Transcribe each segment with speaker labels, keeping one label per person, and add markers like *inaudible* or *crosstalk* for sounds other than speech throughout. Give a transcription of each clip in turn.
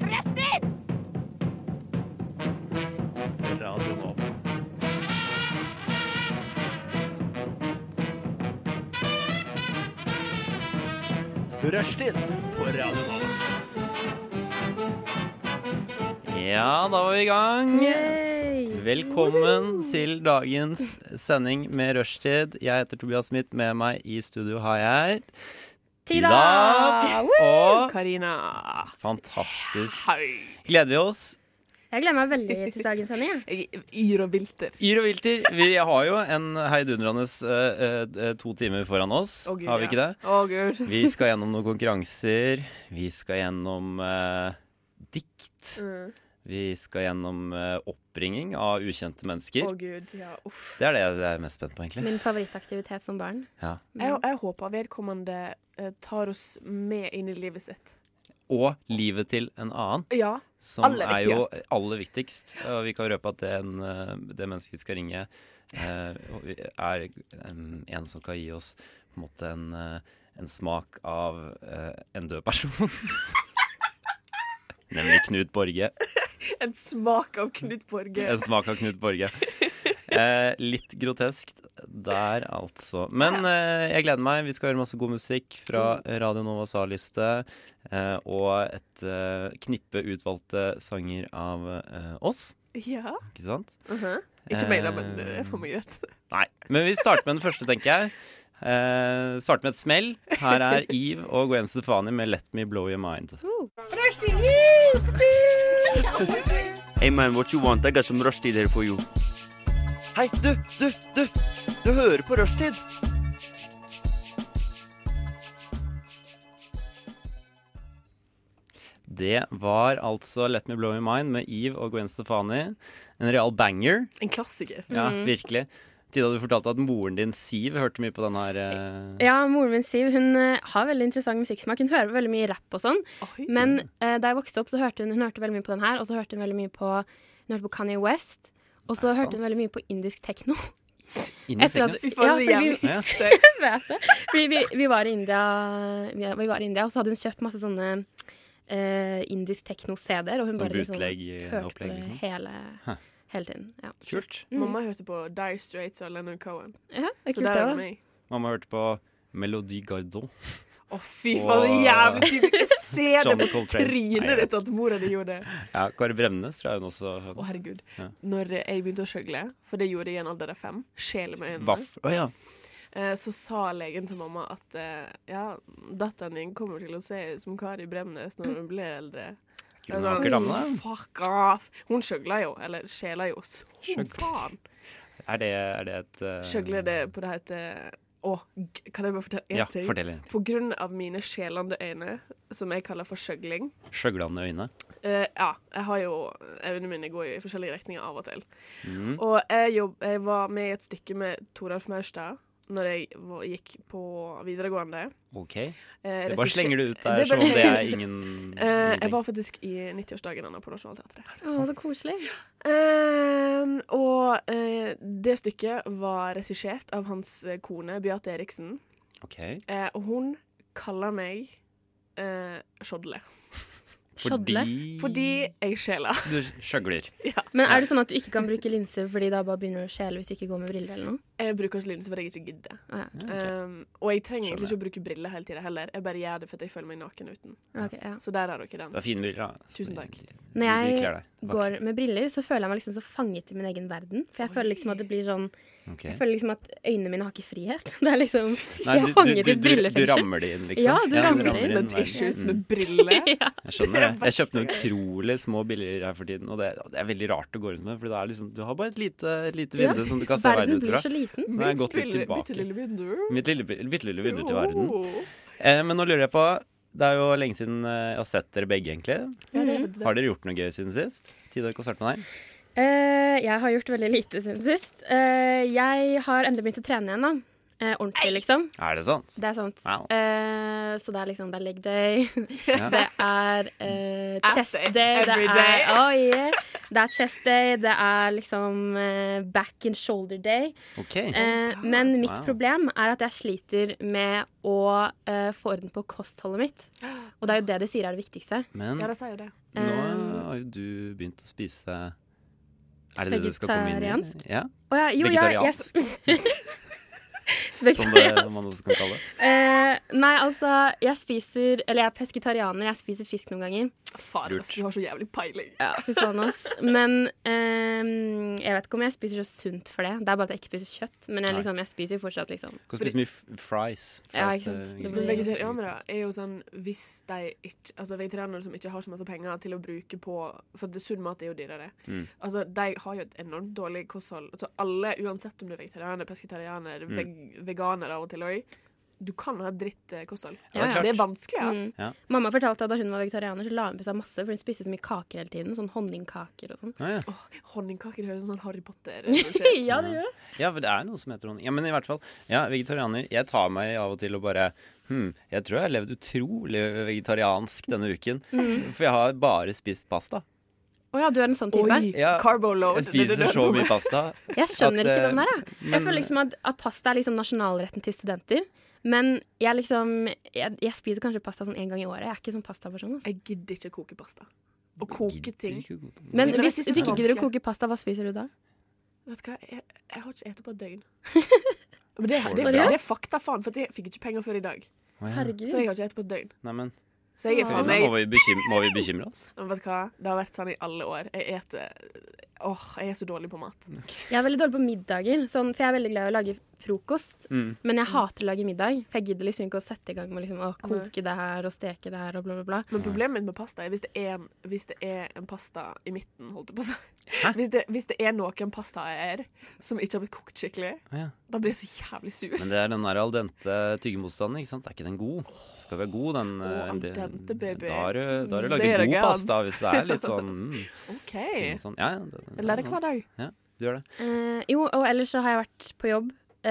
Speaker 1: Røster!
Speaker 2: Radio Nova. Rushtid på Radio Nova.
Speaker 3: Ja, da var vi i gang. Velkommen til dagens sending med rushtid. Jeg heter Tobias Smith. Med meg i studio har jeg
Speaker 1: Tida!
Speaker 3: Tida!
Speaker 1: Woo!
Speaker 3: Og
Speaker 4: Karina.
Speaker 3: fantastisk
Speaker 4: Hei.
Speaker 3: gleder vi oss.
Speaker 1: Jeg gleder meg veldig til dagens sending.
Speaker 3: *laughs*
Speaker 1: jeg.
Speaker 4: Jeg yr og vilter.
Speaker 3: Yr og vilter, vi har jo en heidundrende eh, eh, to timer foran oss.
Speaker 4: Å, Gud,
Speaker 3: har vi
Speaker 4: ja.
Speaker 3: ikke det?
Speaker 4: Å, gud.
Speaker 3: Vi skal gjennom noen konkurranser. Vi skal gjennom eh, dikt.
Speaker 4: Mm.
Speaker 3: Vi skal gjennom eh, oppringing av ukjente
Speaker 4: Å,
Speaker 3: mennesker.
Speaker 4: gud. Ja, uff.
Speaker 3: Det er det jeg er mest spent på, egentlig.
Speaker 1: Min favorittaktivitet som barn.
Speaker 3: Ja.
Speaker 4: Jeg, jeg håper vedkommende eh, tar oss med inn i livet sitt.
Speaker 3: Og livet til en annen,
Speaker 4: Ja.
Speaker 3: som
Speaker 4: Aller
Speaker 3: er jo
Speaker 4: viktigst.
Speaker 3: aller viktigst. Og vi kan røpe at den, eh, det mennesket vi skal ringe, eh, er en, en som kan gi oss på en måte en, eh, en smak av eh, en død person. Nemlig Knut Borge.
Speaker 4: En smak av Knut Borge.
Speaker 3: En smak av Knut Borge. Eh, litt groteskt der, altså. Men eh, jeg gleder meg. Vi skal høre masse god musikk fra Radio Novas A-liste. Eh, og et eh, knippe utvalgte sanger av eh, oss.
Speaker 4: Ja.
Speaker 3: Ikke sant?
Speaker 4: Mhm. Ikke mailer, men
Speaker 3: Eh,
Speaker 4: det er for meg greit.
Speaker 3: Nei. Men vi starter med den første, tenker jeg. Eh, starter med et smell. Her er Eve og Gwen Stefani med 'Let Me Blow Your Mind'.
Speaker 5: Hey man, what you want? I got some rushtid here for you. Hei, du, du, du! Du hører på rushtid!
Speaker 3: Det var altså 'Let Me Blow Your Mind' med Eve og Gwen Stefani. En real banger.
Speaker 4: En klassiker.
Speaker 3: Ja, virkelig. Tida, du fortalte at moren din Siv hørte mye på den her eh,
Speaker 1: Ja, Moren min Siv hun eh, har veldig interessant musikksmak. Hun hører på veldig mye rapp og sånn.
Speaker 4: Oi.
Speaker 1: Men eh, da jeg vokste opp, så hørte hun, hun hørte veldig mye på den her. Og så hørte hun veldig mye på, hun hørte på Kanye West. Og
Speaker 3: Er
Speaker 1: så
Speaker 3: det
Speaker 1: hørte hun
Speaker 3: sant?
Speaker 1: veldig mye på indisk *laughs* tekno.
Speaker 3: inn i
Speaker 1: Etter at,
Speaker 3: sengen.
Speaker 1: ja,
Speaker 4: Fy faen, så
Speaker 1: fordi vi,
Speaker 4: jævlig.
Speaker 3: Ja.
Speaker 4: *laughs*
Speaker 1: vet det. Fordi vi, vi var i India, vi vi var i India, og så hadde hun kjøpt masse sånne eh, indisk tekno-CD-er. Og
Speaker 3: Sånn
Speaker 1: hun bare liksom hørte på
Speaker 3: bootleg-opplegg,
Speaker 1: det
Speaker 3: liksom.
Speaker 1: hele,
Speaker 3: Hæ.
Speaker 1: hele tiden. Ja.
Speaker 3: Kult.
Speaker 4: Mamma hørte på Dire Straits og Lennon Cohen.
Speaker 1: Ja, det er
Speaker 4: Så
Speaker 1: kult det
Speaker 4: der Mm. er det
Speaker 1: òg.
Speaker 4: meg.
Speaker 3: Mamma hørte på Melody Gardon.
Speaker 4: Å, fy faen, så jævlig tydelig. Jeg ser
Speaker 3: Johnny
Speaker 4: det på
Speaker 3: Coltrane. Nei,
Speaker 4: trynet
Speaker 3: jeg
Speaker 4: ditt at mora di gjorde det.
Speaker 3: Ja, Kari Bremnes tror jeg hun også
Speaker 4: Å, herregud.
Speaker 3: Ja.
Speaker 4: Når jeg begynte å skjøgle, for det gjorde jeg i en alder av fem, sjel med øynene,
Speaker 3: Vaff... Å ja.
Speaker 4: eh, så sa legen til mamma at eh, ja, datteren din kommer til å se ut som Kari Bremnes når hun blir eldre.
Speaker 3: Kul
Speaker 4: Jeg var
Speaker 3: vakker dame.
Speaker 4: sånn, Fuck off! Hun skjøgla jo, eller sjela jo, så
Speaker 3: Skjøgl.
Speaker 4: faen.
Speaker 3: Er det, er det et eh,
Speaker 4: Skjøgle det på det heter Å, g- kan jeg bare fortelle én
Speaker 3: Ja,
Speaker 4: ting?
Speaker 3: fortell.
Speaker 4: På grunn av mine sjelende øyne, som jeg kaller for skjøgling,
Speaker 3: Skjøglende øyne.
Speaker 4: Eh, ja, jeg har jo Øynene mine går jo i forskjellige retninger av og til.
Speaker 3: Mm.
Speaker 4: Og jeg, jobb, jeg var med i et stykke med Toralf Maurstad når jeg var, gikk på videregående.
Speaker 3: OK.
Speaker 4: Eh,
Speaker 3: Det bare
Speaker 4: regissør-
Speaker 3: slenger du ut der
Speaker 4: *laughs* Det
Speaker 3: som
Speaker 4: bare
Speaker 3: om det
Speaker 4: slenger-
Speaker 3: er ingen
Speaker 4: *laughs* Eh, jeg
Speaker 3: ingenting.
Speaker 4: var faktisk i 90-årsdagen hans på Nationaltheatret.
Speaker 1: Å, så koselig.
Speaker 4: Eh, og eh, det stykket var regissert av hans eh, kone Beate Eriksen,
Speaker 3: OK.
Speaker 4: eh, og hun kaller meg eh, Shodle.
Speaker 1: Shodle.
Speaker 3: Fordi
Speaker 4: Fordi
Speaker 3: Mm.
Speaker 4: jeg skjeler.
Speaker 3: du skjøgler.
Speaker 1: Men er det sånn at du ikke kan bruke linser fordi da bare begynner du å skjele hvis du ikke går med briller eller noe?
Speaker 4: *laughs* Jeg bruker ikke linse fordi jeg ikke gidder.
Speaker 1: Ah,
Speaker 3: Ja, ok.
Speaker 4: Um, og jeg trenger egentlig
Speaker 3: Skjønner.
Speaker 4: ikke å bruke briller hele tida heller. Jeg bare gjør det fordi jeg føler meg naken uten.
Speaker 1: ja. Ok, ja.
Speaker 4: Så der har dere den.
Speaker 3: Du har fine briller, da.
Speaker 4: Tusen takk.
Speaker 3: De- de
Speaker 1: Når jeg
Speaker 3: kler deg.
Speaker 1: går med briller, så føler jeg meg liksom så fanget i min egen verden. For jeg føler liksom at det blir sånn
Speaker 3: Ok.
Speaker 1: Jeg føler liksom at øynene mine har ikke frihet. *laughs* Det er liksom *laughs*
Speaker 3: Nei, du,
Speaker 1: Jeg er
Speaker 3: du,
Speaker 1: fanget
Speaker 3: du,
Speaker 1: i et
Speaker 3: du, du
Speaker 1: brillefengsel.
Speaker 3: rammer det inn, liksom.
Speaker 1: Ja, du rammer det inn.
Speaker 4: Management
Speaker 3: hver-
Speaker 4: issues
Speaker 3: Mm.
Speaker 4: med
Speaker 3: *laughs*
Speaker 1: *laughs*
Speaker 4: briller.
Speaker 3: Jeg
Speaker 4: Det *laughs*
Speaker 3: skjønner
Speaker 4: er
Speaker 3: det. Jeg
Speaker 4: verste
Speaker 3: kjøpte noen utrolig små bilder her for tiden, og det, det er veldig rart å gå rundt med. For det er liksom, du har bare et lite, et lite
Speaker 1: Ja,
Speaker 3: vindu som du kan se verden
Speaker 1: Verden
Speaker 3: ut
Speaker 1: blir
Speaker 3: fra.
Speaker 1: så liten.
Speaker 3: Så jeg har gått litt
Speaker 4: Bitte lille- bitte
Speaker 3: tilbake.
Speaker 4: lille vindu.
Speaker 3: Mitt lille, bitte lille vindu til
Speaker 4: Jo.
Speaker 3: verden. Eh, men nå lurer jeg på Det er jo lenge siden eh, jeg har sett dere begge, egentlig.
Speaker 4: Ja, det er faktisk det.
Speaker 3: Har dere gjort noe gøy siden sist? Tida kan starte med deg.
Speaker 1: Eh, jeg har gjort veldig lite siden sist. Eh, jeg har endelig begynt å trene igjen, da. Eh, ordentlig, liksom.
Speaker 3: Er det sant?
Speaker 1: Det er sant.
Speaker 3: Wow.
Speaker 1: Eh, så det er liksom Det er leg day.
Speaker 3: *laughs* Ja.
Speaker 1: Det er eh,
Speaker 4: Ass
Speaker 1: chest
Speaker 4: day
Speaker 1: day. Det
Speaker 4: every
Speaker 1: er,
Speaker 4: day.
Speaker 1: oh, yeah. Det er chest day, det er liksom eh, back and shoulder day.
Speaker 3: OK.
Speaker 1: Eh, men mitt
Speaker 3: Oh, Wow.
Speaker 1: problem er at jeg sliter med å eh, få orden på kostholdet
Speaker 4: *gasps*
Speaker 1: mitt. Og det er jo det de sier er det viktigste.
Speaker 3: Men
Speaker 4: Ja, de sier jo det.
Speaker 3: nå
Speaker 1: eh,
Speaker 3: har jo du begynt å spise Er det det du skal komme inn i?
Speaker 1: Vegetariansk?
Speaker 3: Ja,
Speaker 1: Å ja, jo, ja, jeg,
Speaker 3: Vegetariansk.
Speaker 1: *laughs*
Speaker 3: som det
Speaker 1: Vegetariansk.
Speaker 3: man også kan kalle det.
Speaker 1: *laughs* Eh, nei, altså, jeg spiser Eller jeg er pesketarianer, jeg spiser fisk noen ganger.
Speaker 4: Faen,
Speaker 3: Lurt.
Speaker 4: altså, du har så jævlig peiling.
Speaker 1: Ja, fy faen, ass. Men ehm, jeg vet ikke om jeg spiser så sunt for det. Det er bare at jeg ikke spiser kjøtt. Men jeg,
Speaker 3: Nei.
Speaker 1: liksom, jeg spiser jo fortsatt, liksom.
Speaker 3: Kan spise mye f- fries.
Speaker 1: Ja,
Speaker 3: Fries,
Speaker 1: ikke sant.
Speaker 3: eh,
Speaker 1: Det blir-
Speaker 4: Men vegetarianere er jo sånn hvis de ikke Altså vegetarianere som ikke har så masse penger til å bruke på For det, sunn mat er jo dyrere.
Speaker 3: Mm.
Speaker 4: Altså, de har jo et enormt dårlig kosthold. Altså, alle, uansett om du er vegetarianer, pesketarianer,
Speaker 3: Mm.
Speaker 4: veg veganer av og til òg, du kan ha et dritt eh, kosthold.
Speaker 3: Ja, det er
Speaker 1: Ja,
Speaker 3: klart.
Speaker 4: Det er vanskelig, ass.
Speaker 1: Mm.
Speaker 3: Ja.
Speaker 1: Mamma fortalte at da hun var vegetarianer, så la hun på seg masse, for hun spiste så mye kaker hele tiden. Sånn honningkaker og sånn.
Speaker 3: Ah, ja.
Speaker 4: Åh, honningkaker høres ut som sånn Harry Potter.
Speaker 3: *laughs*
Speaker 1: ja, det gjør det.
Speaker 3: Ja, for det er noe som heter honning. Ja, men i hvert fall, ja, vegetarianer. Jeg tar meg av og til og bare Hm, jeg tror jeg har levd utrolig vegetariansk denne uken.
Speaker 4: Mm.
Speaker 3: For jeg har bare spist pasta.
Speaker 1: Å ja, du er en sånn type?
Speaker 4: Oi,
Speaker 3: Ja,
Speaker 4: carbo load.
Speaker 3: Jeg spiser så mye pasta.
Speaker 4: *laughs*
Speaker 1: Jeg skjønner
Speaker 3: At,
Speaker 1: ikke
Speaker 3: eh,
Speaker 1: den der, jeg. Jeg føler liksom at, at pasta er liksom nasjonalretten til studenter. Men jeg liksom Jeg, jeg spiser kanskje pasta sånn én gang i året. Jeg er ikke sånn pastaperson. Altså.
Speaker 4: Jeg gidder ikke å koke pasta. Å koke ting
Speaker 1: Men
Speaker 4: Men jeg
Speaker 1: hvis
Speaker 4: synes
Speaker 1: du
Speaker 4: det er
Speaker 1: ikke gidder å
Speaker 4: vanskelig.
Speaker 1: koke pasta, hva spiser du da?
Speaker 4: Vet du hva, jeg, jeg har ikke spist på et døgn. Men det,
Speaker 3: Får
Speaker 4: det,
Speaker 3: du
Speaker 4: det,
Speaker 3: bra?
Speaker 4: er fakta, faen, for jeg fikk ikke penger før i dag.
Speaker 3: Å, ja.
Speaker 4: Så
Speaker 1: Herregud.
Speaker 4: jeg har ikke spist på et døgn.
Speaker 3: Neimen,
Speaker 4: Så jeg er
Speaker 1: Ja,
Speaker 4: faen
Speaker 3: Frida, må
Speaker 4: meg
Speaker 3: vi bekym- må vi bekymre oss?
Speaker 4: Men Vet du hva, det har vært sånn i alle år. Jeg eter Åh, jeg er så dårlig på mat.
Speaker 1: Jeg er veldig dårlig på middager, sånn, for jeg er veldig glad i å lage frokost.
Speaker 3: Mm.
Speaker 1: Men jeg hater å lage middag, for jeg gidder liksom ikke å sette i gang med liksom, å koke det her og steke det her og bla, bla, bla.
Speaker 4: Men problemet mitt med pasta er hvis det er en, hvis det er en pasta i midten, holdt jeg på å si. Hvis det, hvis det er noen pastaer som ikke har blitt kokt skikkelig,
Speaker 3: Å, ja.
Speaker 4: da blir jeg så jævlig sur.
Speaker 3: Men det er den der al dente tyggemotstanden, ikke sant? Er ikke den god? Skal være god, den
Speaker 4: Å,
Speaker 3: eh,
Speaker 4: al
Speaker 3: det-
Speaker 4: dente, baby. Mm.
Speaker 3: Da har du, da har du
Speaker 4: Ser
Speaker 3: laget
Speaker 4: jeg
Speaker 3: god
Speaker 4: an.
Speaker 3: pasta, hvis det er litt sånn mm,
Speaker 4: OK.
Speaker 3: tyggemotstand. Ja, ja. det-
Speaker 4: Jeg lærer
Speaker 3: det er
Speaker 4: hver dag.
Speaker 3: sant. Du gjør det.
Speaker 1: Eh, jo, og ellers så har jeg vært på jobb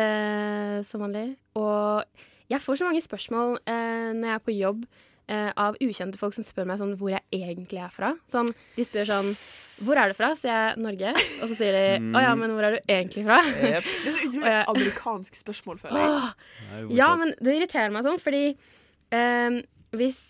Speaker 1: eh, som vanlig. Og jeg får så mange spørsmål eh, når jeg er på jobb eh, av ukjente folk som spør meg sånn hvor jeg egentlig er fra. Sånn, de spør sånn Hvor er du fra? sier jeg Norge. Og så sier de Å ja, men hvor er du egentlig fra?
Speaker 4: Det er så
Speaker 1: Og
Speaker 4: utrolig
Speaker 1: jeg-
Speaker 4: amerikansk spørsmål, føler jeg.
Speaker 1: *gasps*
Speaker 3: Det er jo
Speaker 1: Ja,
Speaker 3: morsomt.
Speaker 1: men det irriterer meg sånn, fordi ehm, hvis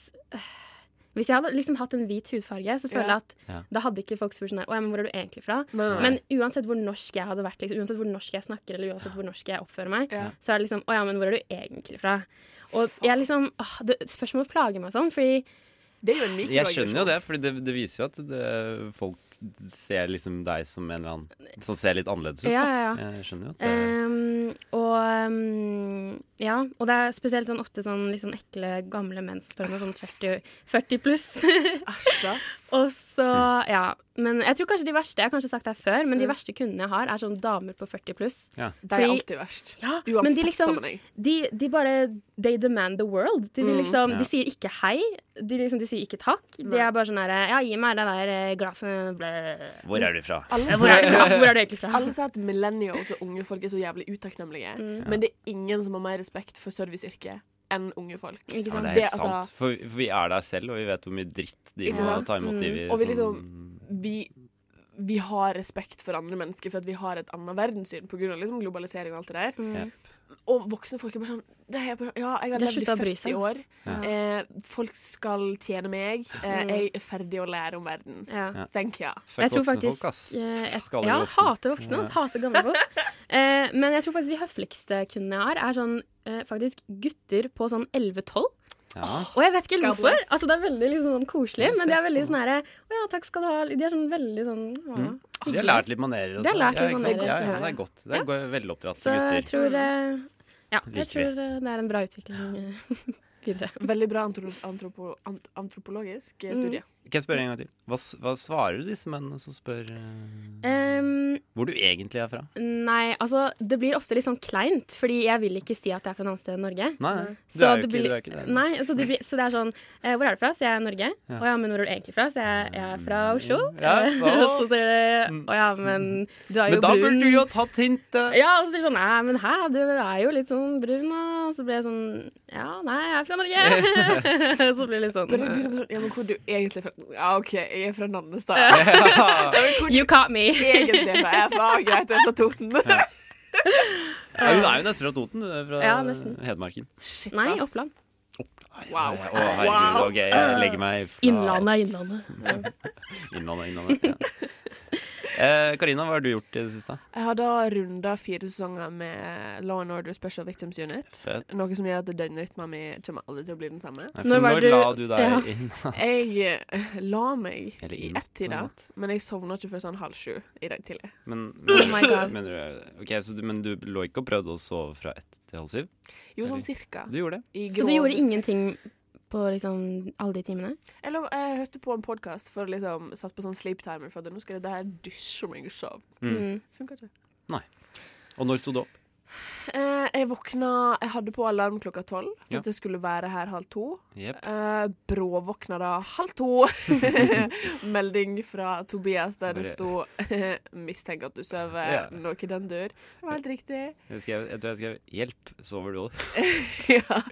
Speaker 1: hvis jeg hadde liksom hatt en hvit hudfarge, så føler
Speaker 4: Ja.
Speaker 1: jeg at
Speaker 3: Ja.
Speaker 1: da hadde ikke folk spurt sånn der, «Å, ja, men hvor er du egentlig fra?
Speaker 4: Nei, nei, nei.
Speaker 1: Men uansett hvor norsk jeg hadde vært, liksom, uansett hvor norsk jeg snakker, eller uansett hvor norsk jeg oppfører meg,
Speaker 4: Ja.
Speaker 1: så er det liksom Å ja, men hvor er du egentlig fra? Og jeg liksom åh, det, Spørsmål plager meg sånn, fordi
Speaker 4: Det er jo en mikroaggresjon.
Speaker 3: Jeg skjønner jo det, for det, det viser jo at det, folk ser liksom deg som en eller annen som ser litt annerledes ut.
Speaker 1: Ja,
Speaker 3: Da.
Speaker 1: ja, ja.
Speaker 3: Jeg skjønner jo at det,
Speaker 1: ehm, Og ehm, ja. Og det er spesielt sånn ofte sånn litt sånn ekle, gamle menn som spør meg sånn 40, 40 pluss.
Speaker 4: Æsj, ass.
Speaker 1: Og så, ja Men jeg tror kanskje de verste Jeg har kanskje sagt det her før, men de verste kundene jeg har, er sånn damer på 40 pluss.
Speaker 3: ja.
Speaker 4: De er
Speaker 1: Fordi-
Speaker 4: alltid verst.
Speaker 1: Ja,
Speaker 4: Uansett
Speaker 1: men de liksom-
Speaker 4: sammenheng.
Speaker 1: De, de bare They demand the world. De, vil liksom,
Speaker 3: Ja.
Speaker 1: de sier ikke hei. De, liksom, de sier ikke takk. De
Speaker 4: Nei.
Speaker 1: er bare sånn herre Ja, gi meg det der eh, glasset ble.
Speaker 3: *laughs* Hvor er du fra?
Speaker 4: Alle,
Speaker 1: Hvor er, du fra? Hvor er du egentlig fra?
Speaker 4: alle sier at millennials og unge folk er så jævlig utakknemlige,
Speaker 1: Mm.
Speaker 4: men det er ingen som har mer respekt for serviceyrket enn unge folk.
Speaker 1: Ikke
Speaker 3: Ja, men
Speaker 1: sant?
Speaker 3: det er
Speaker 4: Det,
Speaker 3: helt sant.
Speaker 4: altså-
Speaker 3: for, for vi er der selv, og vi vet hvor mye dritt de
Speaker 4: Ikke
Speaker 3: må
Speaker 4: sant?
Speaker 3: ta imot. De
Speaker 1: Mm.
Speaker 3: vi,
Speaker 4: Og vi
Speaker 3: sånn-
Speaker 4: Vi, vi har respekt for andre mennesker for at vi har et annet verdenssyn pga. Liksom globalisering og alt det der.
Speaker 1: Mm.
Speaker 4: Og voksne folk er bare sånn det er bare, Ja, jeg har
Speaker 1: De har
Speaker 4: levd i
Speaker 1: sluttet å bry
Speaker 4: 40
Speaker 1: seg, ass.
Speaker 4: år. Eh, folk skal tjene meg. Eh, jeg er ferdig å lære om verden.
Speaker 1: Ja.
Speaker 3: Ja.
Speaker 4: Thank you.
Speaker 3: Fuck
Speaker 1: jeg tror
Speaker 3: voksne
Speaker 1: faktisk,
Speaker 3: folk, ass.
Speaker 1: eh, jeg-
Speaker 3: Skaller
Speaker 1: ja,
Speaker 3: voksne.
Speaker 1: hater voksne. ass. Hater gamle
Speaker 3: *laughs*
Speaker 1: folk. Eh, men jeg tror faktisk de høfligste kundene jeg har, er sånn eh, faktisk gutter på sånn 11-12.
Speaker 3: Ja.
Speaker 1: Og jeg vet ikke helt
Speaker 4: God
Speaker 1: hvorfor.
Speaker 4: bless.
Speaker 1: Altså, det er veldig liksom, sånn koselig,
Speaker 3: Jeg
Speaker 1: men de
Speaker 3: ser
Speaker 1: er veldig
Speaker 3: for
Speaker 1: sånn herre Å ja, takk skal du ha. De er sånn veldig sånn å.
Speaker 3: Mm. De har lært litt manerer. og
Speaker 1: De har
Speaker 3: sånn.
Speaker 1: lært litt
Speaker 3: ja, ikke sant?
Speaker 1: manerer,
Speaker 3: Ja, ja,
Speaker 1: det har
Speaker 3: det
Speaker 1: jeg.
Speaker 3: er godt. Det er go- veloppdratte
Speaker 1: Så jeg
Speaker 3: gutter.
Speaker 1: tror eh, Ja,
Speaker 3: Liker
Speaker 1: jeg
Speaker 3: vi.
Speaker 1: tror eh, det er en bra utvikling eh, *laughs* videre.
Speaker 4: *laughs* Veldig bra antro antropo ant antropologisk eh, studie.
Speaker 3: Kan jeg spørre en gang til? Hva, s- hva svarer du disse mennene som spør eh,
Speaker 1: Ehm,
Speaker 3: hvor du egentlig er fra?
Speaker 1: nei, altså det blir ofte litt sånn kleint, fordi jeg vil ikke si at jeg er fra et annet sted enn Norge.
Speaker 3: Nei, nei. du
Speaker 1: Så
Speaker 3: er jo ikke,
Speaker 1: blir-
Speaker 3: du er ikke det.
Speaker 1: Nei, så det, blir, så det er sånn eh, Hvor er du fra? Så jeg er Norge. Å
Speaker 3: Ja. Mm.
Speaker 1: ja. men hvor er du egentlig fra? Så jeg, jeg er fra Oslo. *laughs*
Speaker 3: Ja,
Speaker 1: Eh,
Speaker 3: å.
Speaker 1: så sier de Å ja, men du er
Speaker 3: Men
Speaker 1: jo
Speaker 3: da
Speaker 1: brun.
Speaker 3: burde du jo tatt hintet!
Speaker 1: Ja, og så sier de sånn Nei, men hæ, du er jo litt sånn brun, da. Og så ble jeg sånn Ja, nei, jeg er fra Norge. så blir det litt sånn *laughs*
Speaker 4: Bare begynner med sånn, ja, men hvor er du egentlig fra? Ja, OK, jeg er fra Nannestad. *laughs*
Speaker 3: Ja.
Speaker 1: *laughs* «Eh, You caught me.
Speaker 4: Egentlig fra jeg er fra greit, jeg er fra Toten.
Speaker 3: hun er jo nesten fra Toten. Hun er fra
Speaker 1: Eh, Ja, nesten.
Speaker 3: Hedmarken.
Speaker 4: Shit,
Speaker 1: Nei,
Speaker 4: ass.
Speaker 1: Oppland.
Speaker 4: Wow.
Speaker 3: Å, herregud, ok, jeg legger meg flat.
Speaker 1: Innlandet er Innlandet.
Speaker 3: Innlandet, innlandet. Ja. Eh, Karina, hva har du gjort i det siste?
Speaker 4: Jeg har da runda fire sesonger med Law and Order Special Victims Unit.
Speaker 3: Fett.
Speaker 4: Noe som gjør at døgnrytma mi kommer aldri til å bli den samme.
Speaker 3: Nei, Eh, for
Speaker 1: Når
Speaker 3: når
Speaker 1: var du-
Speaker 3: la du deg
Speaker 1: Ja.
Speaker 3: inn?
Speaker 4: Jeg eh, la meg
Speaker 3: Eller
Speaker 4: i
Speaker 3: inn,
Speaker 4: ett-tida,
Speaker 3: på en måte.
Speaker 4: men jeg sovna ikke før sånn halv sju i dag tidlig.
Speaker 3: *laughs* Men,
Speaker 1: *laughs* Oh
Speaker 3: men,
Speaker 1: my god.
Speaker 3: mener du, ok, så du, men du lå ikke og prøvde å sove fra ett til halv syv?
Speaker 4: Jo, sånn
Speaker 3: Eller-
Speaker 4: cirka.
Speaker 3: Du gjorde det.
Speaker 4: I
Speaker 1: Så du
Speaker 4: grov-
Speaker 1: gjorde ingenting på liksom alle de timene?
Speaker 4: Jeg, lå, jeg hørte på en podkast for å liksom satt på sånn sleep timer for at nå skal det der dysje meg i sov.
Speaker 1: Mm.
Speaker 4: Funka ikke.
Speaker 3: Og når sto du opp?
Speaker 4: Eh, jeg våkna Jeg hadde på alarm klokka tolv for
Speaker 3: Ja.
Speaker 4: at jeg skulle være her halv to.
Speaker 3: Jepp.
Speaker 4: Eh, Bråvåkna da
Speaker 3: *laughs*
Speaker 4: halv to. Melding fra Tobias der det
Speaker 3: Bare-
Speaker 4: sto *laughs* 'Mistenk at du sover.
Speaker 3: Ja.
Speaker 4: Noe i den dur'. Det var helt riktig.
Speaker 3: Jeg, skrev, jeg tror jeg skrev 'hjelp, sover du òg'?
Speaker 4: *laughs* ja.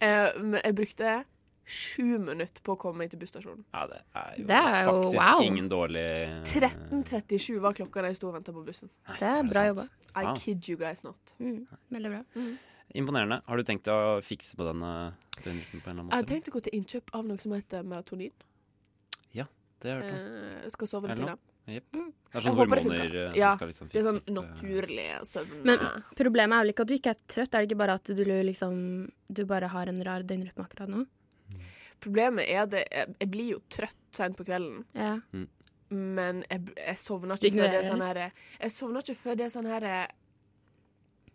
Speaker 4: eh, men jeg brukte sju minutter på å komme meg til busstasjonen.
Speaker 3: Ja, det er jo,
Speaker 1: Det er jo-
Speaker 3: faktisk
Speaker 1: wow.
Speaker 3: ingen dårlig eh,
Speaker 4: 13.37 var klokka da jeg sto og venta på bussen.
Speaker 3: Nei,
Speaker 1: Det er bra
Speaker 3: sant?
Speaker 1: jobba.
Speaker 4: I
Speaker 3: Wow.
Speaker 4: kid you guys not.
Speaker 1: Mm. Veldig bra.
Speaker 3: Imponerende. Har du tenkt å fikse på denne den rytmen på en eller annen
Speaker 4: Jeg har
Speaker 3: måte?
Speaker 4: tenkt å gå til innkjøp av noe som heter melatonin.
Speaker 3: Det har jeg hørt om.
Speaker 4: Eh, skal sove litt.
Speaker 3: Er det
Speaker 4: til det.
Speaker 3: Det er
Speaker 4: jeg
Speaker 3: sånne
Speaker 4: håper det
Speaker 3: hormoner
Speaker 4: funker.
Speaker 3: eh,
Speaker 4: Ja,
Speaker 3: som skal liksom fikse
Speaker 4: Det er sånn
Speaker 3: opp, eh,
Speaker 4: naturlig søvn.
Speaker 1: Men- Problemet er vel ikke at du ikke er trøtt, er det ikke bare at du liksom Du bare har en rar døgnrytme akkurat nå?
Speaker 4: Problemet er at jeg, jeg blir jo trøtt sent på kvelden,
Speaker 1: Ja.
Speaker 4: men jeg, jeg sovner ikke før det er sånn her Jeg sovner ikke før det er sånn her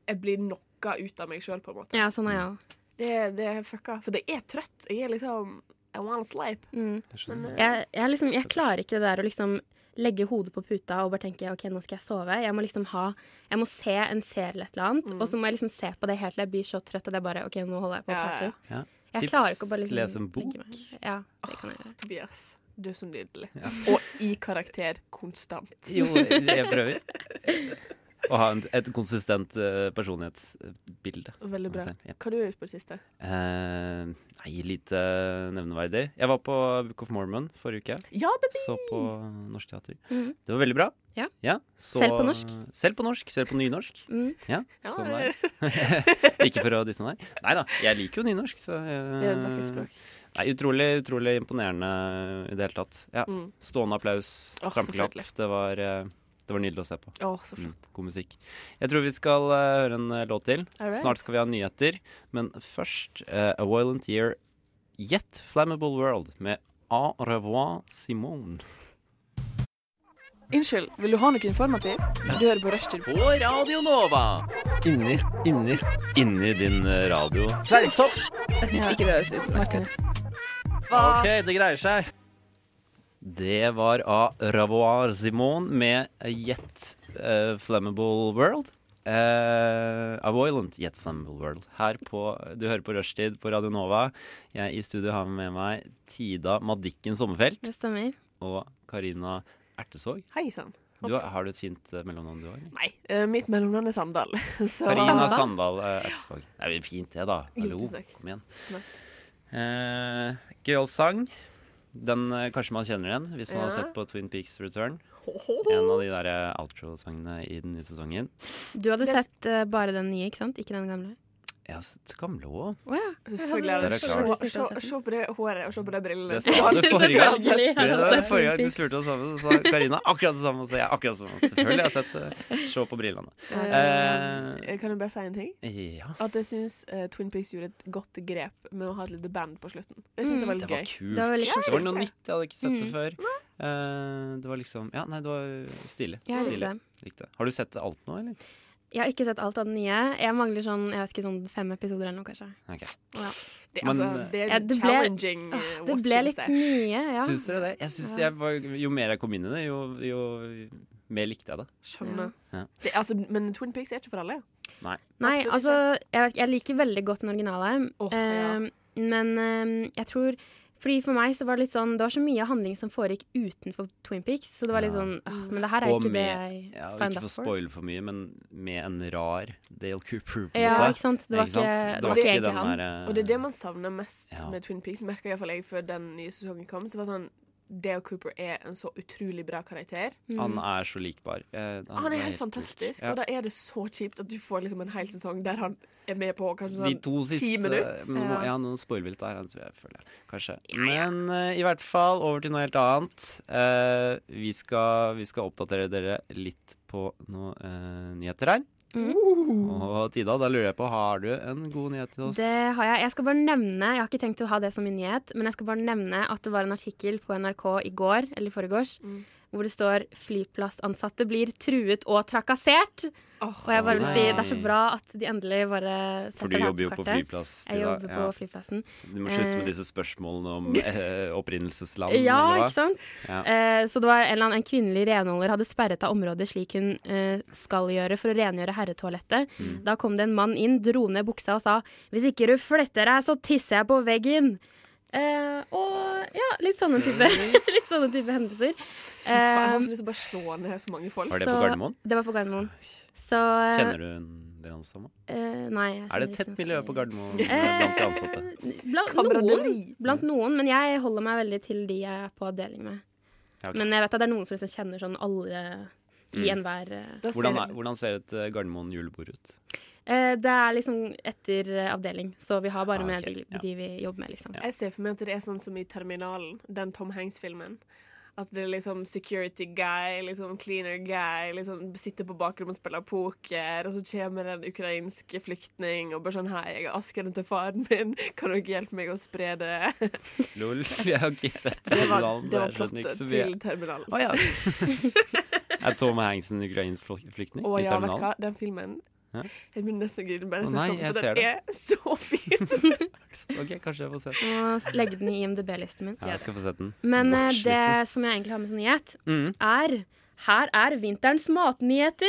Speaker 4: Jeg blir knocka ut av meg sjøl, på en måte.
Speaker 1: ja, sånn er jeg òg.
Speaker 4: Det, det er fucka. For jeg er trøtt. Jeg er liksom I wanna sleep.
Speaker 1: Mm.
Speaker 3: Jeg skjønner.
Speaker 4: eh,
Speaker 1: Jeg, jeg, liksom, jeg klarer ikke det der å liksom legge hodet på puta og bare tenke OK, nå skal jeg sove. Jeg må liksom ha Jeg må se en serie eller et eller
Speaker 4: Mm.
Speaker 1: annet, og så må jeg liksom se på det helt til jeg blir så trøtt at jeg bare OK, nå holder jeg på å
Speaker 4: Ja, ja,
Speaker 1: passe
Speaker 4: ja.
Speaker 1: ut.
Speaker 3: Ja.
Speaker 1: Jeg
Speaker 3: Tips,
Speaker 1: klarer ikke å bare liksom
Speaker 3: les en
Speaker 1: legge
Speaker 3: bok.
Speaker 1: meg. Ja, det kan jeg gjøre.
Speaker 4: Tobias, du er så nydelig. *laughs* Og i karakter konstant.
Speaker 3: Jo, jeg prøver. *laughs* Å ha en, et konsistent eh, personlighetsbilde.
Speaker 4: Veldig bra.
Speaker 3: Ja.
Speaker 4: Hva har du gjort på det siste?
Speaker 3: Eh, nei, lite nevneverdig. Jeg var på Book of Mormon forrige uke.
Speaker 4: Ja, baby!
Speaker 3: Så på Norsk Teater.
Speaker 4: Ah.
Speaker 1: Mhm.
Speaker 3: Det var veldig bra.
Speaker 1: Ja.
Speaker 3: så-
Speaker 1: Selv på norsk?
Speaker 3: Selv på norsk. Selv på nynorsk.
Speaker 1: Mm.
Speaker 3: Ja,
Speaker 4: Ja,
Speaker 3: sånn
Speaker 4: det-
Speaker 3: er. Ikke for å disse meg. Nei da, jeg liker jo nynorsk. Så, eh,
Speaker 4: Det er et vakkert språk.
Speaker 3: Nei, utrolig, utrolig imponerende i det hele tatt. Ja.
Speaker 4: Mm.
Speaker 3: Stående applaus,
Speaker 4: Åh, så
Speaker 3: trampeklapp.
Speaker 4: flott.
Speaker 3: Det var, eh, det var nydelig å se på.
Speaker 4: Å, så flott.
Speaker 3: Mm, god musikk. Jeg tror vi skal eh, høre en eh, låt til.
Speaker 4: All right.
Speaker 3: Snart skal vi ha nyheter. Men først eh, A Violent Year Yet Flammable World med Au revoir, Simone. Mm.
Speaker 4: Unnskyld, vil du ha noe informativt? Du hører på Rushtid.
Speaker 3: På Radio Nova.
Speaker 2: Inni, inni.
Speaker 3: Inni din eh, radio.
Speaker 2: Fleinsopp!
Speaker 5: sånn.
Speaker 4: Hvis ikke det høres utenlandsk ut.
Speaker 2: OK, det greier seg.
Speaker 3: Det var A revoir, Simone med Yet eh, Flammable World. Eh, A Violent Yet Flammable World. Her på, Du hører på Rushtid på Radio Nova. Jeg i studio har med meg Tida Madikken Sommerfelt.
Speaker 1: Det stemmer.
Speaker 3: og Karina Ertesvåg.
Speaker 4: Hei sann.
Speaker 3: Du, har- har du et fint eh, mellomnavn, du òg?
Speaker 4: Nei, eh, mitt mellomnavn er Sandal. *laughs* Så
Speaker 3: Karina Sandal eh, Ertesvåg. Det er jo fint, det, da.
Speaker 4: Jo,
Speaker 3: Hallo,
Speaker 4: tusen takk.
Speaker 3: kom igjen.
Speaker 4: Tusen takk.
Speaker 3: Eh, Gøyal sang. Den eh, kanskje man kjenner igjen hvis man har
Speaker 4: Ja.
Speaker 3: sett på Twin Peaks Return.
Speaker 4: Hohoho.
Speaker 3: En av de der eh, outro-sangene i den nye sesongen.
Speaker 1: Du hadde
Speaker 4: Det er s-
Speaker 1: sett eh, bare den nye, ikke sant? Ikke den gamle?
Speaker 3: Jeg har sett gamle òg.
Speaker 1: Å *laughs* ja.
Speaker 4: Selvfølgelig.
Speaker 3: Det er
Speaker 4: Se-
Speaker 3: klart.
Speaker 4: se- se- Se på det håret og se på de brillene.
Speaker 3: Det sa
Speaker 4: *laughs*
Speaker 3: du forrige gang.
Speaker 1: Selvfølgelig har jeg sett Twin
Speaker 3: Forrige gang du
Speaker 1: Peaks.
Speaker 3: spurte oss sammen, så sa Karina akkurat det samme. Så jeg akkurat det samme. Selvfølgelig har jeg sett eh, Se på brillene.
Speaker 4: Eh, Kan jeg bare si en ting?
Speaker 3: Ja,
Speaker 4: At jeg syns eh, Twin Peaks gjorde et godt grep med å ha et lite band på slutten. Det syns jeg var
Speaker 3: Mm. det
Speaker 4: litt
Speaker 3: var
Speaker 4: gøy.
Speaker 3: kult.
Speaker 1: Det var veldig
Speaker 3: Det
Speaker 1: kult.
Speaker 3: var noe nytt, jeg hadde ikke sett det
Speaker 1: Mm.
Speaker 3: før. Eh, det var liksom Ja, nei, det var stilig.
Speaker 1: Jeg likte
Speaker 3: stilig.
Speaker 1: det.
Speaker 3: Likte det. Har du sett alt nå, eller?
Speaker 1: Jeg har ikke sett alt av den nye. Jeg mangler sånn jeg vet ikke, sånn fem episoder eller noe, kanskje.
Speaker 3: Ok.
Speaker 1: Ja.
Speaker 4: Det,
Speaker 3: Men, eh,
Speaker 4: altså, det er
Speaker 1: Ja, det ble-
Speaker 4: challenging eh,
Speaker 1: Åh, det
Speaker 4: watching
Speaker 1: ble litt
Speaker 4: session.
Speaker 1: mye, ja.
Speaker 3: Syns dere det? Jeg synes jeg var, jo mer jeg kom inn i det, jo, jo mer likte jeg det.
Speaker 4: Skjønner.
Speaker 3: Ja.
Speaker 4: Det, altså, men Twin Peaks er ikke for alle.
Speaker 1: Nei,
Speaker 4: Absolutt
Speaker 1: altså, jeg, vet, jeg liker veldig godt den originale,
Speaker 4: Åh,
Speaker 1: eh, men eh, jeg tror fordi For meg så var det litt sånn Det var så mye handling som foregikk utenfor Twin Peaks, så det var litt
Speaker 3: Ja.
Speaker 1: sånn åh, Men det her er
Speaker 3: Og
Speaker 1: ikke det
Speaker 3: med-
Speaker 1: jeg
Speaker 3: Ja, og
Speaker 1: signed
Speaker 3: ikke
Speaker 1: up
Speaker 3: for å
Speaker 1: for.
Speaker 3: spoile for mye, men med en rar Dale Cooper. På en
Speaker 1: Ja,
Speaker 3: måte.
Speaker 1: ikke sant? Det var ikke,
Speaker 3: sant?
Speaker 1: det var ikke egentlig
Speaker 3: den
Speaker 1: han.
Speaker 3: der, eh,
Speaker 4: Og det er det man savner mest
Speaker 3: Ja.
Speaker 4: med Twin Peaks, merka iallfall jeg før den nye sesongen kom. Så var det sånn Dale Cooper er en så utrolig bra karakter.
Speaker 3: eh,
Speaker 1: Mm.
Speaker 3: Han er så likbar. Eh,
Speaker 1: Ah,
Speaker 4: Han er
Speaker 3: helt
Speaker 4: helt
Speaker 3: lik.
Speaker 4: fantastisk,
Speaker 3: Ja.
Speaker 4: og da er det så kjipt at du får liksom en hel sesong der han er med på kanskje
Speaker 3: De
Speaker 4: sånn
Speaker 3: to siste
Speaker 4: ti minutter.
Speaker 3: Nå,
Speaker 1: Ja.
Speaker 3: ja, noen spoiler der, han tror jeg, føler jeg. Kanskje. Men eh, i hvert fall, over til noe helt annet. Eh, vi, skal, vi skal oppdatere dere litt på noen eh, nyheter her.
Speaker 1: Mm.
Speaker 3: Og Tida, da lurer jeg på, har du en god nyhet til oss?
Speaker 1: Det har jeg. Jeg skal bare nevne, jeg har ikke tenkt å ha det som min nyhet, men jeg skal bare nevne at det var en artikkel på NRK i går, eller i forgårs, hvor det står 'Flyplassansatte blir truet og trakassert'.
Speaker 4: Åh,
Speaker 1: Og jeg bare vil si
Speaker 3: Nei.
Speaker 1: det er så bra at de endelig bare
Speaker 3: Sånn For
Speaker 1: setter
Speaker 3: du
Speaker 1: det her
Speaker 3: jobber
Speaker 1: på
Speaker 3: jo på
Speaker 1: kartet.
Speaker 3: flyplass,
Speaker 1: Jeg
Speaker 3: Tida.
Speaker 1: jobber
Speaker 3: Ja.
Speaker 1: på flyplassen.
Speaker 3: Du må slutte med
Speaker 1: Eh.
Speaker 3: disse spørsmålene
Speaker 1: *laughs*
Speaker 3: om eh, opprinnelsesland. eller
Speaker 1: Ja,
Speaker 3: hva?
Speaker 1: ikke sant?
Speaker 3: Ja.
Speaker 1: Eh, så det var en, eller annen, en kvinnelig renholder hadde sperret av området slik hun eh, skal gjøre for å rengjøre herretoalettet.
Speaker 3: Mm.
Speaker 1: Da kom det en mann inn, dro ned buksa og sa 'Hvis ikke du fletter deg, så tisser jeg på veggen'. Eh, og ja, litt sånne type, *laughs* litt sånne type hendelser.
Speaker 4: Fy faen,
Speaker 1: eh,
Speaker 4: jeg har så lyst til å bare slå ned så mange folk.
Speaker 3: Var det på
Speaker 1: Så-
Speaker 3: Gardermoen?
Speaker 1: Det var på Gardermoen. Så
Speaker 3: Kjenner du de ansatte?
Speaker 1: Eh, nei, jeg
Speaker 3: Er det
Speaker 1: skjønner ikke
Speaker 3: tett
Speaker 1: noe
Speaker 3: miljø
Speaker 1: særlig.
Speaker 3: på
Speaker 1: *laughs*
Speaker 3: Gardermoen blant de ansatte?
Speaker 1: Eh, Blant noen,
Speaker 4: Kameraderi.
Speaker 3: Mm.
Speaker 1: blant noen, men jeg holder meg veldig til de jeg er på avdeling med.
Speaker 3: Ja, ok.
Speaker 1: Men jeg vet at det er noen som liksom kjenner sånn alle i
Speaker 3: Mm.
Speaker 1: enhver eh,
Speaker 4: Da ser
Speaker 3: Hvordan,
Speaker 4: jeg-
Speaker 3: er, hvordan ser et eh, Gardermoen julebord ut?
Speaker 1: eh, Det er liksom etter eh, avdeling, så vi har bare
Speaker 3: Ah,
Speaker 1: med
Speaker 3: ok,
Speaker 1: de,
Speaker 3: ja.
Speaker 1: de vi jobber med, liksom.
Speaker 4: Jeg ser for meg at det er sånn som i Terminalen, den Tom Hanks-filmen. At det er liksom security guy, liksom cleaner guy, liksom sitter på bakrommet og spiller poker, og så kommer en ukrainsk flyktning og bare sånn Hei, jeg er asken til faren min, kan dere hjelpe meg å
Speaker 3: *laughs*
Speaker 4: spre det?
Speaker 3: Lol, jeg har ikke sett
Speaker 4: Det var,
Speaker 3: Terminalen,
Speaker 4: det var
Speaker 3: jeg skjønner ikke
Speaker 4: plottet
Speaker 3: så mye.
Speaker 4: til Terminalen.
Speaker 3: Å ja.
Speaker 1: *laughs*
Speaker 3: Er Tom Hanks en ukrainsk flyk- flyktning
Speaker 4: Å
Speaker 3: i
Speaker 4: ja, vet du
Speaker 3: terminalen?
Speaker 4: hva? Den filmen
Speaker 3: Ja.
Speaker 4: Jeg begynner nesten å grine bare
Speaker 3: Å,
Speaker 4: jeg
Speaker 3: nei,
Speaker 4: snakker om
Speaker 3: jeg
Speaker 4: den,
Speaker 3: ser
Speaker 4: for den er så fin! *laughs*
Speaker 3: Ok, kanskje jeg får se den.
Speaker 1: Og legge den i IMDb-listen min.
Speaker 3: Ja, jeg skal få sett den.
Speaker 1: Men eh,
Speaker 3: Watchlisten.
Speaker 1: det som jeg egentlig har med som nyhet,
Speaker 3: Mhm.
Speaker 1: er Her er vinterens matnyheter!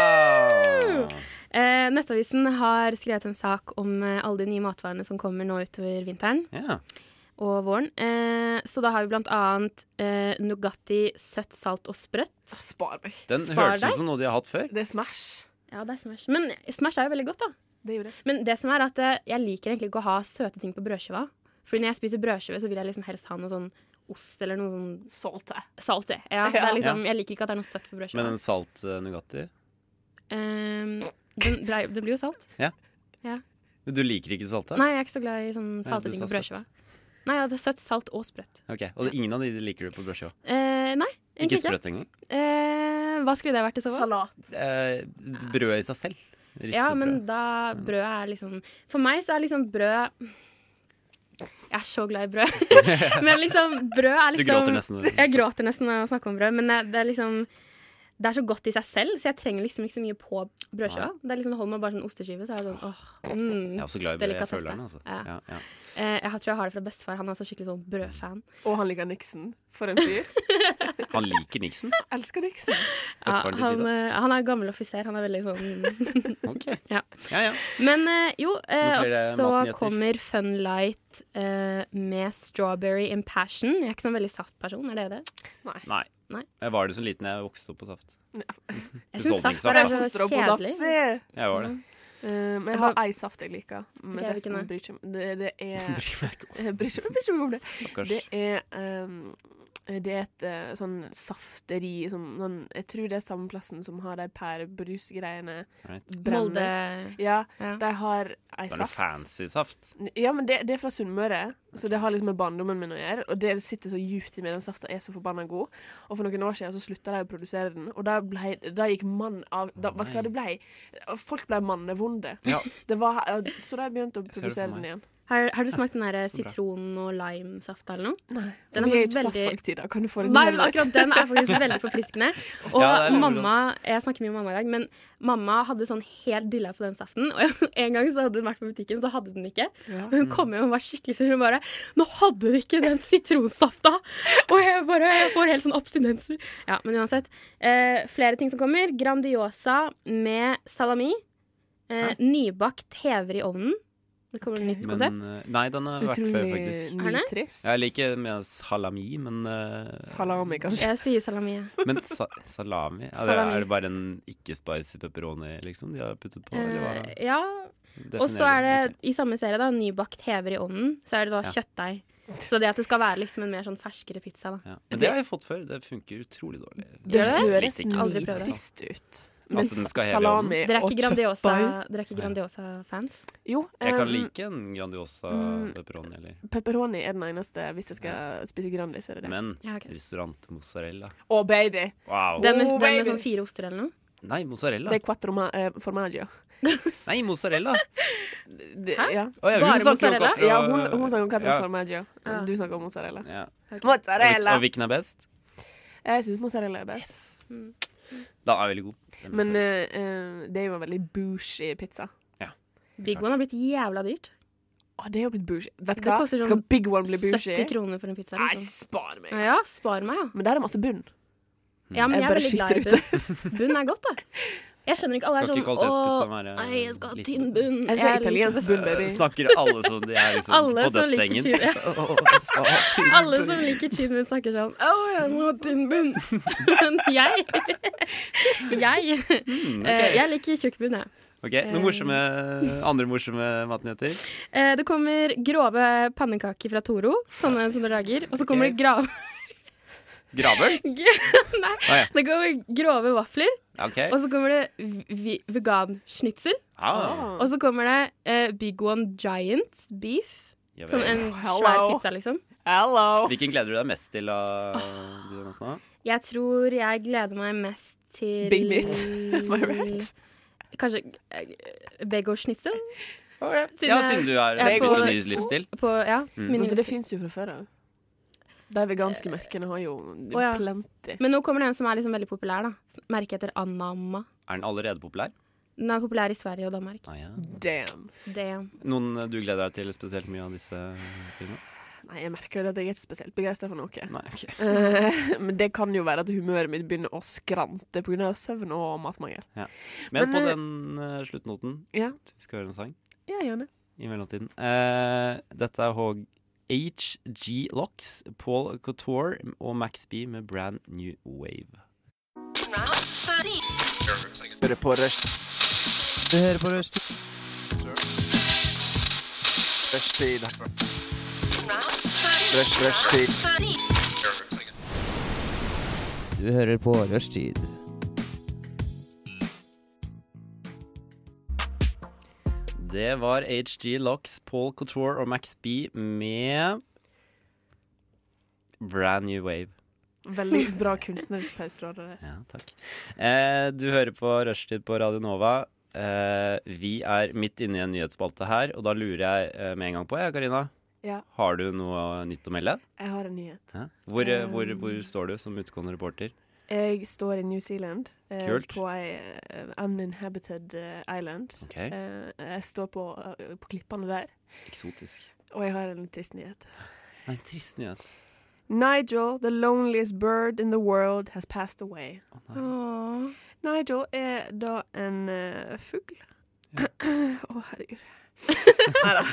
Speaker 3: Wow!
Speaker 1: Eh, Nettavisen har skrevet en sak om eh, alle de nye matvarene som kommer nå utover vinteren.
Speaker 3: Ja.
Speaker 1: og våren. Eh, så da har vi blant annet eh, Nugatti søtt, salt og sprøtt.
Speaker 4: Spar meg.
Speaker 3: Den
Speaker 1: Spar
Speaker 3: hørtes
Speaker 1: deg.
Speaker 3: ut som noe de har hatt før.
Speaker 4: Det er Smash.
Speaker 1: Ja, det er Smash. Men Smash er jo veldig godt, da.
Speaker 4: Det gjorde jeg.
Speaker 1: Men det som er at eh, jeg liker egentlig ikke å ha søte ting på brødskiva. Fordi når jeg spiser brødskive, så vil jeg liksom helst ha noe sånn ost eller noe sånn
Speaker 4: Salte.
Speaker 1: salt. jeg. Ja, det er liksom, jeg liker ikke at det er noe søtt på brødskiva.
Speaker 3: Men en salt eh, Nugatti
Speaker 1: Eh, den, blei- det blir jo salt.
Speaker 3: Men Du liker ikke salte?
Speaker 1: Nei, jeg er ikke så glad i sånne
Speaker 3: Nei,
Speaker 1: salte
Speaker 3: du
Speaker 1: ting
Speaker 3: sa
Speaker 1: på brødskiva. Nei, ja, det er søtt, salt og sprøtt.
Speaker 3: Ok, Og det- ingen av de liker du på brødskiva?
Speaker 1: Eh, nei,
Speaker 3: Ikke
Speaker 1: egentlig ikke.
Speaker 3: sprøtt engang?
Speaker 1: Eh, hva skulle det vært i så fall?
Speaker 4: Salat.
Speaker 3: Eh, brød i seg selv? Ristet
Speaker 1: Ja, men
Speaker 3: brød.
Speaker 1: da brød er liksom For meg så er liksom brød Jeg er så glad i brød.
Speaker 3: *laughs*
Speaker 1: men liksom, brød er
Speaker 3: Du
Speaker 1: liksom
Speaker 3: gråter nesten.
Speaker 1: Jeg gråter nesten av å snakke om brød, men det- det er liksom det er så godt i seg selv, så jeg trenger liksom ikke så mye på brødskiva. Det er liksom, det holder meg bare sånn osteskive, så er det sånn åh. Mm.
Speaker 3: Jeg er også glad i brød. Jeg
Speaker 1: Delikatesse.
Speaker 3: føler den, altså.
Speaker 1: Ja.
Speaker 3: Ja, ja.
Speaker 1: Eh, jeg har- tror jeg har det fra bestefar. Han er så skikkelig sånn brødfan.
Speaker 4: Og han liker Nixon. For en fyr.
Speaker 3: Han liker Nixon?
Speaker 4: Jeg elsker
Speaker 1: *laughs*
Speaker 4: Nixon.
Speaker 1: Ja,
Speaker 3: Bestefaren til
Speaker 1: han,
Speaker 3: Tida.
Speaker 1: eh, han er gammel offiser. Han er veldig sånn
Speaker 3: Ok.
Speaker 1: Ja.
Speaker 3: ja, ja.
Speaker 1: Men eh, jo, eh,
Speaker 3: Noen
Speaker 1: og
Speaker 3: flere
Speaker 1: så
Speaker 3: matnyheter?
Speaker 1: kommer Fun Light eh, med Strawberry Impassion. Jeg er ikke sånn veldig saftperson, er det det?
Speaker 3: Nei.
Speaker 1: Nei.
Speaker 3: Jeg var det som liten jeg vokste opp på Saft.
Speaker 1: Jeg
Speaker 3: Du
Speaker 1: syns
Speaker 3: solgte ikke
Speaker 1: saft
Speaker 3: saft,
Speaker 1: bare
Speaker 4: Jeg
Speaker 1: er
Speaker 4: foster
Speaker 1: så
Speaker 4: opp på saft.
Speaker 1: kjedelig.
Speaker 4: Se.
Speaker 3: Jeg
Speaker 1: Mm,
Speaker 3: var det.
Speaker 4: Eh, men jeg
Speaker 1: Jeg
Speaker 4: har
Speaker 1: har-
Speaker 4: ei saft jeg liker.
Speaker 1: Jeg
Speaker 4: Men
Speaker 1: vet ikke
Speaker 4: resten
Speaker 1: noe.
Speaker 4: bryr ikke meg det, det er
Speaker 3: *laughs* Bryr meg ikke om
Speaker 4: Jeg *laughs* bryr ikke jeg bryr ikke meg om det.
Speaker 3: Stakkars.
Speaker 4: Det er ehm, det er et eh, sånn safteri som noen, Jeg tror det er samme plassen som har de pærebrusgreiene.
Speaker 3: Right.
Speaker 1: Molde
Speaker 4: Brennende. Ja,
Speaker 1: ja.
Speaker 4: de har ei
Speaker 3: Det var noe
Speaker 4: saft.
Speaker 3: fancy saft.
Speaker 4: Ja, men det, det er fra Sunnmøre, så det har liksom med barndommen min å gjøre. Og det sitter så djupt i meg, den safta er så forbanna god. Og for noen år siden så slutta de å produsere den, og da, ble, da gikk mann av da, Vet du hva det blei? Folk blei mannevonde.
Speaker 3: Ja.
Speaker 4: *laughs* Det var, så de begynte
Speaker 3: ser det
Speaker 4: å
Speaker 3: for
Speaker 4: produsere den
Speaker 3: meg.
Speaker 4: igjen.
Speaker 1: Har, har du smakt den der eh,
Speaker 3: Så bra.
Speaker 1: sitron- og lime-safta eller noe?
Speaker 4: Nei.
Speaker 1: Den er
Speaker 4: Vi er jo
Speaker 1: faktisk
Speaker 4: ikke
Speaker 1: veldig-
Speaker 4: saftfolk til da, kan du få en
Speaker 1: Nei,
Speaker 4: ny
Speaker 1: men
Speaker 4: en?
Speaker 1: akkurat den er faktisk veldig forfriskende. Og
Speaker 3: Ja, det er veldig
Speaker 1: mamma Jeg snakker mye om mamma i dag, men mamma hadde sånn helt dilla på den saften. Og *laughs* en gang så hadde hun vært på butikken, så hadde den ikke.
Speaker 4: Ja.
Speaker 1: Og hun kom hjem og var skikkelig sur. Hun bare 'Nå hadde de ikke den sitronsafta!' Og jeg bare jeg får helt sånn abstinenser. Ja, men uansett. Eh, flere ting som kommer. Grandiosa med salami. Eh, nybakt hever i ovnen. Det kommer
Speaker 4: Ok.
Speaker 1: et nytt konsept.
Speaker 3: Men, eh, nei, den har
Speaker 4: Så
Speaker 3: vært før,
Speaker 4: utrolig
Speaker 3: faktisk.
Speaker 1: Er den?
Speaker 4: nitrist.
Speaker 3: Jeg liker mer salami, men eh,
Speaker 4: Salami, kanskje.
Speaker 1: Jeg sier salami. jeg.
Speaker 3: *laughs* Men sa salami? Ja, det,
Speaker 1: Salami.
Speaker 3: er det bare en ikke-spicy pepperoni liksom, de har puttet på? Eller hva?
Speaker 1: Eh, ja. Og
Speaker 3: Definer
Speaker 1: så er det
Speaker 3: Ok.
Speaker 1: i samme serie, da, nybakt hever i ovnen. Så er det da
Speaker 3: Ja.
Speaker 1: kjøttdeig. Så det at det skal være liksom en mer sånn ferskere pizza, da.
Speaker 3: Ja. Men det har vi fått før. Det funker utrolig dårlig.
Speaker 4: Det
Speaker 1: Gjør det?
Speaker 4: høres
Speaker 3: Litt ikke. Altså,
Speaker 1: Aldri prøvd det.
Speaker 4: nitrist ut.
Speaker 3: den
Speaker 4: Med
Speaker 3: skal heve i
Speaker 4: salami
Speaker 1: Dere er
Speaker 4: Eh, og
Speaker 1: ikke Grandiosa,
Speaker 4: kjøttdeig.
Speaker 1: dere er ikke
Speaker 3: Nei.
Speaker 1: Grandiosa-fans?
Speaker 4: Jo,
Speaker 3: Jeg kan
Speaker 4: um,
Speaker 3: like en Grandiosa
Speaker 4: mm.
Speaker 3: pepperoni, eller
Speaker 4: pepperoni er den eneste hvis jeg skal spise Grandi, så er det det.
Speaker 3: Men
Speaker 1: Ja, ok.
Speaker 3: restaurantmozzarella
Speaker 4: Å, baby!
Speaker 3: Wow.
Speaker 1: Den med, den
Speaker 4: Oh,
Speaker 1: med
Speaker 4: baby.
Speaker 1: sånn fire oster eller noe?
Speaker 3: Nei, mozzarella.
Speaker 4: Det er quattro ma eh, formaggio.
Speaker 3: Nei, mozzarella!
Speaker 4: Det-
Speaker 1: Hæ?
Speaker 4: Ja,
Speaker 3: Å, ja, hun
Speaker 1: Bare
Speaker 3: snakker om
Speaker 1: mozzarella?
Speaker 3: katter og-
Speaker 4: ja hun, hun snakker om quattro
Speaker 3: Ja.
Speaker 4: formaggio.
Speaker 1: Ja.
Speaker 4: Du snakker om mozzarella.
Speaker 3: Ja. Og, hvil-
Speaker 4: Mozzarella!
Speaker 3: og hvilken er best?
Speaker 4: Jeg syns mozzarella er best.
Speaker 3: Da er jeg veldig god. Den er
Speaker 4: Men
Speaker 3: perfekt.
Speaker 4: eh, eh, det er jo en veldig bougie pizza.
Speaker 1: Big One har blitt jævla dyrt.
Speaker 4: Å, det er jo blitt bougie. Vet
Speaker 1: Det
Speaker 4: du hva?
Speaker 1: koster sånn
Speaker 4: Skal Big One bli
Speaker 1: 70
Speaker 4: bougie?
Speaker 1: kroner for en pizza.
Speaker 4: Nei,
Speaker 1: Liksom.
Speaker 4: spar meg.
Speaker 1: Ja, ja, spar meg, ja.
Speaker 4: Men der er masse bunn.
Speaker 3: Mm.
Speaker 1: ja men
Speaker 4: Jeg
Speaker 1: jeg,
Speaker 4: bare
Speaker 1: er veldig glad i
Speaker 4: skyter
Speaker 1: bunn. Bunn er godt, da. Jeg skjønner ikke alle er
Speaker 3: Skal ikke
Speaker 1: sånn
Speaker 3: kvalitetspizzaen
Speaker 1: Åh,
Speaker 3: være
Speaker 1: nei, jeg skal ha
Speaker 3: eh, liten?»
Speaker 1: tynn bunn.
Speaker 4: Jeg skal ha
Speaker 1: liker
Speaker 4: italiensk
Speaker 1: best-
Speaker 4: bunn, baby.
Speaker 3: Snakker alle som de er liksom
Speaker 1: *laughs* Alle
Speaker 3: på
Speaker 1: som liker
Speaker 3: dødssengen?
Speaker 1: tynn- ja.
Speaker 3: *laughs* Åh, jeg skal ha tynn
Speaker 1: Alle
Speaker 3: bunn.
Speaker 1: som liker tynn bunn, snakker sånn Å, jeg må ha tynn bunn. Men jeg *laughs* Jeg
Speaker 3: Mm,
Speaker 1: eh,
Speaker 3: ok.
Speaker 1: Jeg liker tjukk bunn, jeg.
Speaker 3: OK, noen morsomme, andre morsomme matnyheter?
Speaker 1: Eh, Det kommer grove pannekaker fra Toro, sånne som dere lager. Og så kommer det grav...
Speaker 3: Gravøl?
Speaker 1: *laughs* Nei.
Speaker 3: Å, ja.
Speaker 1: Det kommer grove vafler,
Speaker 3: OK.
Speaker 1: og så kommer det vi- vi- vegansnitsel.
Speaker 3: Ah,
Speaker 1: Og så kommer det eh, Big One Giant Beef.
Speaker 3: ja vel.
Speaker 1: Sånn en svær
Speaker 4: Oh, Hello.
Speaker 1: pizza, liksom.
Speaker 4: Hello!
Speaker 3: Hvilken gleder du deg mest til av de nattene?
Speaker 1: Jeg tror jeg gleder meg mest til
Speaker 4: Big meat. *laughs* Am I right?
Speaker 1: Kanskje eh, begosjnitzel?
Speaker 3: Ja, siden du har
Speaker 1: jeg er
Speaker 3: begynt
Speaker 1: på-
Speaker 3: en ny livsstil.
Speaker 1: På, ja,
Speaker 3: Mm.
Speaker 1: min
Speaker 4: Men så det
Speaker 1: livsstil.
Speaker 4: fins jo fra før av. De veganske merkene har jo
Speaker 1: ja.
Speaker 4: plenty.
Speaker 1: Men nå kommer det en som er liksom veldig populær. da Merket heter Anamma.
Speaker 3: Er den allerede populær?
Speaker 1: Den er populær i Sverige og Danmark.
Speaker 3: Ah, ja.
Speaker 4: Damn.
Speaker 1: Damn.
Speaker 3: Noen eh, du gleder deg til spesielt mye av disse filmene?
Speaker 4: Nei, jeg merker jo at jeg er ikke spesielt begeistra for noe.
Speaker 3: Nei, ok.
Speaker 4: Eh, *laughs* Men det kan jo være at humøret mitt begynner å skrante pga. søvn og matmangel.
Speaker 3: Men
Speaker 4: Men,
Speaker 3: på
Speaker 4: eh,
Speaker 3: den eh, sluttnoten
Speaker 4: Ja,
Speaker 3: Vi skal høre en sang
Speaker 4: ja gjerne.
Speaker 3: i mellomtiden. Eh, dette er H- HG Locks, Paul Couture og Max B med Brand New Wave.
Speaker 6: Du hører på Rushtid.
Speaker 3: Det var HG Locks, Paul Couture og Max B med Brand New Wave.
Speaker 4: Veldig bra kunstnerisk pauseråd. det der.
Speaker 3: Ja, takk. Eh, du hører på Rushtid på Radio Nova. Eh, vi er midt inne i en nyhetsspalte her, og da lurer jeg eh, med en gang på, jeg, Karina.
Speaker 4: Ja.
Speaker 3: Har du noe nytt å melde?
Speaker 4: Jeg har en nyhet.
Speaker 3: Ja. Hvor, eh, hvor,
Speaker 4: Um,
Speaker 3: hvor står du som utgående reporter?
Speaker 4: Jeg står i New Zealand, eh,
Speaker 3: Kult.
Speaker 4: på ei eh, uninhabited eh, island.
Speaker 3: Ok.
Speaker 4: Eh, jeg står på, eh, på klippene der,
Speaker 3: Eksotisk.
Speaker 4: og jeg har en trist nyhet.
Speaker 3: Nei, trist nyhet.
Speaker 4: Nigel, the loneliest bird in the world, has passed away.
Speaker 1: Åh.
Speaker 4: Nigel er da en eh, fugl. *clears throat* Å, herregud. *laughs* Nei da,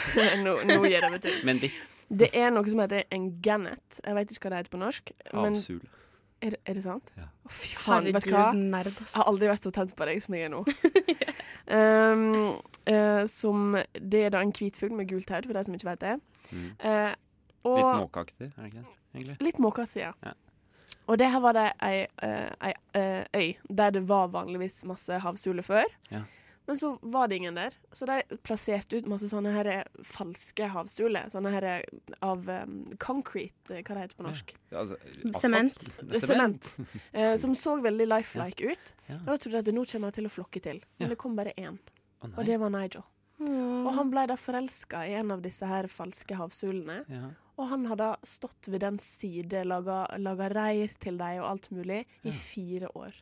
Speaker 4: nå, nå gir jeg meg til.
Speaker 3: Men litt
Speaker 4: Det er noe som heter en gannet. Jeg vet ikke hva det heter på norsk. Men
Speaker 3: avsul.
Speaker 4: er, det- er det sant?
Speaker 3: Ja.
Speaker 4: Å, fy faen, vet du hva?
Speaker 1: Herregud, nerd, ass.
Speaker 4: Jeg har aldri vært så tent på deg som jeg er nå. *laughs* um, eh, som Det er da en hvit fugl med gult hode, for de som ikke vet det.
Speaker 3: Mm.
Speaker 4: Eh, og,
Speaker 3: Litt måkeaktig, er det ikke det? Egentlig.
Speaker 4: Litt måkete, ja.
Speaker 3: Ja.
Speaker 4: Og det her var det ei, eh, ei eh, øy der det var vanligvis masse havsuler før.
Speaker 3: Ja.
Speaker 4: Men så var det ingen der, så de plasserte ut masse sånne her eh, falske havsuler. Sånne her av eh, concrete, eh, hva det heter på norsk.
Speaker 3: Altså,
Speaker 1: Sement.
Speaker 3: *laughs* asfalt.
Speaker 4: Sement. Eh, som så veldig lifelike ut.
Speaker 3: Ja.
Speaker 4: Og da trodde jeg at nå kommer de til å flokke til. Men
Speaker 3: Ja.
Speaker 4: det kom bare én,
Speaker 3: Å,
Speaker 4: og
Speaker 3: nei.
Speaker 4: det var Nigel. Og
Speaker 1: Åh.
Speaker 4: han ble da forelska i en av disse her falske havsulene.
Speaker 3: Ja.
Speaker 4: Og han hadde stått ved den side, laga, laga reir til deg og alt mulig i fire år.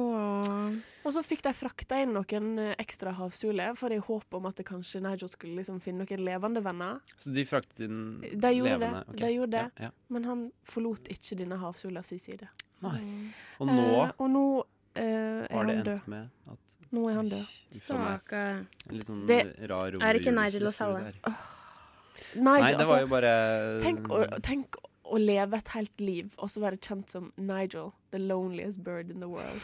Speaker 1: Åh.
Speaker 4: Og så fikk de frakta inn noen eh, ekstra havsuler, for i håp om at det kanskje Nigel skulle liksom finne noen levende venner.
Speaker 3: Så de fraktet inn
Speaker 4: De gjorde
Speaker 3: levende
Speaker 4: det.
Speaker 3: ok.
Speaker 4: De gjorde det.
Speaker 3: Ja, ja.
Speaker 4: Men han forlot ikke denne havsula si side.
Speaker 3: Og nå
Speaker 4: Eh, og nå eh, er
Speaker 3: har det
Speaker 4: han
Speaker 3: endt
Speaker 4: død.
Speaker 3: med at
Speaker 4: Nå er han død.
Speaker 3: Uff a meg.
Speaker 1: Stakkar.
Speaker 3: En Litt sånn
Speaker 4: Det-
Speaker 3: rar
Speaker 1: Er det ikke
Speaker 3: overgjørelse
Speaker 1: Nigel og
Speaker 3: står
Speaker 1: Sally?
Speaker 3: der.
Speaker 4: Nigel,
Speaker 3: Nei, det var jo
Speaker 4: altså,
Speaker 3: bare
Speaker 4: tenk, å,
Speaker 3: Um,
Speaker 4: tenk å
Speaker 3: *laughs*
Speaker 4: leve et helt liv og så være kjent som Nigel, the loneliest bird in the world.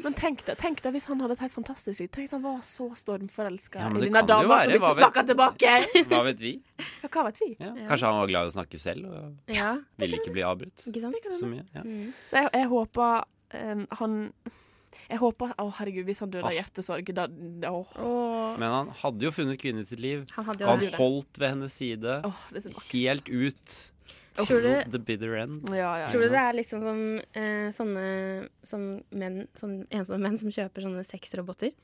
Speaker 4: Men tenk deg, tenk deg hvis han hadde et helt fantastisk liv. Tenk hvis han var så stormforelska
Speaker 3: Ja, men
Speaker 4: i
Speaker 3: det
Speaker 4: denne
Speaker 3: kan det jo
Speaker 4: dama som
Speaker 3: være.
Speaker 4: ikke
Speaker 3: Hva vet-
Speaker 4: snakka tilbake.
Speaker 3: *laughs* *laughs* Hva vet vi?
Speaker 4: Ja, hva vet vi?
Speaker 3: Ja. Kanskje han var glad i å snakke selv og
Speaker 1: Ja,
Speaker 3: ville ikke bli avbrutt
Speaker 1: ikke sant? Mm.
Speaker 3: så mye. Ja.
Speaker 4: Så jeg, jeg håper eh, han Jeg håper Å, herregud, hvis han dør av
Speaker 3: Åh.
Speaker 4: hjertesorg, da Åh,
Speaker 1: Og
Speaker 3: Men han hadde jo funnet kvinnen i sitt liv.
Speaker 1: han hadde jo
Speaker 3: Han
Speaker 1: det.
Speaker 3: holdt ved hennes side
Speaker 4: åh, det er så vakkert.
Speaker 3: helt ut
Speaker 1: Tror
Speaker 3: til
Speaker 1: du-
Speaker 3: the bitter end.
Speaker 4: Ja, ja.
Speaker 1: Tror du det er liksom som eh, sånne som menn, sånn ensomme menn som kjøper sånne
Speaker 3: *laughs*
Speaker 1: sexroboter?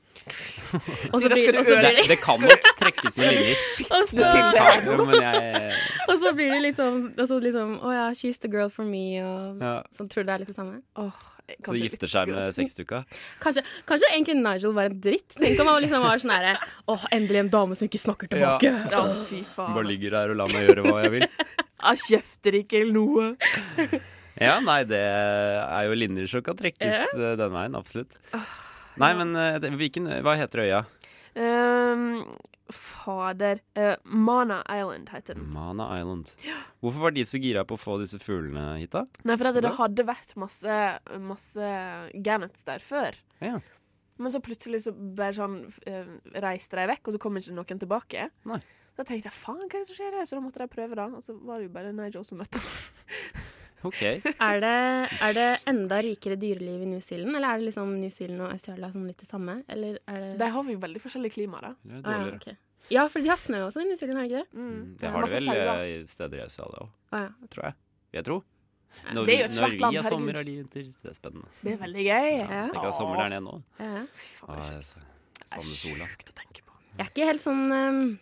Speaker 1: Og så
Speaker 4: Da skal
Speaker 1: blir,
Speaker 4: du
Speaker 1: og så
Speaker 3: Det,
Speaker 1: blir de
Speaker 3: det kan nok trekkes noen linjer.
Speaker 1: og så,
Speaker 4: til det.
Speaker 3: Kan- jo, Men jeg
Speaker 1: og så blir det liksom og så liksom Å ja, she's the girl for me, og
Speaker 3: ja.
Speaker 1: sånn. Tror du det er litt det samme?
Speaker 4: Åh, jeg-
Speaker 3: Så
Speaker 4: kanskje
Speaker 3: gifter
Speaker 4: litt
Speaker 3: seg
Speaker 4: grann.
Speaker 3: med sexduka.
Speaker 1: Kanskje, kanskje egentlig Nigel var en dritt? Tenk om han liksom var sånn herre Å, endelig en dame som ikke snakker tilbake.
Speaker 4: Ja, fy faen.
Speaker 3: Bare
Speaker 4: ass.
Speaker 3: ligger der og lar meg gjøre hva jeg vil.
Speaker 4: Jeg kjefter ikke eller noe.
Speaker 3: Ja, nei, det er jo linjer som kan trekkes eh, den veien, absolutt. Nei, men eh, det- hvilken, hva heter øya?
Speaker 4: Ehm, fader. Eh, Mana Island heter den.
Speaker 3: Mana Island. Hvorfor var de så gira på å få disse fuglene hit, da?
Speaker 4: Nei, for at det
Speaker 3: Ja.
Speaker 4: hadde vært masse, masse gannets der før.
Speaker 3: Ja.
Speaker 4: Men så plutselig så bare sånn eh, reiste de vekk, og så kom ikke noen tilbake.
Speaker 3: Nei.
Speaker 4: Da tenkte jeg faen, hva er det som skjer her? Så da måtte de prøve, da. Og så var det jo bare Nigel som møtte opp.
Speaker 3: Ok.
Speaker 1: Er det, er det enda rikere dyreliv i New Zealand, eller er det liksom New Zealand og Australia sånn litt det samme? Eller er det
Speaker 4: De har jo veldig forskjellige klima, da.
Speaker 3: Det er
Speaker 1: Å, ja,
Speaker 3: dårligere.
Speaker 1: ok. ja, for de har snø også i New Zealand, har de ikke det?
Speaker 4: Mm.
Speaker 3: Mm, Det har de
Speaker 4: Masse
Speaker 3: vel
Speaker 4: sauer.
Speaker 3: eh, i steder i Australia òg,
Speaker 1: Å, ja.
Speaker 3: tror jeg. Vil jeg tro.
Speaker 1: Nei,
Speaker 3: Når,
Speaker 4: det er
Speaker 3: vi-
Speaker 4: jo et svært
Speaker 3: når
Speaker 4: land,
Speaker 3: vi har sommer,
Speaker 4: herregud.
Speaker 3: har de vinter. Det er spennende.
Speaker 4: Det er veldig gøy.
Speaker 3: Ja,
Speaker 1: Ja.
Speaker 3: Tenk å ha sommer der nede nå.
Speaker 1: Ja, ja.
Speaker 4: Fy faen,
Speaker 3: Ah,
Speaker 4: det
Speaker 3: jeg
Speaker 4: er
Speaker 3: s-
Speaker 4: sjukt.
Speaker 3: savner
Speaker 4: Det er
Speaker 3: sola.
Speaker 4: sjukt å tenke på.
Speaker 1: Jeg er ikke helt sånn ehm,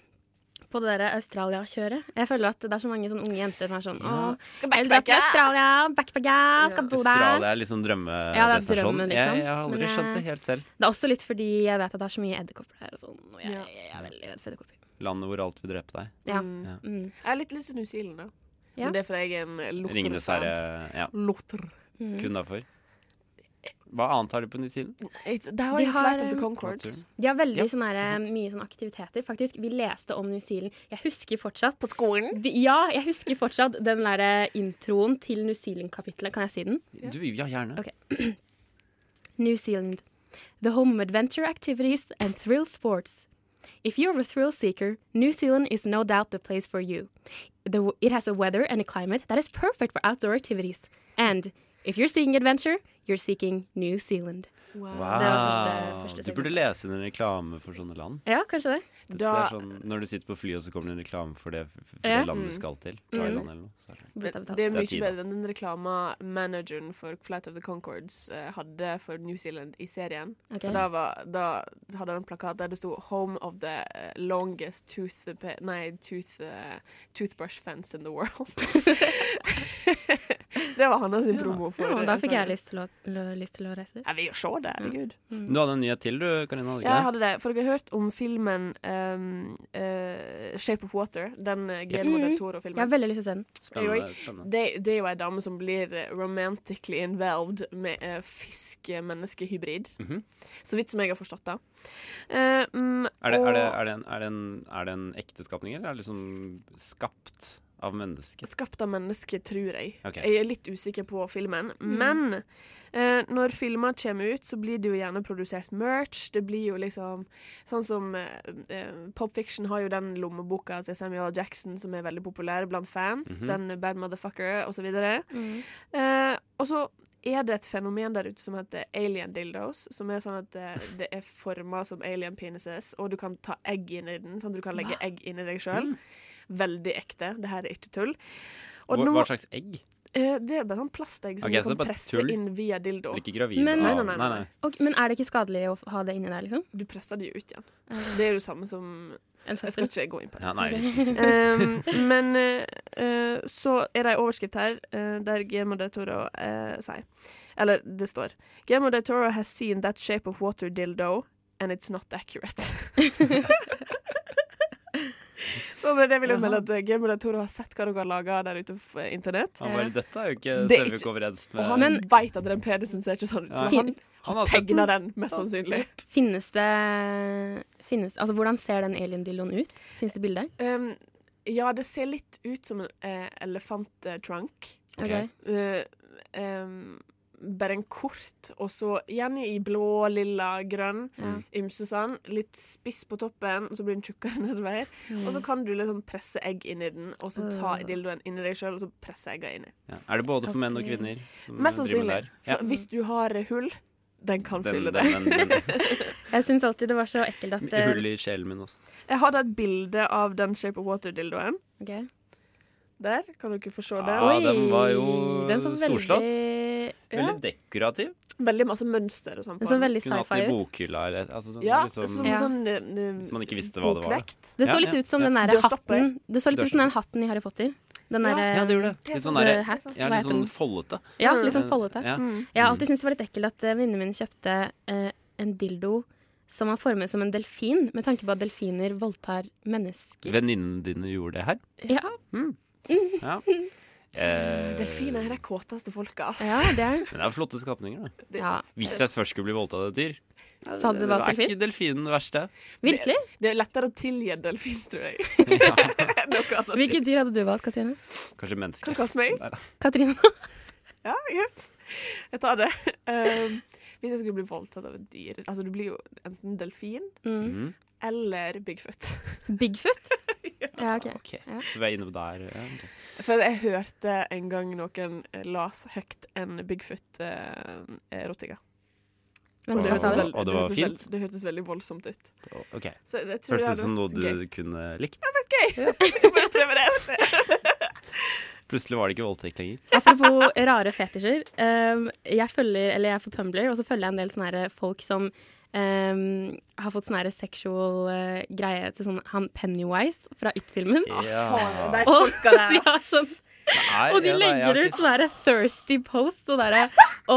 Speaker 1: på det der Australia-kjøret. Jeg føler at det er så mange sånne unge jenter som er sånn Å,
Speaker 4: Skal
Speaker 1: jeg vil dra til Australia, backpacka, skal bo der.
Speaker 3: Australia er liksom
Speaker 1: Ja,
Speaker 3: drømmedestinasjon.
Speaker 1: det er drømmen, liksom.
Speaker 3: jeg, jeg har aldri
Speaker 1: Men,
Speaker 3: skjønt det
Speaker 1: eh,
Speaker 3: helt selv.
Speaker 1: Det er også litt fordi jeg vet at det er så mye edderkopper der og sånn. Og jeg,
Speaker 4: Ja.
Speaker 1: jeg er veldig redd for edderkopper.
Speaker 3: Landet hvor alt vil drepe deg.
Speaker 1: Ja.
Speaker 4: Mm.
Speaker 3: Ja.
Speaker 1: Mm.
Speaker 4: Jeg har litt lyst til New Zealand, da.
Speaker 1: Ja.
Speaker 4: Men det er fordi jeg er en lotter.
Speaker 3: Ringenes herre. Ja,
Speaker 4: Lotter.
Speaker 1: Mm.
Speaker 3: kun derfor. Hva annet har de på New Zealand?
Speaker 4: It's, der var
Speaker 1: De
Speaker 4: jo
Speaker 1: har,
Speaker 4: Flight of the
Speaker 1: um,
Speaker 4: Conchords.
Speaker 1: De har veldig
Speaker 3: Ja,
Speaker 1: sånn her,
Speaker 3: ikke sant.
Speaker 1: mye sånn aktiviteter, faktisk. Vi leste om New Zealand. Jeg husker fortsatt
Speaker 4: På skolen?
Speaker 1: de, Ja, jeg husker fortsatt den derre introen til New Zealand-kapitlet. Kan jeg si den?
Speaker 3: Du, ja, gjerne.
Speaker 1: Ok. New Zealand. The home adventure activities and thrill sports. If you're a thrill seeker, New Zealand is no doubt the place for you. The, it has a weather and a climate that is perfect for outdoor activities. And if you're seeking adventure, you're seeking New Zealand.
Speaker 3: Wow.
Speaker 1: Det var første- første
Speaker 3: du burde
Speaker 1: siden.
Speaker 3: lese inn en reklame for sånne land.
Speaker 1: Ja, kanskje det.
Speaker 3: Det,
Speaker 4: Da-
Speaker 3: det er sånn, når du sitter på flyet, og så kommer det en reklame for det, for det
Speaker 1: Ja.
Speaker 3: landet du
Speaker 4: Mm.
Speaker 3: skal til.
Speaker 1: Mm.
Speaker 3: Thailand eller noe. Så er det-
Speaker 1: Burde ta betalt.
Speaker 4: Det er
Speaker 3: Det er
Speaker 4: mye
Speaker 3: tid, da.
Speaker 4: bedre enn den reklama manageren for Flight of the Concords eh, hadde for New Zealand i serien.
Speaker 1: Ok.
Speaker 4: For da, var, da hadde han en plakat der det sto 'Home of the eh, longest tooth, nei, tooth, eh, toothbrush fence in the
Speaker 1: *laughs*
Speaker 4: world'. *laughs* det var hans sin promo for
Speaker 1: Ja, men da fikk jeg
Speaker 4: Australia.
Speaker 1: lyst til å, lø- lyst til å reise dit.
Speaker 4: Jeg vil jo se det. Herregud.
Speaker 1: Mm.
Speaker 3: Du hadde en nyhet til, du, Karina. hadde du
Speaker 4: Mm. Ja, jeg
Speaker 3: ikke det?
Speaker 4: hadde det. For dere har hørt om filmen um, eh, 'Shape of Water'? Den uh, Guillermo del
Speaker 1: Mhm. Jeg har
Speaker 4: Toro-filmen.
Speaker 1: veldig lyst til å se den.
Speaker 3: Spennende. spennende.
Speaker 4: Det, det er jo ei dame som blir eh, romantically involved med eh, fisk-menneske-hybrid.
Speaker 3: Mhm.
Speaker 4: Så vidt som jeg har forstått det. Eh, mm,
Speaker 3: Er, det, er, det,
Speaker 4: og
Speaker 3: er, det en, er, det en, er det en ekte skapning, eller er det liksom skapt av mennesket?
Speaker 4: Skapt av mennesker, tror jeg.
Speaker 3: Ok.
Speaker 4: Jeg er litt usikker på filmen. Men eh, når filmer kommer ut, så blir det jo gjerne produsert merch. Det blir jo liksom Sånn som eh, eh, Pop Fiction har jo den lommeboka til Samuel L. Jackson som er veldig populær blant fans.
Speaker 3: Mhm.
Speaker 4: Den Bad Motherfucker, og så videre.
Speaker 1: Mm.
Speaker 4: Eh, og så er det et fenomen der ute som heter alien dildos. Som er sånn at eh, det er forma som alien penises, og du kan ta egg inn i den. Sånn at du kan legge egg inn i deg sjøl.
Speaker 3: Mhm.
Speaker 4: Veldig ekte. Det her er ikke tull. Og
Speaker 3: Hva,
Speaker 4: nå,
Speaker 3: hva slags egg?
Speaker 4: eh, det er bare sånn plastegg som
Speaker 3: Ok, så
Speaker 4: du
Speaker 3: det er
Speaker 4: kan
Speaker 3: bare
Speaker 4: presse
Speaker 3: tull.
Speaker 4: inn via dildo.
Speaker 3: Blir ikke gravid
Speaker 1: Men-
Speaker 3: av
Speaker 4: Nei, nei, nei, nei.
Speaker 1: Ok, men er det ikke skadelig å f- ha det inni der, liksom?
Speaker 4: Du presser det jo ut igjen. Det er jo det samme som
Speaker 1: En
Speaker 4: Jeg skal
Speaker 1: fødsel?
Speaker 4: ikke
Speaker 3: *laughs*
Speaker 4: gå inn på det.
Speaker 3: Ja, nei.
Speaker 4: *laughs* Ehm, men eh, eh, så er det en overskrift her eh, der Guillermo de Toro eh, sier Eller det står Guillermo de Toro has seen that shape of water dildo and it's not accurate. *laughs* Nå, men det vil jeg melde at eh, Guillermo de Toro har sett hva dere har laga der ute på eh, internett.
Speaker 3: Han bare, Dette er jo ikke,
Speaker 4: Det er
Speaker 3: stemmer jo
Speaker 4: ikke-
Speaker 3: ikke overens
Speaker 4: Og
Speaker 3: med
Speaker 4: han
Speaker 1: Men-
Speaker 4: veit at den penisen ser ikke sånn ut.
Speaker 3: Ja.
Speaker 4: for Han
Speaker 3: Han har sett
Speaker 4: tegna den, mest sannsynlig.
Speaker 1: Finnes det finnes, Altså, hvordan ser den alien-dildoen ut? Finnes det bilder?
Speaker 4: Ehm, ja, det ser litt ut som en eh, elefanttrunk.
Speaker 1: Ok.
Speaker 3: Ok.
Speaker 4: Eh, ehm, bare en kort, og så gjerne i blå, lilla, grønn.
Speaker 1: Ja.
Speaker 4: Ymse sånn. Litt spiss på toppen, og så blir den tjukkere *laughs* nedover.
Speaker 1: Mm.
Speaker 4: Og så kan du liksom presse egg inn i den, og så ta
Speaker 1: Øh.
Speaker 4: dildoen inn i deg sjøl, og så presse egga inni.
Speaker 3: Ja. Er det både for menn og
Speaker 1: Ok.
Speaker 3: kvinner? som Mm, driver
Speaker 4: Mest
Speaker 3: med
Speaker 4: sannsynlig.
Speaker 3: det her?
Speaker 4: For Hvis du har hull, den kan
Speaker 3: Den-
Speaker 4: fylle det.
Speaker 3: den- den- den-
Speaker 1: Jeg syns alltid det var så ekkelt at det
Speaker 3: Hull i sjelen min også.
Speaker 4: Jeg har da et bilde av den Shape of Water-dildoen.
Speaker 1: eh, Ok.
Speaker 4: Der kan dere få se det.
Speaker 3: Ja, den var jo
Speaker 1: den så
Speaker 3: storslått.
Speaker 1: Veldig,
Speaker 4: Ja.
Speaker 3: Veldig dekorativ.
Speaker 4: Veldig masse mønster og sånn. på
Speaker 1: den så
Speaker 4: den.
Speaker 1: veldig
Speaker 3: Kunne hatt den
Speaker 1: sci-fi
Speaker 3: i
Speaker 1: ut.
Speaker 3: bokhylla eller et- altså, sånn,
Speaker 4: Ja,
Speaker 3: liksom,
Speaker 4: som
Speaker 1: Ja.
Speaker 4: sånn eh,
Speaker 3: Hvis man ikke visste hva det var.
Speaker 4: Bokvekt.
Speaker 1: Det så
Speaker 3: Ja,
Speaker 1: litt
Speaker 3: ja,
Speaker 1: ut som
Speaker 3: ja.
Speaker 1: den derre
Speaker 4: Dørstopper.
Speaker 1: hatten Det så litt ut som den
Speaker 3: Dørstopper.
Speaker 1: hatten i Harry Potter. Den
Speaker 4: Ja.
Speaker 1: derre
Speaker 3: Ja, det gjorde det.
Speaker 4: Det er
Speaker 3: Litt
Speaker 4: sånn
Speaker 3: sånn
Speaker 1: the
Speaker 3: derre
Speaker 1: hat.
Speaker 3: ja,
Speaker 1: hva
Speaker 3: Litt
Speaker 1: heter
Speaker 3: sånn
Speaker 1: den?
Speaker 3: foldete.
Speaker 1: Ja, litt sånn foldete.
Speaker 3: Ja.
Speaker 4: Mm.
Speaker 1: Jeg har alltid syntes det var litt ekkelt at eh, venninnene mine kjøpte eh, en dildo som var formet som en delfin, med tanke på at delfiner voldtar mennesker.
Speaker 3: Venninnene dine gjorde det her?
Speaker 1: Ja,
Speaker 3: Ja. Eh,
Speaker 4: Delfiner er de kåteste folka, ass.
Speaker 1: ja det er
Speaker 3: Men det er flotte skapninger, da.
Speaker 4: Det er
Speaker 1: ja.
Speaker 4: sant.
Speaker 3: Hvis jeg først skulle bli voldtatt av et dyr,
Speaker 1: Så hadde det vært
Speaker 3: er
Speaker 1: delfin?
Speaker 3: ikke delfinen det verste.
Speaker 1: Virkelig?
Speaker 4: Det er lettere å tilgi en delfin,
Speaker 3: *laughs*
Speaker 4: tror jeg. enn Noe annet.
Speaker 1: Hvilket dyr hadde du valgt, Katrine?
Speaker 3: Kanskje
Speaker 4: Kan
Speaker 3: menneske.
Speaker 4: du kalle meg?
Speaker 3: Nei da.
Speaker 1: Katrine?
Speaker 3: *laughs*
Speaker 4: Ja, greit. Jeg tar det. Um, hvis jeg skulle bli voldtatt av et dyr Altså, du blir jo enten delfin
Speaker 1: Mm.
Speaker 3: Mhm.
Speaker 4: eller Bigfoot.
Speaker 3: *laughs*
Speaker 1: Bigfoot? Ja, OK.
Speaker 3: Ok,
Speaker 1: Ja.
Speaker 3: Så vi er inne på der. ja, ok.
Speaker 4: For jeg hørte en gang noen eh, las høyt en eh, Bigfoot-erotika.
Speaker 1: Vent,
Speaker 3: det
Speaker 1: hva sa
Speaker 3: var-
Speaker 1: du?
Speaker 3: Og det var fint?
Speaker 4: Det hørtes veldig voldsomt ut.
Speaker 3: Ok.
Speaker 4: Så jeg tror
Speaker 3: Hørtes
Speaker 4: det
Speaker 3: ut som noe
Speaker 4: hadde vært gøy.
Speaker 3: du kunne likt.
Speaker 4: *laughs* Jeg bare prøver det.
Speaker 3: *laughs*
Speaker 4: vet du.
Speaker 3: Plutselig var det ikke voldtekt lenger.
Speaker 1: Apropos rare fetisjer. ehm, jeg følger, eller jeg er på Tumblr, og så følger jeg en del sånne her eh, folk som ehm, har fått sånn her sexual eh, greie til sånn han Pennywise fra It-filmen.
Speaker 4: Faen, de
Speaker 3: Det
Speaker 4: folka
Speaker 1: de
Speaker 4: *laughs* der,
Speaker 1: Ah, er
Speaker 4: ass.
Speaker 1: sånn-
Speaker 3: er-
Speaker 1: *laughs* Og de
Speaker 3: ja, da, jeg har
Speaker 1: legger
Speaker 3: ikke
Speaker 1: ut sånne her eh, thirsty posts og derre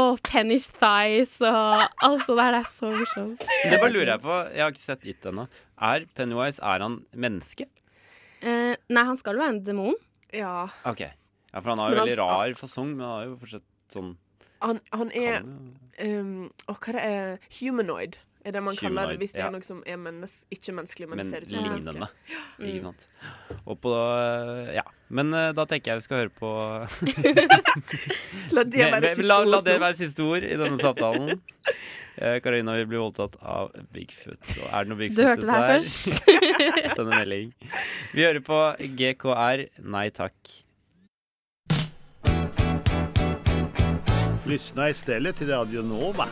Speaker 1: oh, Penny's thighs og alt sånt der. Det er så morsomt.
Speaker 3: Det bare lurer jeg på. Jeg har ikke sett It ennå. Er Pennywise er han menneske?
Speaker 1: Eh, nei, han skal jo være en demon.
Speaker 4: Ja.
Speaker 3: Ok. Ja, For han har
Speaker 4: Men
Speaker 3: jo
Speaker 4: han
Speaker 3: veldig
Speaker 4: skal-
Speaker 3: rar fasong, men han har jo fortsatt sånn
Speaker 4: Han, han er
Speaker 3: kan,
Speaker 4: um, Og hva det er Humanoid er det man kaller det
Speaker 3: Humanoid,
Speaker 4: hvis det
Speaker 3: ja.
Speaker 4: er noe som er mennes, ikke menneskelig, men,
Speaker 3: men
Speaker 4: ser ut som et menneske. Mm.
Speaker 3: lignende.
Speaker 1: Mm.
Speaker 3: Ikke sant. Og på Ja. Men eh, da tenker jeg vi skal høre på
Speaker 4: La *laughs* det være
Speaker 3: Nei,
Speaker 4: siste
Speaker 3: la, la
Speaker 4: ord
Speaker 3: det
Speaker 4: nå.
Speaker 3: være siste ord i denne samtalen. *laughs* Eh, Karina vil bli voldtatt av Bigfoot. Så er det noe Bigfoot
Speaker 1: Du hørte det her
Speaker 3: ute
Speaker 1: først.
Speaker 3: *laughs* Send en melding. Vi hører på GKR Nei takk.
Speaker 7: Lyssna istället till Radio Nova.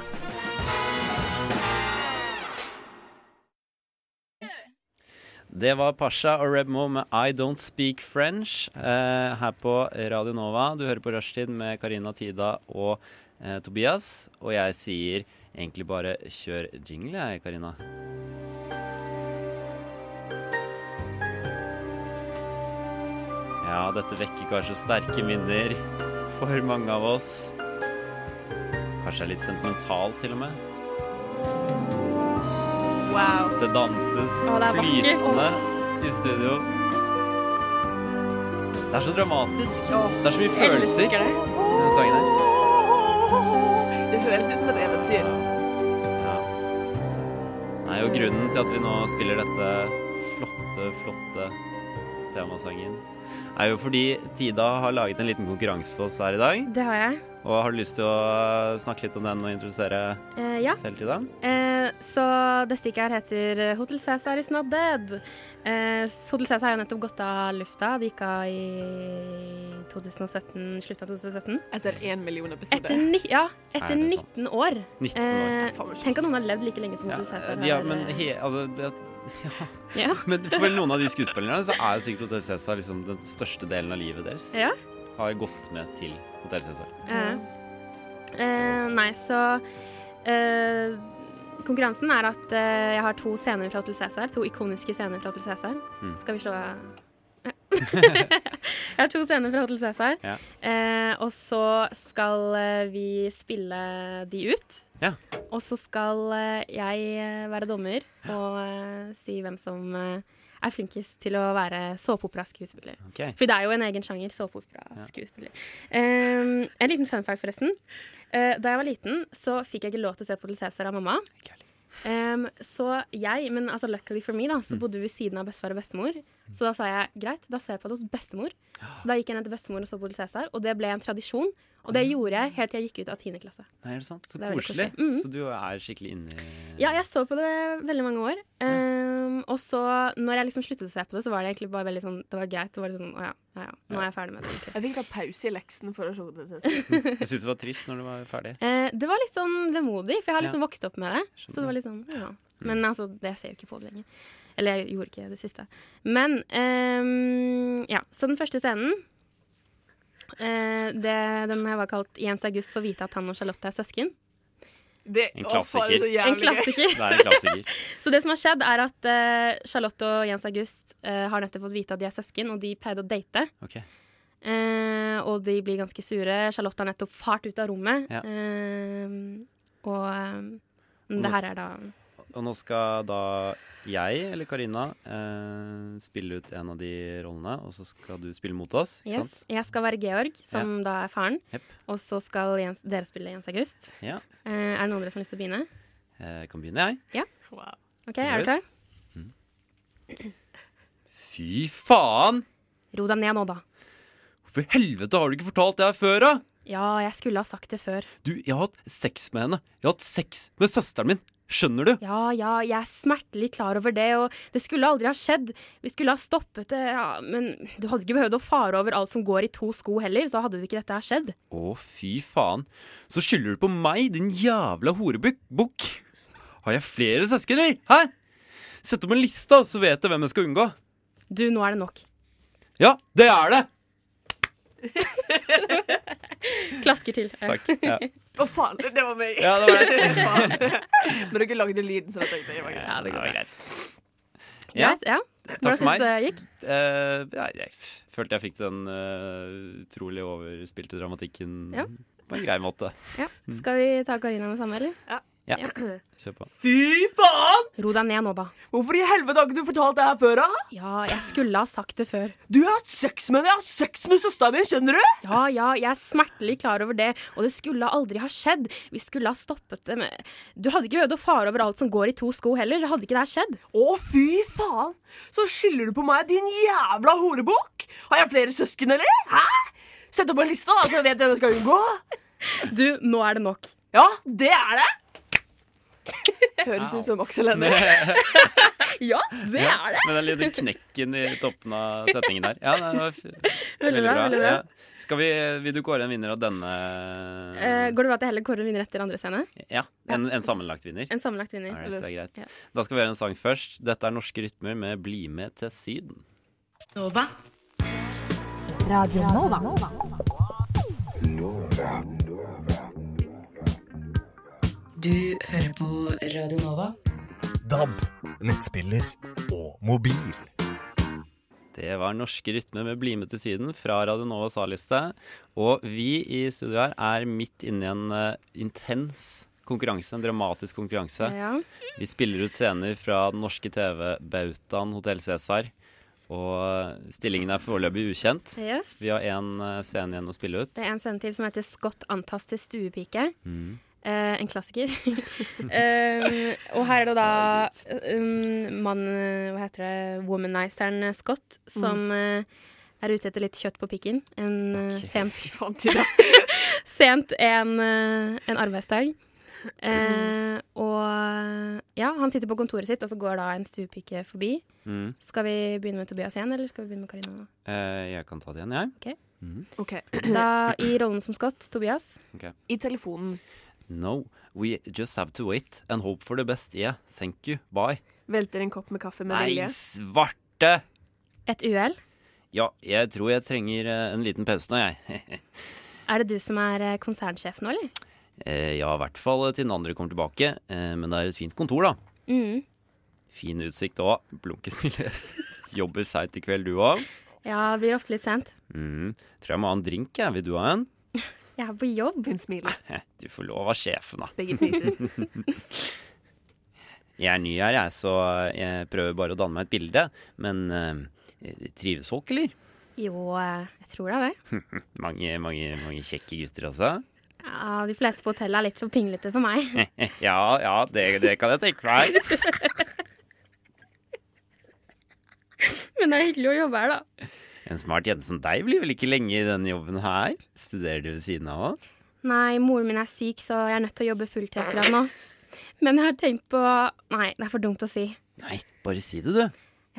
Speaker 3: Det var Pasha og Rebmo med I Don't Speak French eh, her på Radio Nova. Du hører på Rushtid med Karina, Tida og eh, Tobias. Og jeg sier egentlig bare kjør jingle, jeg, Karina. Ja, dette vekker kanskje sterke minner for mange av oss. Kanskje er litt sentimental, til og med.
Speaker 4: Wow.
Speaker 3: Det danses
Speaker 1: Å, det er vakkert.
Speaker 3: flytende i studio. Det er så dramatisk. Det er *laughs* så mye følelser i
Speaker 4: Elsker det.
Speaker 3: denne sangen her.
Speaker 4: Det høres ut som et eventyr.
Speaker 3: Ja. Nei, og grunnen til at vi nå spiller dette flotte, flotte temasangen, er jo fordi Tida har laget en liten konkurranse for oss her i dag.
Speaker 1: Det har jeg.
Speaker 3: Og har du lyst til å snakke litt om den og introdusere
Speaker 1: Eh, ja.
Speaker 3: selv, Tida?
Speaker 1: Eh, så det stikket her heter eh, Hotel Cæsar is not dead. Eh, s- Hotel Cæsar har jo nettopp gått av lufta. Det gikk av i 2017, slutten av 2017.
Speaker 4: Etter én million
Speaker 1: Etter,
Speaker 4: episoder.
Speaker 1: ni ja,
Speaker 3: Er
Speaker 1: etter
Speaker 3: det
Speaker 1: 19 år.
Speaker 3: 19 år.
Speaker 1: Eh, tenk at noen har levd like lenge som Hotel
Speaker 3: Ja,
Speaker 1: Cæsar.
Speaker 3: de har,
Speaker 1: har,
Speaker 3: men,
Speaker 1: eh,
Speaker 3: he, altså, det, ja.
Speaker 1: *laughs* ja.
Speaker 3: men for noen av de skuespillerne så er jo sikkert Hotell Cæsar liksom den største delen av livet deres.
Speaker 1: Ja.
Speaker 3: Har gått med til Hotell Cæsar.
Speaker 1: Eh, eh, nei, så eh, Konkurransen er at eh, jeg har to scener fra Hotel Cæsar. To ikoniske scener fra Hotel Cæsar.
Speaker 3: Mm.
Speaker 1: Skal vi slå av
Speaker 3: *laughs*
Speaker 1: Ja. Jeg har to scener fra Hotel Cæsar.
Speaker 3: Ja.
Speaker 1: Eh, og så skal eh, vi spille de ut.
Speaker 3: Ja.
Speaker 1: Og så skal eh, jeg eh, være dommer og eh, si hvem som eh, er flinkest til å være såpeoperaskuespiller.
Speaker 3: Ok.
Speaker 1: For det er jo en egen sjanger, såpeopera-skuespiller. Um, en liten fun fact, forresten. Eh, da jeg var liten, så fikk jeg ikke lov til å se på Hotel Cæsar av mamma. Ehm,
Speaker 3: Ikke heller. Mm.
Speaker 1: Um, så jeg, men altså luckily for me, da, så bodde vi ved siden av bestefar og bestemor. Så da sa jeg greit, da ser jeg på det hos bestemor. Så da gikk jeg ned til bestemor og så på Little Cæsar, og det ble en tradisjon. Og det gjorde jeg helt til jeg gikk ut av tiende klasse.
Speaker 3: Nei, er det sant? Så
Speaker 1: Det er veldig
Speaker 3: koselig.
Speaker 1: koselig. Mhm.
Speaker 3: Så du er skikkelig inni
Speaker 1: Ja, jeg så på det veldig mange år. Ehm, og så, når jeg liksom sluttet å se på det, så var det egentlig bare veldig sånn Det var greit. Det var litt sånn å ja, ja, ja, nå er jeg ferdig med det. egentlig.
Speaker 4: Jeg fikk ta pause i leksen for å se på det.
Speaker 3: Jeg syntes det var trist når du var ferdig.
Speaker 1: Eh, det var litt sånn vemodig, for jeg har liksom vokst opp med det.
Speaker 3: Skjønner. Mm.
Speaker 1: Så det var litt sånn, ja. Men altså, det ser jeg jo ikke på det lenger. Eller jeg gjorde ikke det siste. Men ehm, ja, så den første scenen eh, det, Den her var kalt 'Jens August får vite at han og Charlotte er søsken'.
Speaker 4: det
Speaker 3: En
Speaker 4: å, faen, det er så
Speaker 3: klassiker.
Speaker 4: jævlig
Speaker 1: En
Speaker 4: gøy.
Speaker 1: klassiker. *laughs*
Speaker 3: Det er en klassiker.
Speaker 1: Så det som har skjedd, er at eh, Charlotte og Jens August eh, har nettopp fått vite at de er søsken, og de pleide å date.
Speaker 3: Ok.
Speaker 1: Eh, og de blir ganske sure. Charlotte har nettopp fart ut av rommet.
Speaker 3: Ja.
Speaker 1: Eh, og eh, det her er da
Speaker 3: Og nå skal da jeg, eller Karina, eh, spille ut en av de rollene, og så skal du spille mot oss. Ikke
Speaker 1: Yes. Jeg skal være Georg, som da er faren.
Speaker 3: Jepp.
Speaker 1: Og så skal Jens, dere spille Jens August.
Speaker 3: sant? Ja.
Speaker 1: Eh, er det noen av dere som har lyst til å begynne?
Speaker 3: Eh, kan begynne, jeg.
Speaker 4: Wow.
Speaker 1: Ok,
Speaker 3: Greit.
Speaker 1: er du klar?
Speaker 3: Fy faen!
Speaker 1: Ro deg ned nå, da.
Speaker 3: Hvorfor i helvete har du ikke fortalt det her før, da?
Speaker 1: Ja, jeg skulle ha sagt det før.
Speaker 3: Du, jeg har hatt sex med henne. Jeg har hatt sex med søsteren min. Skjønner du?
Speaker 1: Ja, ja, jeg er smertelig klar over det, og det skulle aldri ha skjedd. Vi skulle ha stoppet det, ja, men du hadde ikke behøvd å fare over alt som går i to sko heller, så hadde ikke dette her skjedd.
Speaker 3: Å, fy faen. Så skylder du på meg, din jævla horebukk. Har jeg flere søsken, eller? Hæ? Sett opp en liste, da, så vet jeg hvem jeg skal unngå.
Speaker 1: Du, nå er det nok.
Speaker 3: Ja, det er det!
Speaker 1: Klasker til. Eh, *laughs*
Speaker 3: Takk. Ja,
Speaker 4: Å, faen, *laughs* det var meg.
Speaker 3: ja det var det.
Speaker 4: Faen. Men dere lagde lyden, så jeg tenkte det var greit.
Speaker 3: Ja, det går greit. Ja,
Speaker 1: Greit, ja.
Speaker 3: takk
Speaker 1: Hvordan
Speaker 3: for meg.
Speaker 1: syns du det gikk?
Speaker 3: Eh, ja, jeg f- følte jeg fikk den eh, utrolig overspilte dramatikken
Speaker 1: Ja.
Speaker 3: på en grei måte.
Speaker 1: Ja.
Speaker 3: Mm.
Speaker 1: Skal vi ta Karina med samme, eller?
Speaker 3: Kjør på.
Speaker 4: Fy faen!
Speaker 1: Ro deg ned nå, da.
Speaker 4: Hvorfor i helvete har ikke du fortalt det her før, da?
Speaker 1: Ja, jeg skulle ha sagt det før.
Speaker 4: Du har hatt sex med henne! Jeg har sex med søsteren min, skjønner du?
Speaker 1: Ja, ja, jeg er smertelig klar over det, og det skulle aldri ha skjedd. Vi skulle ha stoppet det med Du hadde ikke behøvd å fare over alt som går i to sko heller, så hadde ikke det her skjedd.
Speaker 4: Å, fy faen! Så skylder du på meg, din jævla horebukk! Har jeg flere søsken, eller? Hæ? Sett opp en liste, da, så jeg vet hvem jeg skal unngå.
Speaker 1: Du, nå er det nok.
Speaker 4: Ja, det er *laughs* det! Høres ut som Aksel Hennie. *laughs*
Speaker 1: Ja, det er det.
Speaker 3: Med den lille knekken i toppen av setningen der. Ja, nei, det var f veldig
Speaker 1: bra,
Speaker 3: bra.
Speaker 1: veldig bra.
Speaker 3: Ja. Skal vi, vil du kåre en vinner av denne?
Speaker 1: Eh, går det bra at jeg heller kårer en vinner etter andre scene?
Speaker 3: ja, en, en sammenlagt vinner.
Speaker 1: En sammenlagt vinner.
Speaker 3: Alright, det er greit.
Speaker 1: Ja.
Speaker 3: Da skal vi høre en sang først. Dette er Norske rytmer med 'Bli med til Syden'.
Speaker 8: Du hører på Radio Nova.
Speaker 9: DAB, nettspiller og mobil.
Speaker 3: Det var Norske rytmer med 'Bli med til Syden' fra Radio Novas A-liste. Og vi i studio her er midt inne i en eh, intens konkurranse, en dramatisk konkurranse.
Speaker 1: Ja.
Speaker 3: Vi spiller ut scener fra den norske TV-bautaen Hotell Cæsar. Og eh, stillingen er foreløpig ukjent.
Speaker 1: Yes.
Speaker 3: Vi har én eh, scene igjen å spille ut.
Speaker 1: Det er en scene til som heter 'Skott antas til stuepike'.
Speaker 3: Mm.
Speaker 1: Eh, en klassiker.
Speaker 3: *laughs*
Speaker 1: um, og her er det da um, mann Hva heter det? Womanizeren Scott
Speaker 3: Mm.
Speaker 1: som eh, er ute etter litt kjøtt på pikken. En, eh,
Speaker 3: Ok.
Speaker 1: sent,
Speaker 4: Fy faen, Tina.
Speaker 1: sent en, eh, en arbeidsdag. Eh, og ja, han sitter på kontoret sitt, og så går da en stuepike forbi.
Speaker 3: Mm.
Speaker 1: Skal vi begynne med Tobias igjen, eller skal vi begynne med Karina? nå?
Speaker 3: Eh, jeg kan ta det igjen, jeg.
Speaker 4: OK.
Speaker 1: Da i rollen som Scott, Tobias.
Speaker 4: I telefonen.
Speaker 3: No, we just have to wait and hope for the best. Yeah, thank you, bye.
Speaker 4: Velter en kopp med kaffe med
Speaker 3: Nei,
Speaker 4: vilje.
Speaker 3: svarte!
Speaker 1: Et uhell.
Speaker 3: Ja, jeg tror jeg trenger eh, en liten pause nå, jeg. *laughs*
Speaker 1: Er det du som er eh, konsernsjef nå, eller?
Speaker 3: Eh, ja, i hvert fall til den andre kommer tilbake. Eh, men det er et fint kontor, da.
Speaker 1: Mm.
Speaker 3: Fin utsikt òg. Blunkesmiles. *laughs* Jobber seint i kveld, du òg.
Speaker 1: Ja, det blir ofte litt sent.
Speaker 3: Mm, tror jeg må ha en drink, jeg. Vil du ha en?
Speaker 1: Jeg er på jobb.
Speaker 4: Hun *laughs* smiler.
Speaker 3: Eh, Du får lov av sjefen, da.
Speaker 4: Begge fniser.
Speaker 3: Jeg er ny her, jeg, så eh, jeg prøver bare å danne meg et bilde. Men eh, trives folk, eller?
Speaker 1: Jo, eh, jeg tror det er det.
Speaker 3: Mange, mange, mange kjekke gutter, altså.
Speaker 1: Ja, de fleste på hotellet er litt for pinglete for meg.
Speaker 3: Eh, *laughs* Ja, ja, det, det kan jeg tenke meg.
Speaker 1: *laughs* Men det er hyggelig å jobbe her, da.
Speaker 3: En smart jente som deg blir vel ikke lenge i denne jobben her? Studerer du ved siden av òg?
Speaker 1: Nei, moren min er syk, så jeg er nødt til å jobbe fulltidsgrad nå. Men jeg har tenkt på Nei, det er for dumt å si.
Speaker 3: Nei, bare si det, du.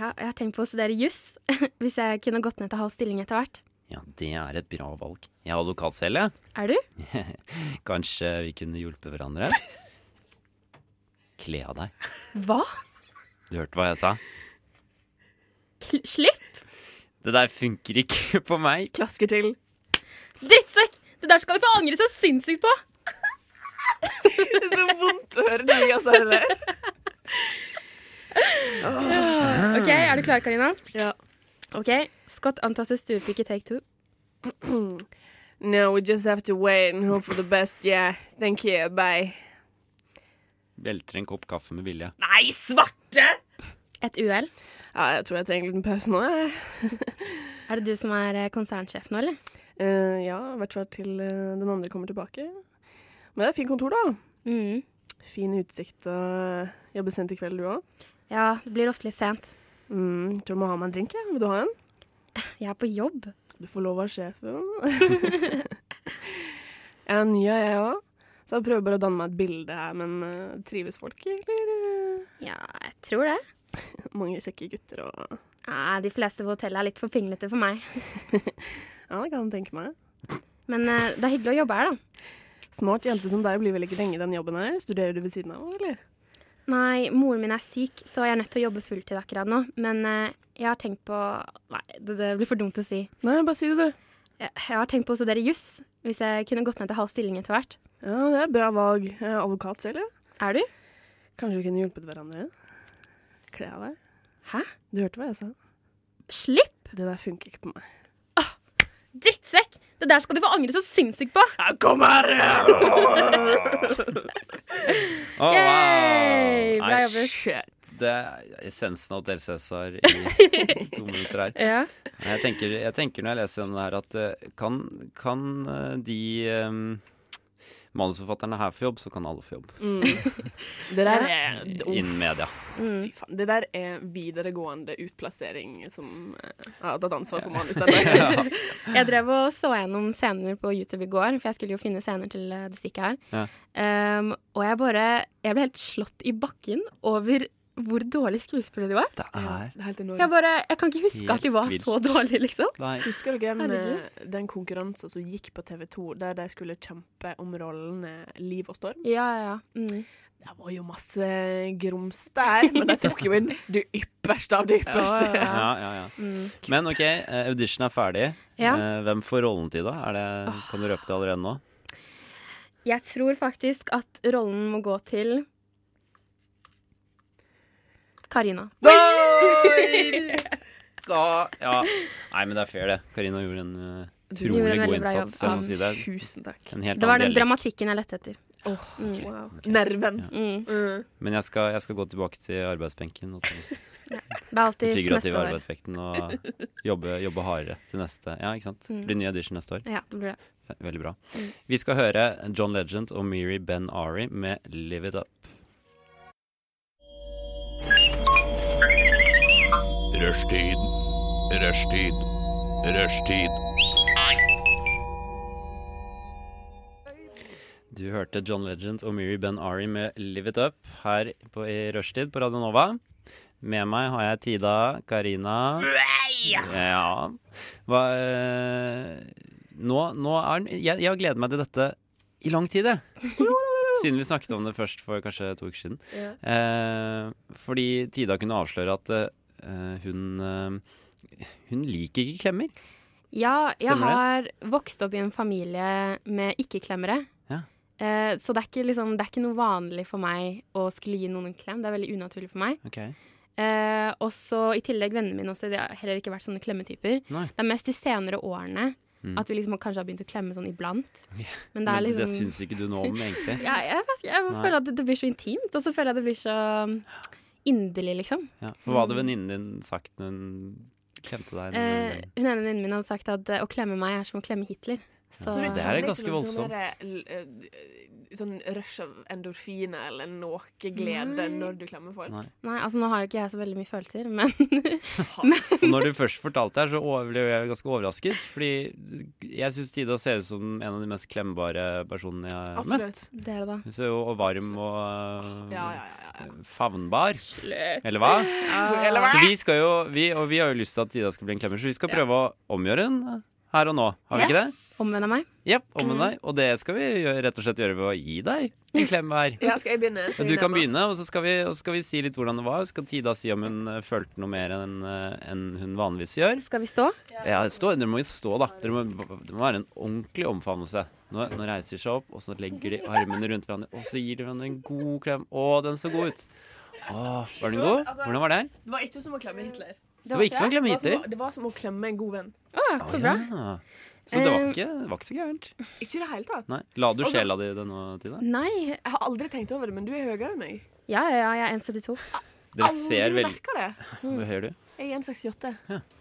Speaker 1: Ja, jeg har tenkt på å studere juss, *laughs* hvis jeg kunne gått ned til halv stilling etter hvert.
Speaker 3: Ja, det er et bra valg. Jeg er advokat selv, jeg.
Speaker 1: Er du?
Speaker 3: Kanskje vi kunne hjulpet hverandre? Kle av deg.
Speaker 1: Hva?
Speaker 3: Du hørte hva jeg sa?
Speaker 1: Kl slipp?
Speaker 3: Det der funker ikke *laughs* på meg.
Speaker 4: Klasker til.
Speaker 1: Drittsekk! Det der skal du få angre så sinnssykt på!
Speaker 4: *laughs* Det er så vondt å høre altså, det Mia sier der.
Speaker 1: Ok, Er du klar, Karina?
Speaker 4: Ja.
Speaker 1: Ok, Scott antas til stuepike take two.
Speaker 4: No, we just have to wait and hope for the best. Yeah, thank you. Bye.
Speaker 3: Velter en kopp kaffe med vilje.
Speaker 4: Nei, svarte!
Speaker 1: Et uhell.
Speaker 4: Ja, jeg tror jeg trenger en liten pause nå. Jeg.
Speaker 1: Er det du som er eh, konsernsjef nå, eller?
Speaker 4: Eh, ja, i hvert fall til eh, den andre kommer tilbake. Men det er fint kontor, da.
Speaker 1: Mm.
Speaker 4: Fin utsikt og jobbe sent i kveld, du òg.
Speaker 1: Ja, det blir ofte litt sent.
Speaker 4: Mm, tror du må ha meg en drink. jeg. Vil du ha en?
Speaker 1: Jeg er på jobb.
Speaker 4: Du får lov av sjefen. *laughs* jeg er ny, jeg òg. Så jeg prøver bare å danne meg et bilde her, men eh, trives folk, eller? eh,
Speaker 1: Ja, jeg tror det.
Speaker 4: Mange kjekke gutter og
Speaker 1: Nei, de fleste på hotellet er litt for pinglete for meg.
Speaker 4: Ja, det kan jeg tenke meg.
Speaker 1: Men eh, det er hyggelig å jobbe her, da.
Speaker 4: Smart jente som deg blir vel ikke lenge i den jobben her. Studerer du ved siden av, eller?
Speaker 1: Nei, moren min er syk, så jeg er nødt til å jobbe fulltid akkurat nå. Men eh, jeg har tenkt på Nei, det, det blir for dumt å si.
Speaker 4: Nei, bare si det, du.
Speaker 1: Jeg, jeg har tenkt på å studere juss, hvis jeg kunne gått ned til halv stilling etter hvert.
Speaker 4: Ja, det er et bra valg. Jeg er advokat selv, ja.
Speaker 1: Er du?
Speaker 4: Kanskje vi kunne hjulpet hverandre? Kle av deg.
Speaker 1: Hæ?
Speaker 4: Du hørte hva jeg sa?
Speaker 1: Slipp!
Speaker 4: Det der funker ikke på meg.
Speaker 1: Drittsekk! Det der skal du få angre så sinnssykt på!
Speaker 4: Kom her!
Speaker 3: Oh,
Speaker 1: Yay! Bra
Speaker 3: Nei,
Speaker 1: jobbet.
Speaker 3: shit. Det er essensen av Hotel Cæsar i
Speaker 1: *laughs*
Speaker 3: to minutter her.
Speaker 1: Ja.
Speaker 3: Nei, Jeg tenker, jeg tenker når jeg leser den her, at eh, kan, kan eh, de em, manusforfatterne her få jobb, så kan alle få jobb.
Speaker 4: Mm. *laughs* Det der er
Speaker 3: Innen media. Mm.
Speaker 4: Fy faen. Det der er videregående utplassering som eh, har tatt ansvar for manus.
Speaker 3: *laughs*
Speaker 4: Der.
Speaker 1: Jeg drev og så gjennom scener på YouTube i går, for jeg skulle jo finne scener til eh, det stikket her.
Speaker 3: Ja.
Speaker 1: Um, og jeg bare Jeg ble helt slått i bakken over hvor dårlig skuespillere de var.
Speaker 3: Det er
Speaker 4: *laughs* Det er helt
Speaker 1: Jeg
Speaker 4: enormt.
Speaker 1: bare, jeg kan ikke huske
Speaker 3: Helt
Speaker 1: at de var
Speaker 3: vilt.
Speaker 1: så dårlige, liksom.
Speaker 3: Nei.
Speaker 4: Husker dere den,
Speaker 1: Herregud.
Speaker 4: eh, den konkurransen som gikk på TV 2, der de skulle kjempe om rollene Liv og Storm?
Speaker 1: Ja, ja, ja. Mm.
Speaker 4: Det var jo masse grums der, men de tok *laughs* jo inn det ypperste av
Speaker 3: *laughs*
Speaker 4: det ypperste.
Speaker 1: Ja,
Speaker 3: Ja, ja, ja.
Speaker 1: Mm.
Speaker 3: Men OK, eh, audition er ferdig.
Speaker 1: Ja.
Speaker 3: Eh, Hvem får rollen til, da? Er det, kan du røpe det allerede nå?
Speaker 1: Jeg tror faktisk at rollen må gå til Karina.
Speaker 3: Da, ja. Nei, men det er fair, det. Karina gjorde en eh,
Speaker 1: gjorde
Speaker 3: utrolig
Speaker 1: en
Speaker 3: god
Speaker 1: veldig bra
Speaker 3: innsats.
Speaker 1: jobb.
Speaker 3: Jeg må si det.
Speaker 4: Tusen takk.
Speaker 3: En helt
Speaker 1: Det var
Speaker 3: annen
Speaker 1: den
Speaker 3: dialekt.
Speaker 1: dramatikken jeg lette etter. Mm.
Speaker 4: Wow.
Speaker 3: Ok.
Speaker 4: Nerven.
Speaker 1: Mm.
Speaker 4: Mm.
Speaker 3: Men jeg skal, jeg skal gå tilbake til arbeidsbenken.
Speaker 1: *laughs*
Speaker 3: Og til
Speaker 1: Det er
Speaker 3: den
Speaker 1: alltid neste
Speaker 3: figurative
Speaker 1: år.
Speaker 3: arbeidsbenken og jobbe, jobbe hardere til neste Ja, ikke sant?
Speaker 1: Mm.
Speaker 3: Det blir ny audition neste år.
Speaker 1: Ja, det blir det.
Speaker 3: Fe- Veldig bra. Vi skal høre John Legend og Miri Ben Ari med 'Live It Up'.
Speaker 9: Rushtid. Rushtid. Rushtid.
Speaker 3: Du hørte John Legend og Miri Ben Ari med 'Live It Up' her på, i rushtid på Radio Nova. Med meg har jeg Tida, Karina Ja. Hva eh, Nå, nå er den Jeg jeg har gledet meg til dette i lang tid, jeg.
Speaker 4: *laughs*
Speaker 3: Siden vi snakket om det først for kanskje to uker siden.
Speaker 4: Ja.
Speaker 3: Eh, fordi Tida kunne avsløre at eh, hun eh, Hun liker ikke klemmer.
Speaker 1: Ja, jeg
Speaker 3: Stemmer det?
Speaker 1: har vokst opp i en familie med ikke-klemmere.
Speaker 3: Ja.
Speaker 1: Eh, så det er, ikke, liksom, det er ikke noe vanlig for meg å skulle gi noen en klem. Det er veldig unaturlig for meg.
Speaker 3: Ok.
Speaker 1: Eh, og så i tillegg vennene mine også, de har heller ikke vært sånne klemmetyper.
Speaker 3: Nei.
Speaker 1: Det er mest de senere årene
Speaker 3: Mm.
Speaker 1: at vi liksom kanskje har begynt å klemme sånn iblant. Men det
Speaker 3: Men
Speaker 1: er liksom
Speaker 3: det syns ikke du noe om,
Speaker 4: *laughs*
Speaker 3: egentlig.
Speaker 1: ja, Jeg, vet, ikke, jeg
Speaker 3: Nei.
Speaker 1: føler at det, det blir så intimt, og så føler jeg det blir så um, inderlig, liksom.
Speaker 3: Ja. For hva hadde venninnen din sagt når hun klemte deg?
Speaker 1: Eh, hun ene venninnen min hadde sagt at eh, å klemme meg er som å klemme Hitler. Så,
Speaker 4: Så
Speaker 3: det
Speaker 4: du kjenner
Speaker 3: er
Speaker 4: ikke
Speaker 3: ganske
Speaker 4: noe
Speaker 3: voldsomt.
Speaker 4: sånn derre, eh, Sånn rush av endorfiner eller noe glede
Speaker 1: Nei.
Speaker 4: når du klemmer folk?
Speaker 3: Nei.
Speaker 1: Nei, altså nå har jo ikke jeg så veldig mye følelser, men *laughs*
Speaker 4: Faen.
Speaker 3: *laughs* Og når du først fortalte det her, så over- ble jeg ganske overrasket. Fordi jeg syns Tida ser ut som en av de mest klemmbare personene jeg har møtt.
Speaker 4: Absolutt.
Speaker 1: det er det da.
Speaker 3: Hun ser jo og varm og eh,
Speaker 4: Ja, ja, ja, ja.
Speaker 3: favnbar. Eller hva?
Speaker 4: *laughs* Eller hva?
Speaker 3: Så vi skal jo, vi, og vi har jo lyst til at Tida skal bli en klemmer, så vi skal prøve å omgjøre den her og nå. Har vi ikke det?
Speaker 1: Omvend av meg.
Speaker 3: Jepp,
Speaker 4: Mm.
Speaker 3: omvend deg. Og det skal vi gjøre- rett og slett gjøre ved å gi deg en klem hver.
Speaker 4: *laughs* Ja, skal jeg begynne? Skal
Speaker 3: Du
Speaker 4: jeg
Speaker 3: kan
Speaker 4: nærmest?
Speaker 3: begynne, og så skal vi, og så skal vi si litt hvordan det var. Så skal Tida si om hun eh, følte noe mer enn eh, enn hun vanligvis gjør.
Speaker 1: Skal vi stå?
Speaker 3: Ja, stå, dere må jo stå, da. Dere må, det må være en ordentlig omfavnelse. Nå, nå reiser de seg opp, og så legger de armene rundt hverandre, og så gir de hverandre en god klem. Å, den så god ut. Å, var den god? Hvordan var det?
Speaker 4: Det var ikke som å klemme Hitler.
Speaker 3: Det var ikke som å klemme
Speaker 4: Det var som
Speaker 3: Hitler.
Speaker 4: å- Det var som å klemme en god venn.
Speaker 1: Å, så bra.
Speaker 3: Ja. Så det var ikke, det var ikke så gærent.
Speaker 4: Ikke i det hele tatt.
Speaker 3: Nei. La du
Speaker 4: Altså-
Speaker 3: sjela di denne tida?
Speaker 1: Nei.
Speaker 4: Jeg har aldri tenkt over det, men du er høyere enn meg.
Speaker 1: Ja, ja, ja, jeg er 1,72.
Speaker 3: Dere ser
Speaker 4: Aldri
Speaker 3: vel
Speaker 4: merka det.
Speaker 3: Hva hører du?
Speaker 4: Jeg er 168.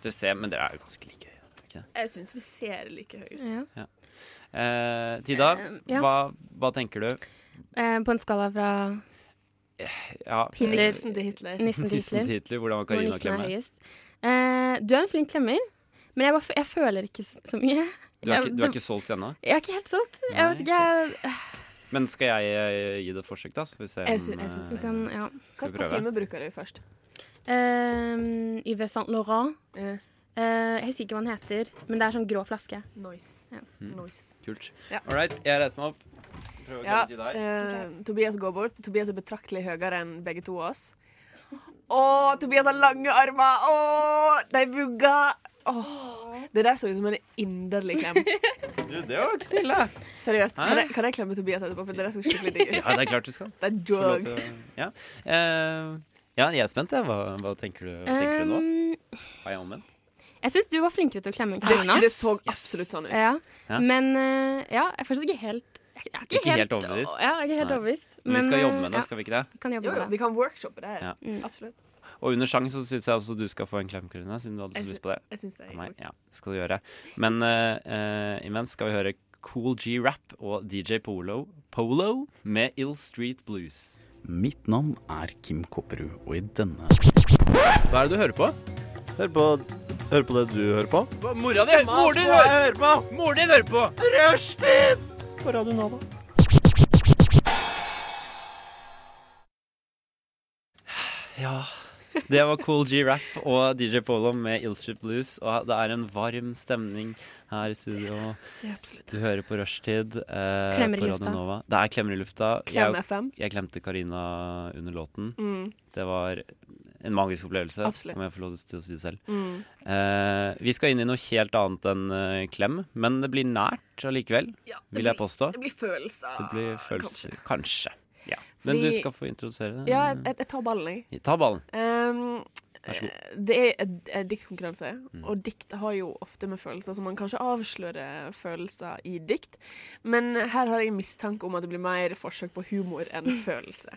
Speaker 3: Dere ser, men dere er jo ganske like høye. er dere ikke det?
Speaker 4: Jeg syns vi ser like høye ut.
Speaker 1: Ja.
Speaker 3: Eh, Tida,
Speaker 1: ja.
Speaker 3: hva, hva tenker du?
Speaker 1: Eh, på en skala fra
Speaker 3: Ja,
Speaker 1: Hitler.
Speaker 4: Nissen til Hitler.
Speaker 1: nissen til
Speaker 3: Tissen
Speaker 1: Hitler,
Speaker 3: Hitler, hvordan var
Speaker 1: hvor
Speaker 3: Karina
Speaker 1: nissen er
Speaker 3: klemme?
Speaker 1: høyest. Eh, du er en flink klemmer, men jeg, bare, f- jeg føler ikke s- så mye.
Speaker 3: Du er ikke, du er
Speaker 1: Jeg-
Speaker 3: ikke solgt ennå?
Speaker 1: Jeg er ikke helt solgt. Jeg
Speaker 3: Nei,
Speaker 1: vet ikke, jeg,
Speaker 3: Men skal jeg eh, gi det et forsøk, da? Så får vi se om
Speaker 4: Jeg sy- jeg syns
Speaker 3: eh,
Speaker 1: vi kan, ja.
Speaker 4: Hva
Speaker 3: skal
Speaker 4: slags
Speaker 3: vi prøve?
Speaker 4: parfyme bruker du først?
Speaker 1: Eh, Yves Saint Laurent.
Speaker 4: Eh,
Speaker 1: Eh, jeg husker ikke hva den heter, men det er sånn grå flaske.
Speaker 4: Noise.
Speaker 1: Ja.
Speaker 3: Hmm.
Speaker 4: Noise.
Speaker 3: Kult.
Speaker 4: Ja.
Speaker 3: All right, jeg reiser meg opp. Prøver å
Speaker 4: Ja,
Speaker 3: klemme til deg.
Speaker 4: eh, Tobias går bort. Tobias er betraktelig høyere enn begge to av oss. Å, Tobias har lange armer! Å, de vugger! Åh, Det der så ut som en inderlig klem.
Speaker 3: Du, det var ikke så ille.
Speaker 4: *laughs* Seriøst.
Speaker 3: Hæ?
Speaker 4: Kan jeg, kan jeg klemme Tobias etterpå? For det der så skikkelig digg ut.
Speaker 3: Ja, det er klart du skal.
Speaker 4: Det er
Speaker 3: Få lov
Speaker 4: drug.
Speaker 3: til å- Ja. Eh, ja, jeg er spent. jeg. Hva, hva tenker du, hva tenker du nå?
Speaker 4: Um,
Speaker 1: Eh,
Speaker 3: Har jeg omvendt?
Speaker 1: jeg syns du var flinkere til å klemme enn
Speaker 4: Det,
Speaker 1: Karina.
Speaker 4: det så absolutt sånn ut.
Speaker 1: Ja.
Speaker 3: Ja.
Speaker 1: Men eh, ja, jeg er fortsatt ikke helt Jeg er
Speaker 3: Ikke helt overbevist.
Speaker 1: Ja, jeg er ikke helt
Speaker 3: Nei.
Speaker 1: overbevist.
Speaker 3: Men, vi skal jobbe med det,
Speaker 1: eh,
Speaker 3: skal vi ikke det?
Speaker 1: Ja, kan jobbe
Speaker 4: Jo, jo,
Speaker 1: med
Speaker 4: vi
Speaker 1: det.
Speaker 4: kan workshoppe det her.
Speaker 3: Ja.
Speaker 1: Mm.
Speaker 4: Absolutt.
Speaker 3: Og under sang så syns jeg også du skal få en klem, Karina, siden du hadde
Speaker 4: Jeg
Speaker 3: så
Speaker 4: sy-
Speaker 3: lyst på det.
Speaker 4: Jeg syns det er
Speaker 3: Nei,
Speaker 4: ok.
Speaker 3: ja, det skal du gjøre. Men eh, eh, imens skal vi høre Cool G Rap og DJ Polo, Polo med Ill Street Blues.
Speaker 10: Mitt navn er Kim Kopperud, og i denne
Speaker 3: Hva er det du hører på?
Speaker 2: Hør på, hør på det du hører på.
Speaker 3: Mora di! Mor din hører, mor din hører på!
Speaker 2: På Radio Nova.
Speaker 3: Ja. Det var Cool G-rap og DJ Polo med Illstrip Blues. Og det er en varm stemning her i studio.
Speaker 4: Det er absolutt.
Speaker 3: Du hører på rushtid eh,
Speaker 1: Klemmer i
Speaker 3: på Radio
Speaker 1: lufta.
Speaker 3: Nova. Det er klemmer i lufta.
Speaker 4: Klem
Speaker 3: Jeg,
Speaker 4: FM.
Speaker 3: jeg klemte Karina under låten.
Speaker 4: Mm.
Speaker 3: Det var en magisk opplevelse,
Speaker 4: Absolutt.
Speaker 3: om jeg får lov til å si det selv.
Speaker 4: Mm.
Speaker 3: Eh, vi skal inn i noe helt annet enn eh, klem, men det blir nært allikevel,
Speaker 4: Ja, det,
Speaker 3: vil jeg
Speaker 4: blir,
Speaker 3: påstå.
Speaker 4: det blir følelser.
Speaker 3: Det blir følelser. Kanskje. Ja. Men
Speaker 4: Fordi-
Speaker 3: du skal få introdusere
Speaker 4: Ja, jeg, jeg- jeg tar ballen, jeg.
Speaker 3: Ta ballen.
Speaker 4: Um,
Speaker 3: Vær så god. Mm.
Speaker 4: eh, det er en- en diktkonkurranse, og dikt har jo ofte med følelser, så man kan ikke avsløre følelser i dikt. Men her har jeg mistanke om at det blir mer forsøk på humor enn
Speaker 3: *laughs*
Speaker 4: følelse.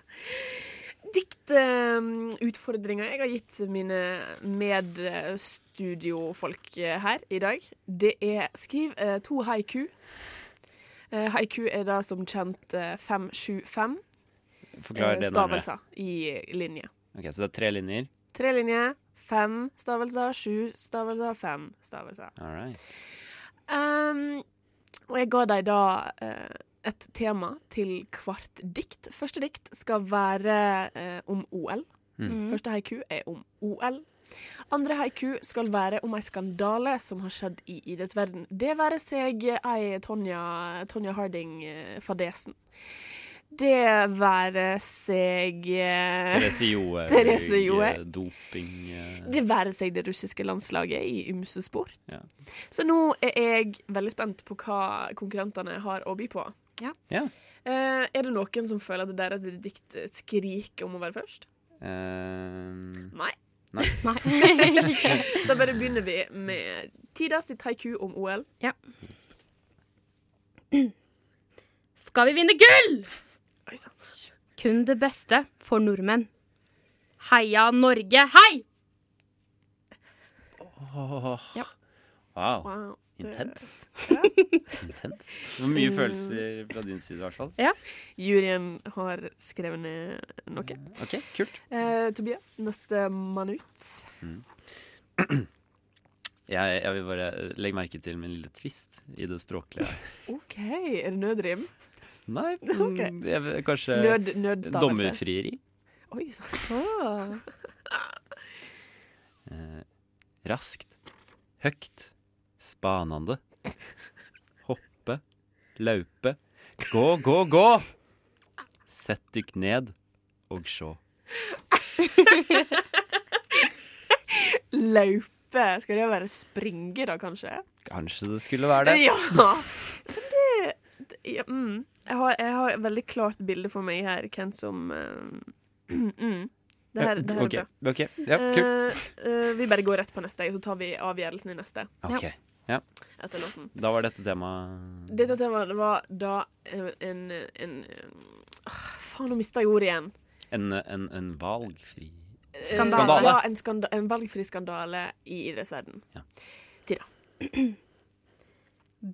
Speaker 4: Diktutfordringa jeg har gitt mine medstudiofolk eh, her i dag, det er skriv eh, to haiku. Eh, Haiku er da som kjent eh, 5-7-5
Speaker 3: Forklar
Speaker 4: eh,
Speaker 3: det nærmere.
Speaker 4: stavelser i linje.
Speaker 3: Ok, så det er tre linjer.
Speaker 4: Tre linjer. Fem stavelser, sju stavelser, fem stavelser.
Speaker 3: All right.
Speaker 4: Ehm, og jeg ga deg da eh, et tema til hvert dikt. Første dikt skal være eh, om OL.
Speaker 3: Mm.
Speaker 1: Mm.
Speaker 4: Første haiku er om OL. Andre haiku skal være om ei skandale som har skjedd i idrettsverden. Det være seg ei Tonja, Tonja Harding-fadesen. Det være seg eh,
Speaker 3: Therese Johaug.
Speaker 4: *laughs* Therese Johaug.
Speaker 3: Doping eh,
Speaker 4: Det være seg det russiske landslaget i ymse sport.
Speaker 3: Ja.
Speaker 4: Så nå er jeg veldig spent på hva konkurrentene har å by på.
Speaker 1: Ja.
Speaker 3: Ja.
Speaker 4: Eh, er det noen som føler at det der er et dikt skriker om å være først?
Speaker 3: eh,
Speaker 4: Nei.
Speaker 1: Nei. *laughs*
Speaker 4: Da bare begynner vi med Tidas sitt haiku om OL.
Speaker 1: Skal vi vinne gull?
Speaker 4: Oi sann.
Speaker 1: Kun det beste for nordmenn. Heia Norge, hei!
Speaker 3: åh,
Speaker 1: Ja.
Speaker 3: Wow.
Speaker 4: Wow.
Speaker 3: Intenst. *laughs* Intenst. Det var mye følelser fra din side, i hvert fall.
Speaker 4: Juryen har skrevet ned noe.
Speaker 3: Ok, kult.
Speaker 4: Eh, Tobias, neste mann ut.
Speaker 3: Jeg, jeg vil bare eh, legge merke til min lille twist i det språklige.
Speaker 4: OK, er det nødrim?
Speaker 3: Nei,
Speaker 4: *laughs* Ok.
Speaker 3: mm, jeg, vil- kanskje
Speaker 4: Nød, nødstavelse.
Speaker 3: dommerfrieri.
Speaker 4: Oi, Ah. sant.
Speaker 3: Eh, raskt. Høgt. Spanende. Hoppe. Laupe. Gå, gå, gå! Sett dykk ned og sjå.
Speaker 4: Løpe. Skal det være springe, da, kanskje?
Speaker 3: Kanskje det skulle være det.
Speaker 4: Ja! Men det, det ja, mm. jeg, har, jeg har et veldig klart bilde for meg her, hvem som eh, *clears throat* mm. Det her, det her
Speaker 3: Ok,
Speaker 4: er bra.
Speaker 3: ok, ja, kult.
Speaker 4: Eh, eh, vi bare går rett på neste, og så tar vi avgjørelsen i neste.
Speaker 3: Ok,
Speaker 4: Etter låten.
Speaker 3: Da var dette temaet
Speaker 4: Dette temaet var da eh, en, en eh, Åh, Faen, nå mista jeg ordet igjen.
Speaker 3: en, en, en
Speaker 4: *laughs*
Speaker 3: valgfri
Speaker 4: Eh,
Speaker 1: Skandale.
Speaker 4: Ja, en, skanda en valgfri skandale i idrettsverden.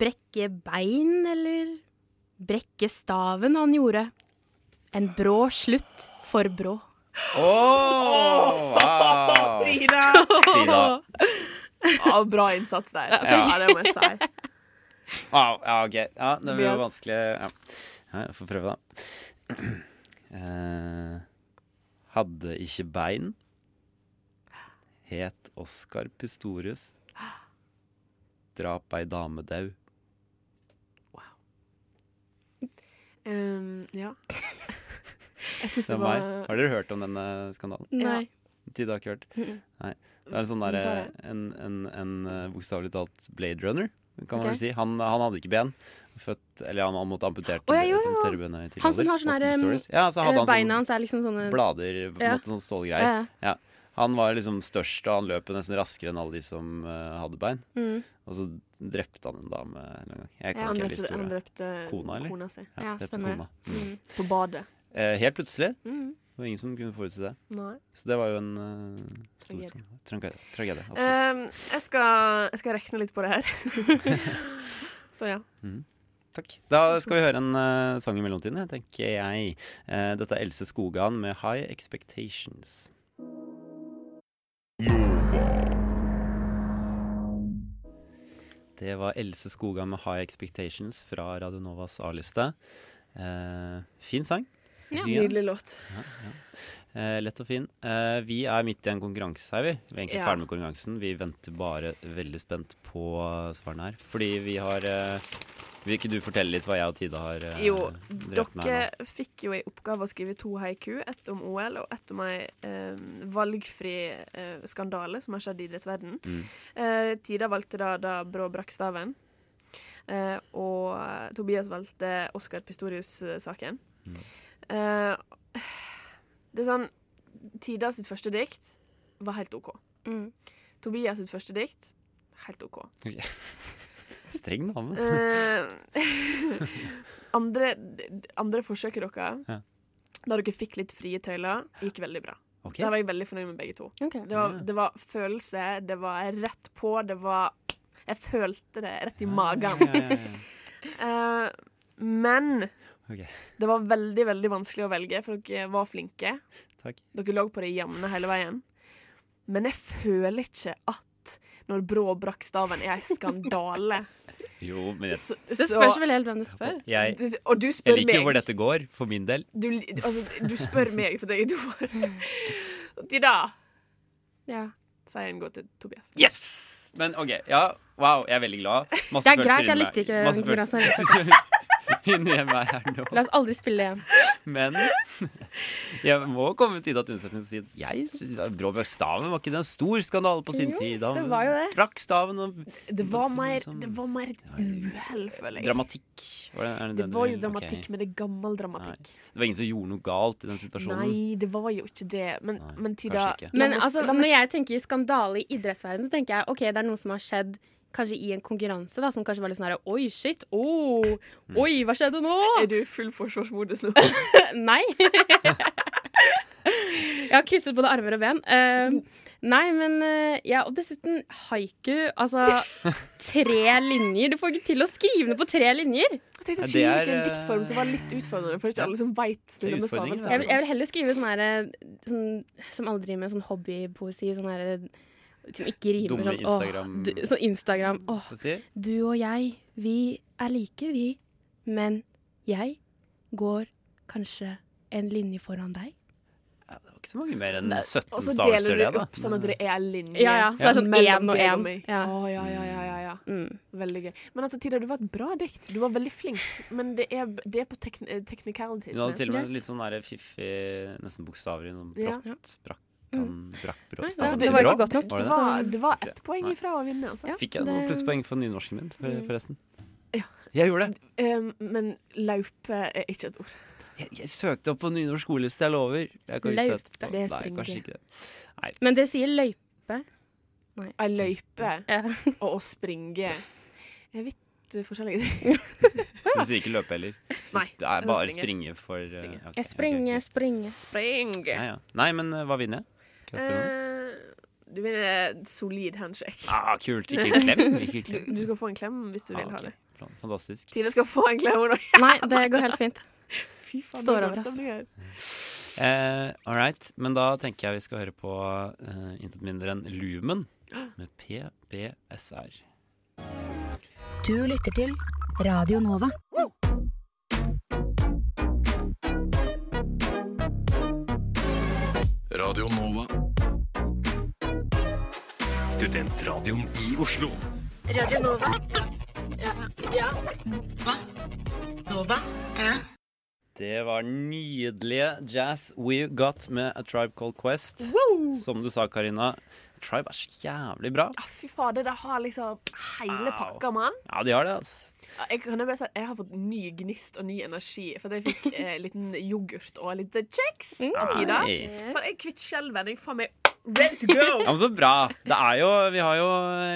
Speaker 1: Brekke bein, eller brekke staven han gjorde. En brå slutt for brå.
Speaker 3: Åh, wow!
Speaker 4: Ida!
Speaker 3: Frida.
Speaker 4: *laughs* Ja, bra innsats der. Ja, det må jeg si.
Speaker 3: Wow, Ah, ja, ok. Ja, det blir jo
Speaker 4: Tobias.
Speaker 3: vanskelig. Ja. ja, jeg får prøve, da. *clears throat* Eh, hadde ikke bein. Het Oskar Pistorius. Drap ei dame dau.
Speaker 4: Um,
Speaker 3: *laughs*
Speaker 4: ja. Jeg syns
Speaker 3: Det
Speaker 4: det
Speaker 3: er meg.
Speaker 4: var
Speaker 3: Har dere hørt om denne skandalen?
Speaker 1: Nei.
Speaker 3: Tida har ikke hørt.
Speaker 1: Mm.
Speaker 3: Nei. Det er en sånn derre
Speaker 4: Tar
Speaker 3: En, en, en eh, bokstavelig talt Blade Runner, kan man
Speaker 1: Ok.
Speaker 3: vel si. Han, han hadde ikke ben. Født Eller han, han måtte amputert
Speaker 1: Å, ja, jo, jo.
Speaker 3: amputere bena i tidlig
Speaker 1: Han som
Speaker 3: alder.
Speaker 1: har sånn
Speaker 3: Oscar
Speaker 1: her, em,
Speaker 3: Pistorius. ja, så hadde
Speaker 1: Eh,
Speaker 3: han sånn-
Speaker 1: Beina hans er liksom sånne
Speaker 3: blader, på en
Speaker 1: Ja.
Speaker 3: måte sånn stålgreier.
Speaker 1: Ja,
Speaker 3: Han var liksom størst, og han løp jo nesten raskere enn alle de som eh, hadde bein.
Speaker 1: ja. mm.
Speaker 3: Og så drepte han en dame en gang. Jeg
Speaker 1: Ja,
Speaker 3: kan
Speaker 1: han
Speaker 4: Han
Speaker 3: ikke hele
Speaker 4: drepte, han
Speaker 3: historien.
Speaker 4: drepte
Speaker 3: Kona, eller?
Speaker 4: si.
Speaker 3: Ja,
Speaker 1: Ja,
Speaker 3: drepte
Speaker 1: stemmer.
Speaker 3: kona.
Speaker 1: Mm.
Speaker 4: På badet.
Speaker 3: Eh, helt plutselig.
Speaker 4: Mm.
Speaker 3: Det var ingen som kunne forutse det.
Speaker 4: Nei.
Speaker 3: Så det var jo en eh, stor
Speaker 4: Tragedie.
Speaker 3: skandale. tragedie. tragedie
Speaker 1: Eh,
Speaker 3: absolutt.
Speaker 4: Um, jeg, skal, jeg skal rekne litt på det her.
Speaker 3: *laughs*
Speaker 4: Så ja.
Speaker 3: Takk. Da skal vi høre en eh, sang i mellomtiden, jeg, tenker jeg. Eh, dette er Else Skogan med 'High Expectations'. Det var Else Skogan med 'High Expectations' fra Radio Novas A-liste. Eh, fin sang.
Speaker 1: Ja,
Speaker 3: Synes jeg.
Speaker 4: Nydelig låt.
Speaker 3: Ja, ja. Eh, lett og fin. Eh, vi er midt i en konkurranse her, vi. Vi er egentlig
Speaker 4: Ja.
Speaker 3: ferdig med konkurransen. Vi venter bare veldig spent på eh, svarene her. Fordi vi har eh, Vil ikke du fortelle litt hva jeg og Tida har eh,
Speaker 4: Jo,
Speaker 3: drevet med her nå?
Speaker 4: Dere fikk jo i oppgave å skrive to haiku. Ett om OL og ett om ei eh, valgfri eh, skandale som har skjedd i idrettsverden.
Speaker 3: Mm.
Speaker 4: Eh, Tida valgte da, da Brå brakk staven. Eh, og eh, Tobias valgte Oskar Pistorius-saken.
Speaker 3: Mm.
Speaker 4: Eh, det er sånn Tida sitt første dikt var helt OK.
Speaker 1: Mm.
Speaker 4: Tobias sitt første dikt helt OK.
Speaker 3: Streng dame.
Speaker 4: Eh, *laughs* andre, andre forsøket dere,
Speaker 3: Ja.
Speaker 4: da dere fikk litt frie tøyler, gikk veldig bra.
Speaker 3: Ok.
Speaker 4: Der var jeg veldig fornøyd med begge to.
Speaker 1: Ok.
Speaker 4: Det var,
Speaker 3: Ja.
Speaker 4: det var følelse, det var rett på, det var Jeg følte det rett i magen.
Speaker 3: Ja, ja, Ah. *laughs* ja,
Speaker 4: Eh, men
Speaker 3: Ok.
Speaker 4: det var veldig, veldig vanskelig å velge, for dere var flinke.
Speaker 3: Takk.
Speaker 4: Dere lå på det jevne hele veien. Men jeg føler ikke at når Brå brakk staven, er ei skandale.
Speaker 3: *laughs* ja. Jo, men jeg,
Speaker 4: Så,
Speaker 1: Det spørs vel helt hvem du spør.
Speaker 3: jeg,
Speaker 4: Og du
Speaker 3: jeg
Speaker 4: spør
Speaker 3: liker jo hvor
Speaker 4: meg.
Speaker 3: dette går, for min del.
Speaker 4: Du, altså, du spør meg, for det er du. *laughs* Tida,
Speaker 1: Ja.
Speaker 4: sier en gå til Tobias.
Speaker 3: Yes! Men OK. Ja, wow, jeg er veldig glad. Masse
Speaker 1: Det er
Speaker 3: følelser
Speaker 1: greit,
Speaker 3: inni
Speaker 1: jeg
Speaker 3: meg.
Speaker 1: likte ikke
Speaker 3: Masse
Speaker 1: den konkurransen. her.
Speaker 3: følelser *laughs* inni meg her nå.
Speaker 1: La oss aldri spille det igjen.
Speaker 3: Men *laughs* jeg må komme til Ida Tundsetning og si at jeg sy- Bråbjørg Staven var ikke det en stor skandale på sin
Speaker 1: Jo,
Speaker 3: tid. Han
Speaker 1: det var jo det.
Speaker 3: Brakk staven og
Speaker 4: Det var
Speaker 3: Noe
Speaker 4: mer,
Speaker 3: som-
Speaker 4: det var mer et uhell, føler jeg.
Speaker 3: sånn- dramatikk. Var det, er det,
Speaker 4: Det
Speaker 3: den du
Speaker 4: var
Speaker 3: vil?
Speaker 4: jo
Speaker 3: Ok.
Speaker 4: dramatikk, men det er gammel dramatikk.
Speaker 3: Det var ingen som gjorde noe galt i den situasjonen.
Speaker 4: Nei, det var jo ikke det. Men,
Speaker 3: Nei,
Speaker 4: men Tida
Speaker 3: kanskje ikke.
Speaker 1: Men
Speaker 4: la meg-
Speaker 1: altså,
Speaker 4: la meg-
Speaker 1: når jeg tenker skandale i idrettsverden, så tenker jeg OK, det er noe som har skjedd kanskje i en konkurranse, da, som kanskje var litt sånn her Oi, shit. Oh,
Speaker 4: *laughs*
Speaker 1: oi, hva skjedde nå?
Speaker 4: Er du i full forsvarsmodus nå?
Speaker 1: Nei. Jeg har krysset både armer og ben. Eh, nei, men eh, ja, Og dessuten haiku. Altså, tre linjer. Du får ikke til å skrive ned på tre linjer.
Speaker 4: Jeg tenkte jeg
Speaker 3: Det
Speaker 4: skulle gi
Speaker 3: er,
Speaker 4: en diktform som var litt utfordrende, for det er ikke alle som veit
Speaker 3: Det er
Speaker 4: det med
Speaker 3: utfordringen,
Speaker 4: stavelser.
Speaker 1: Jeg vil, jeg vil heller skrive sånn her eh, sånn, Som alle driver med, sånn hobbypoesi. Sånn her eh, som ikke rimer.
Speaker 3: Dumme
Speaker 1: sånn, åh,
Speaker 3: Instagram-
Speaker 1: du, sånn Instagram. Åh,
Speaker 3: Hva sier?
Speaker 1: du og jeg, vi er like, vi. Men jeg går kanskje en linje foran deg.
Speaker 3: Ja, det var ikke så mange mer enn 17
Speaker 4: Og så
Speaker 3: stavelser,
Speaker 4: deler du
Speaker 3: det, da. Mm.
Speaker 4: opp sånn at det er en linje
Speaker 1: Ja, ja, så det er sånn
Speaker 4: mellom
Speaker 1: en og
Speaker 4: deg
Speaker 1: en.
Speaker 4: meg.
Speaker 1: Ja.
Speaker 4: Å, ja, ja, ja, ja, ja.
Speaker 1: Mm.
Speaker 4: Veldig gøy. Men altså, Tida, du var et bra dikt. Du var veldig flink, men det er, det er på tekn eh, technicalities.
Speaker 3: Du hadde
Speaker 4: med.
Speaker 3: til og med
Speaker 1: Greit.
Speaker 3: litt sånn der fiffig, nesten bokstaver i noen
Speaker 4: Ja. Mm.
Speaker 3: brått, brakk, kan, brakk,
Speaker 1: Nei,
Speaker 3: brått.
Speaker 1: det,
Speaker 4: det
Speaker 1: det
Speaker 4: var
Speaker 1: var
Speaker 4: bra.
Speaker 1: ikke godt nok.
Speaker 3: Var Altså,
Speaker 4: Det
Speaker 3: det
Speaker 4: var, det var ett
Speaker 3: Ok.
Speaker 4: poeng
Speaker 3: Nei.
Speaker 4: ifra å vinne, altså.
Speaker 1: Ja,
Speaker 3: Fikk jeg noen
Speaker 1: det-
Speaker 3: plusspoeng for nynorsken min, for, forresten?
Speaker 4: Mm. Ja.
Speaker 3: Jeg gjorde det.
Speaker 4: Um, men laupe er ikke et ord.
Speaker 3: Jeg, jeg søkte opp på nynorsk skoleliste, jeg lover. Jeg kan ikke
Speaker 1: Løype.
Speaker 3: se etterpå.
Speaker 4: Det
Speaker 3: Nei,
Speaker 4: springer.
Speaker 3: kanskje ikke det.
Speaker 1: Men det sier eh, løype.
Speaker 4: Ei løype *laughs*
Speaker 1: Ja.
Speaker 4: og å springe er vidt eh, forskjellige ting.
Speaker 3: Du sier ikke løpe heller.
Speaker 4: Nei,
Speaker 3: Det er bare
Speaker 4: springe.
Speaker 3: springe for eh,
Speaker 4: Springe.
Speaker 3: ok, ok, ok.
Speaker 1: Jeg springer, springer.
Speaker 4: Spring!
Speaker 3: Ja, ja. Nei, men eh, hva vinner jeg? Kan jeg spørre om det?
Speaker 4: Eh, du vinner et solid handshake.
Speaker 3: Ah, kult. Ikke en klem. Ikke en
Speaker 4: Du,
Speaker 3: klem.
Speaker 4: du skal få en klem hvis du
Speaker 3: Ah,
Speaker 4: vil ha
Speaker 3: ok.
Speaker 4: det.
Speaker 3: Fantastisk.
Speaker 4: Tida skal få en klem. Nå.
Speaker 1: Nei, det går helt fint.
Speaker 4: Fy faen,
Speaker 1: Står
Speaker 4: det er
Speaker 1: over
Speaker 4: godt
Speaker 1: oss.
Speaker 4: å bli her.
Speaker 3: Eh, all right, men da tenker jeg vi skal høre på eh, intet mindre enn Lumen med PBSR.
Speaker 8: Du lytter til Radio Nova.
Speaker 9: Radio Nova. Studentradioen i Oslo.
Speaker 8: Radio Nova. Ja. Hva? Nova.
Speaker 3: Det var nydelige Jazz We Got med A Tribe Called Quest. Som du sa, Karina, Tribe er så jævlig bra.
Speaker 4: Ah, Fy fader, det har liksom hele
Speaker 3: Au.
Speaker 4: pakka, mann.
Speaker 3: Ja, de har det, altså.
Speaker 4: Ja, Jeg kan jo bare si at jeg har fått ny gnist og ny energi. For at jeg fikk
Speaker 3: *laughs*
Speaker 4: eh, liten yoghurt og litt kjeks
Speaker 3: Mm.
Speaker 4: av Tida.
Speaker 3: Nei.
Speaker 4: For jeg er kvitt skjelven. Jeg er faen meg ready to go!
Speaker 3: Ja, men Så bra. Det er jo, vi har jo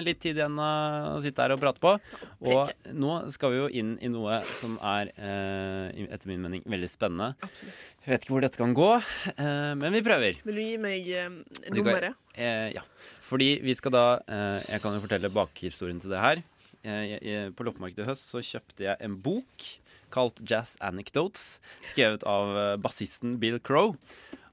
Speaker 3: litt tid igjen å sitte her og prate på. Og nå skal vi jo inn i noe som er, eh, etter min mening, veldig spennende.
Speaker 4: Absolutt.
Speaker 3: Jeg vet ikke hvor dette kan gå, eh, men vi prøver.
Speaker 4: Vil du gi meg eh,
Speaker 3: Du kan-
Speaker 4: nummeret?
Speaker 3: Eh, ja. Fordi vi skal da eh, Jeg kan jo fortelle bakhistorien til det her. Eh, jeg, jeg, på loppemarkedet i høst så kjøpte jeg en bok kalt Jazz Anecdotes, skrevet av eh, bassisten Bill Crow.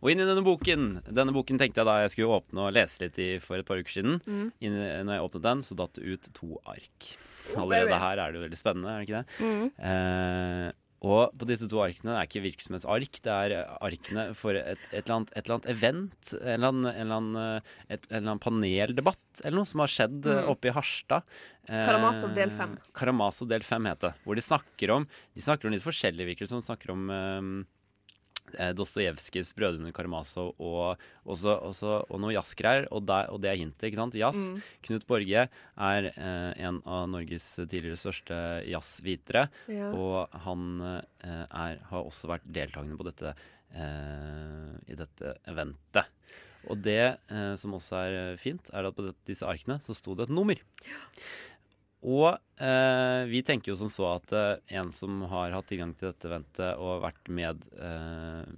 Speaker 3: Og inn i denne boken Denne boken tenkte jeg da jeg skulle åpne og lese litt i for et par uker siden. Inn, i- når jeg åpnet den, så datt det ut to ark. Allerede her er det jo veldig spennende, er det ikke det? Eh, og på disse to arkene det er ikke virksomhetsark, det er eh, arkene for et, et, eller, annet, et eller annet event, en eller annen, en eller annen, eh, et, en eller annen paneldebatt eller noe som har skjedd eh, oppe i Harstad. Eh,
Speaker 4: Karamazov Mm. del fem.
Speaker 3: Karamazov del 5 heter det. Hvor de snakker om De snakker om litt forskjellig, virker det som. De snakker om eh, Dostojevskijs 'Brødrene Karamazov' og, også, også, og noe jazzgreier. Og, der- og det er hintet, ikke sant? Jazz. Knut Borge er eh, en av Norges tidligere største jazzvitere.
Speaker 4: Ja.
Speaker 3: Og han eh, er, har også vært deltakende på dette, eh, i dette eventet. Og det eh, som også er eh, fint, er at på det, disse arkene så sto det et nummer. Og eh, vi tenker jo som så at eh, en som har hatt tilgang til dette eventet og vært med eh,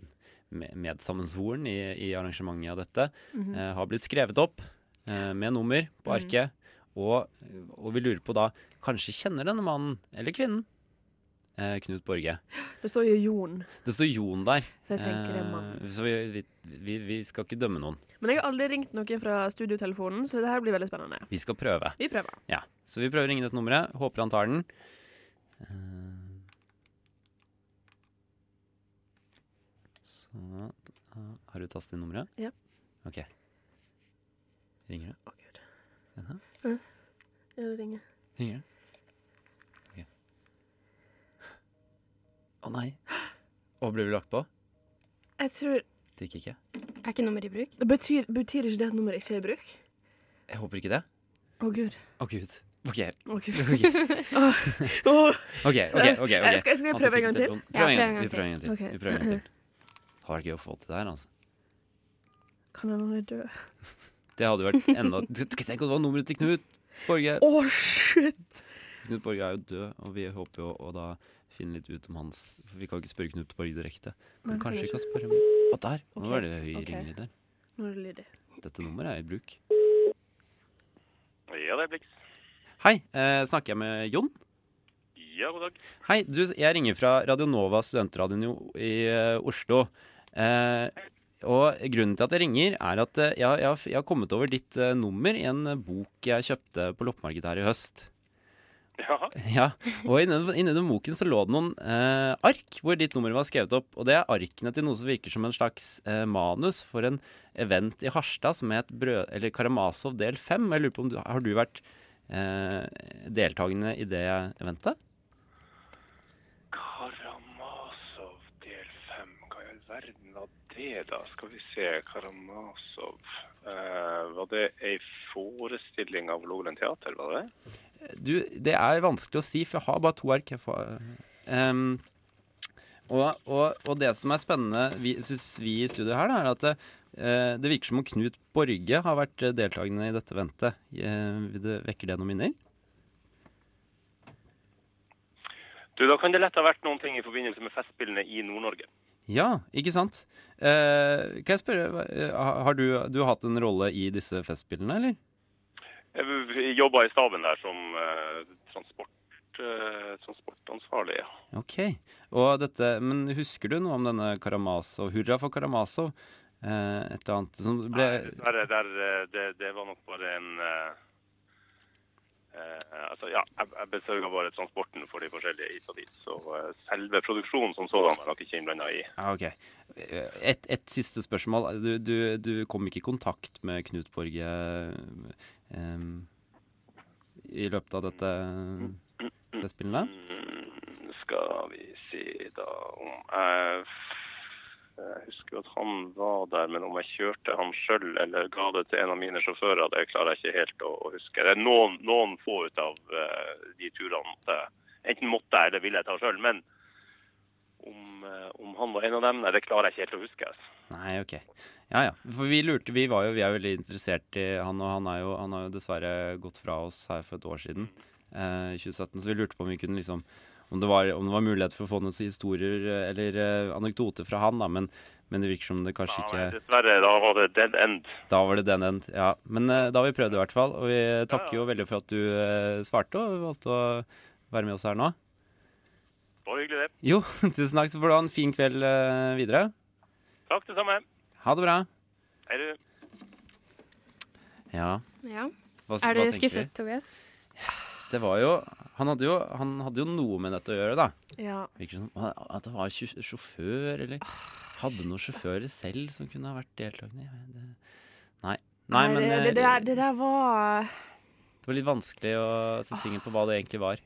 Speaker 3: med- medsammensvoren i, i arrangementet av dette,
Speaker 4: Mhm.
Speaker 3: eh, har blitt skrevet opp eh, med nummer på arket. Og, og vi lurer på da Kanskje kjenner denne mannen eller kvinnen eh, Knut Borge.
Speaker 4: Det står jo Jon,
Speaker 3: Det står Jon der.
Speaker 4: så jeg tenker det er mann.
Speaker 3: Eh, så vi, vi, vi, vi skal ikke dømme noen.
Speaker 4: Men jeg har aldri ringt noen fra studiotelefonen, så det her blir veldig spennende.
Speaker 3: Vi skal prøve.
Speaker 4: Vi prøver.
Speaker 3: Ja. Så vi prøver å ringe dette nummeret. Håper han tar den. Eh, Så eh, Har du tastet inn nummeret?
Speaker 4: Ja.
Speaker 3: OK. Ringer det?
Speaker 4: Å, Gud.
Speaker 3: Denne?
Speaker 4: Ja, det ringer.
Speaker 3: Ringer det? Ok. Å nei. Og ble vi lagt på?
Speaker 4: Jeg tror,
Speaker 3: Det gikk ikke.
Speaker 1: Er ikke nummeret i bruk?
Speaker 4: det betyr, betyr ikke det at nummeret ikke er i bruk?
Speaker 3: Jeg håper ikke det.
Speaker 4: Å, gud.
Speaker 3: Å, gud.
Speaker 4: *laughs*
Speaker 3: OK.
Speaker 4: Å,
Speaker 3: *laughs*
Speaker 4: gud.
Speaker 3: OK.
Speaker 4: Åh.
Speaker 3: Ok, ok, ok, ok.
Speaker 4: Eh, skal- skal jeg prøve en gang til?
Speaker 1: Ja,
Speaker 3: Prøv en gang til. Vi prøver en gang til.
Speaker 4: Ok.
Speaker 3: Vi prøver en gang til. Det hadde vært gøy å få til det her, altså.
Speaker 4: Kan han være død?
Speaker 3: Det hadde vært
Speaker 4: *laughs*
Speaker 3: enda Tenk om det var nummeret til Knut Borge.
Speaker 4: Å, shit!
Speaker 3: Knut Borge er jo død, og vi håper jo å da finne litt ut om hans For vi kan jo ikke spørre Knut Borge direkte. Men kanskje vi kan spørre om Og der. Nå
Speaker 4: Ok,
Speaker 3: var det høy
Speaker 4: ok.
Speaker 3: ringlyd der.
Speaker 4: Nå er det lydig.
Speaker 3: Dette nummeret er i bruk.
Speaker 11: Ja, det er Blix.
Speaker 3: Hei, eh, snakker jeg med Jon?
Speaker 11: Ja, god dag.
Speaker 3: Hei, du, jeg ringer fra Radionova studentradioen i- i eh, Oslo. Eh, og grunnen til at jeg ringer, er at eh, jeg, har- jeg, har f- jeg har kommet over ditt eh, nummer i en eh, bok jeg kjøpte på loppemarkedet her i høst.
Speaker 11: Ja.
Speaker 3: *laughs* Ja, og inni, inni den boken så lå det noen eh, ark hvor ditt nummer var skrevet opp. Og det er arkene til noe som virker som en slags eh, manus for en event i Harstad som het Brød, eller Karamazov del 5. Jeg lurer på om du, har du vært eh, deltakende i det eventet?
Speaker 11: Karamazov del 5. Hva i all verden var det, da? Skal vi se. Karamazov. Eh, var det ei forestilling av Hålogaland teater, var det det?
Speaker 3: Du, det er vanskelig å si, for jeg har bare to ark. Jeg får, Ehm, og, og, og det som er spennende, vi, synes vi i studio her, da, er at eh, det virker som om Knut Borge har vært eh, deltakende i dette eventet. Eh, vil det- vekker det noen minner?
Speaker 11: Du, da kan det lett ha vært noen ting i forbindelse med Festspillene i Nord-Norge.
Speaker 3: Ja, ikke sant? Eh, kan jeg spørre, hva- eh, ha- har du, du har hatt en rolle i disse festspillene, eller?
Speaker 11: Jeg jobba i staben der som eh, transport, eh, transportansvarlig. ja.
Speaker 3: Ok. Og dette, men husker du noe om denne Karamazov, Hurra for Karamazov? Eh, et eller annet som ble...
Speaker 11: Der, der, eh, det, det var nok bare en eh, eh, altså, ja, jeg, jeg besørga bare transporten for de forskjellige hit og dit. Så eh, selve produksjonen som sådan var jeg nok ikke innblanda i.
Speaker 3: Ja, Ah, ok. Eh, Et, et siste spørsmål. Du, du, du kom ikke i kontakt med Knut Borge em, i løpet av dette festspillene?
Speaker 11: Mm, Skal vi si da om jeg, jeg husker jo at han var der, men om jeg kjørte han sjøl eller ga det til en av mine sjåfører, det klarer jeg ikke helt å, å huske. Det er noen, noen få ut av eh, de turene måtte, enten måtte jeg eller ville jeg ta sjøl. Men om, eh, om han var en av dem, nei, det klarer jeg ikke helt å huske. altså.
Speaker 3: Nei, ok. Ja, ja. For vi lurte, vi var jo, vi er jo veldig interessert i han, og han, er jo, han har jo dessverre gått fra oss her for et år siden, eh, 2017, så vi lurte på om vi kunne liksom, om det var, om det var mulighet for å få noen historier eh, eller eh, anekdoter fra han da, men, men det virker som det kanskje ikke...
Speaker 11: Dessverre, da var det dead end.
Speaker 3: Da var det den end, ja. Men eh, da har vi prøvd i hvert fall, og vi takker jo veldig for at du eh, svarte og valgte å være med oss her nå.
Speaker 11: Bare hyggelig, det.
Speaker 3: Jo, *laughs* tusen takk. Så får du ha en fin kveld eh, videre.
Speaker 11: Takk, det samme.
Speaker 3: Ha det bra.
Speaker 11: Hei, du.
Speaker 3: Ja,
Speaker 1: Ja.
Speaker 3: Hva s-
Speaker 1: er du
Speaker 3: hva tenker vi?
Speaker 1: skuffet, Tobias?
Speaker 3: det var jo Han hadde jo, han hadde jo noe med dette å gjøre, da.
Speaker 1: Ja.
Speaker 3: Virker som at det var sj- sjåfør, eller Hadde noen sjåfører selv som kunne ha vært deltakende. Jeg vet det- Nei. Nei, men
Speaker 4: det, det,
Speaker 3: eh,
Speaker 4: der, det der var
Speaker 3: det var litt vanskelig å sette fingeren på hva det egentlig var.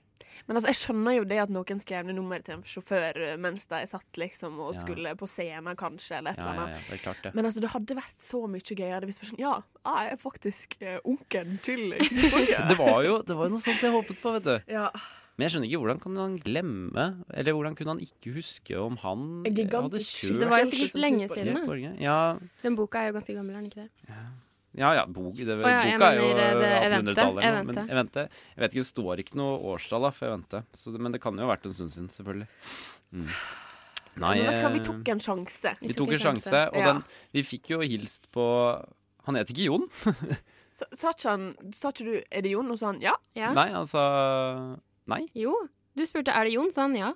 Speaker 4: Men altså, jeg skjønner jo det at noen skrev ned nummeret til en sjåfør eh, mens de satt liksom og
Speaker 3: Ja.
Speaker 4: skulle på scenen, kanskje, eller et
Speaker 3: Ja,
Speaker 4: eller
Speaker 3: ja,
Speaker 4: annet.
Speaker 3: ja, det er klart det.
Speaker 4: Men altså, det hadde vært så mye gøyere hvis man sånn, ja, ah, jeg er faktisk eh, onkelen
Speaker 3: *laughs*
Speaker 4: til Knut Borge.
Speaker 3: Det var jo det var jo noe sånt jeg håpet på, vet du.
Speaker 4: Ja.
Speaker 3: Men jeg skjønner ikke hvordan kan han glemme, eller hvordan kunne han ikke huske om han
Speaker 4: En
Speaker 3: eh, hadde
Speaker 4: gigantisk
Speaker 3: kjørt
Speaker 1: Det var jo sikkert lenge
Speaker 3: Knut
Speaker 1: siden.
Speaker 3: Borge?
Speaker 1: da.
Speaker 3: Ja,
Speaker 1: Den boka er jo ganske gammel, er den ikke det?
Speaker 3: ja, ja bok, det,
Speaker 1: Å ja, jeg
Speaker 3: boka er jo
Speaker 1: mener, eh, det
Speaker 3: eh,
Speaker 1: eventet,
Speaker 3: 1800-tallet. eller noe, Men
Speaker 1: eventet.
Speaker 3: eventet, jeg vet ikke, det står ikke noe årstall da, for eventet. Så, det- men det kan jo ha vært en stund siden, selvfølgelig. Mm. Nei,
Speaker 4: Men vet du hva, vi
Speaker 3: eh,
Speaker 4: tok en sjanse.
Speaker 3: vi tok en sjanse, og
Speaker 4: Ja.
Speaker 3: den, vi fikk jo hilst på Han het ikke Jon.
Speaker 4: Sa sa ikke han Sa ikke du 'er det Jon', og så han 'ja'?
Speaker 3: Nei, han sa Nei.
Speaker 1: Jo, du spurte er det Jon, sa han ja.
Speaker 4: Og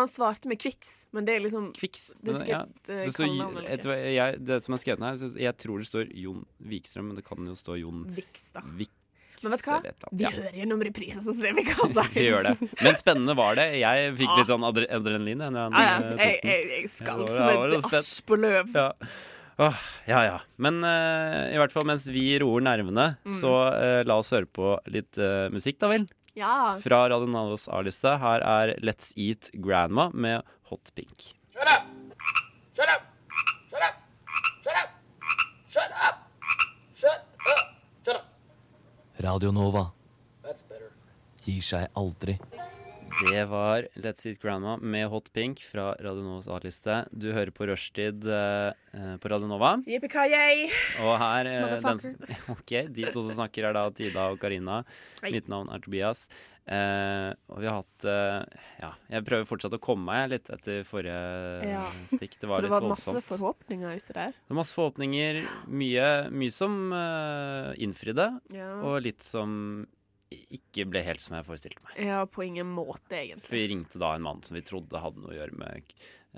Speaker 4: han svarte med Kviks, men det er liksom
Speaker 3: Kviks?
Speaker 4: Det er
Speaker 3: Men, ja,
Speaker 4: sikkert eh,
Speaker 3: det står-
Speaker 4: kallenavn eller
Speaker 3: vet du hva, jeg, det som er skrevet her, så jeg tror det står Jon Vikstrøm, men det kan jo stå Jon
Speaker 4: Viks, da.
Speaker 3: Viks.
Speaker 4: Men vet du hva?
Speaker 3: eller et eller annet.
Speaker 4: Vi
Speaker 3: Ja.
Speaker 4: hører gjennom reprisen, så ser vi
Speaker 3: *laughs*
Speaker 4: hva han sier.
Speaker 3: Vi gjør det. Men spennende var det. Jeg fikk litt sånn adre- adrenalin. jeg, når
Speaker 4: Ah. Ja, ja.
Speaker 3: eh, tok
Speaker 4: Jeg-
Speaker 3: den.
Speaker 4: jeg- jeg skalv
Speaker 3: Ja, det
Speaker 4: som
Speaker 3: var-
Speaker 4: et
Speaker 3: det var spent.
Speaker 4: aspeløv.
Speaker 3: Ja. Åh, ja ja. Men eh, i hvert fall mens vi roer nervene,
Speaker 4: Mm.
Speaker 3: så eh, la oss høre på litt eh, musikk, da vel.
Speaker 4: Ja.
Speaker 3: Fra Radio Navas A-liste. Her er Let's Eat Grandma med Hot Pink.
Speaker 8: Shut up! Shut up! Shut up! Shut up! Shut up! Shut up!
Speaker 12: Radio Nova
Speaker 8: That's better.
Speaker 12: gir seg aldri.
Speaker 3: Det var Let's Eat Grandma med Hot Pink fra Radio Novas A-liste. Du hører på Rushtid eh, eh, på Radio Nova.
Speaker 4: Yippee-ki-yay!
Speaker 3: Og her eh, den,
Speaker 4: Motherfucker.
Speaker 3: *laughs* Ok, de to som snakker er da Tida og Karina.
Speaker 4: Hei.
Speaker 3: Mitt navn er Tobias. Eh, og vi har hatt eh, Ja, jeg prøver fortsatt å komme meg litt etter forrige
Speaker 4: Ja.
Speaker 3: stikk. Det var
Speaker 4: For det
Speaker 3: litt
Speaker 4: var
Speaker 3: voldsomt.
Speaker 4: masse forhåpninger ute der.
Speaker 3: Det var masse forhåpninger. Mye, mye som eh, innfridde,
Speaker 4: Ja.
Speaker 3: og litt som ikke ble helt som jeg forestilte meg.
Speaker 4: Ja, på ingen måte, egentlig.
Speaker 3: For vi ringte da en mann som vi trodde hadde noe å gjøre med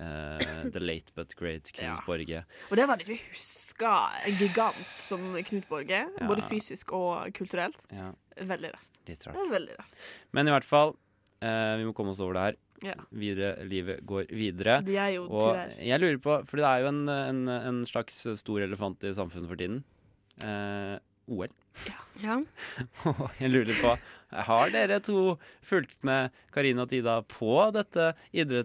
Speaker 3: eh, The Late But Great Knut
Speaker 4: Og det var det vi huska. En gigant som Knut Borge.
Speaker 3: Ja.
Speaker 4: Både fysisk og kulturelt.
Speaker 3: Ja.
Speaker 4: Veldig rart.
Speaker 3: Litt
Speaker 4: Det
Speaker 3: rart.
Speaker 4: er veldig rart.
Speaker 3: Men i hvert fall, eh, vi må komme oss over det her.
Speaker 4: Ja.
Speaker 3: Videre, livet går videre.
Speaker 4: Vi er jo
Speaker 3: og
Speaker 4: tyvärr.
Speaker 3: jeg lurer på, for det er jo en, en, en slags stor elefant i samfunnet for tiden. Eh, OL. *laughs*
Speaker 1: Ja.
Speaker 3: Og jeg lurer litt på, har dere to fulgt med Karina og Tida på dette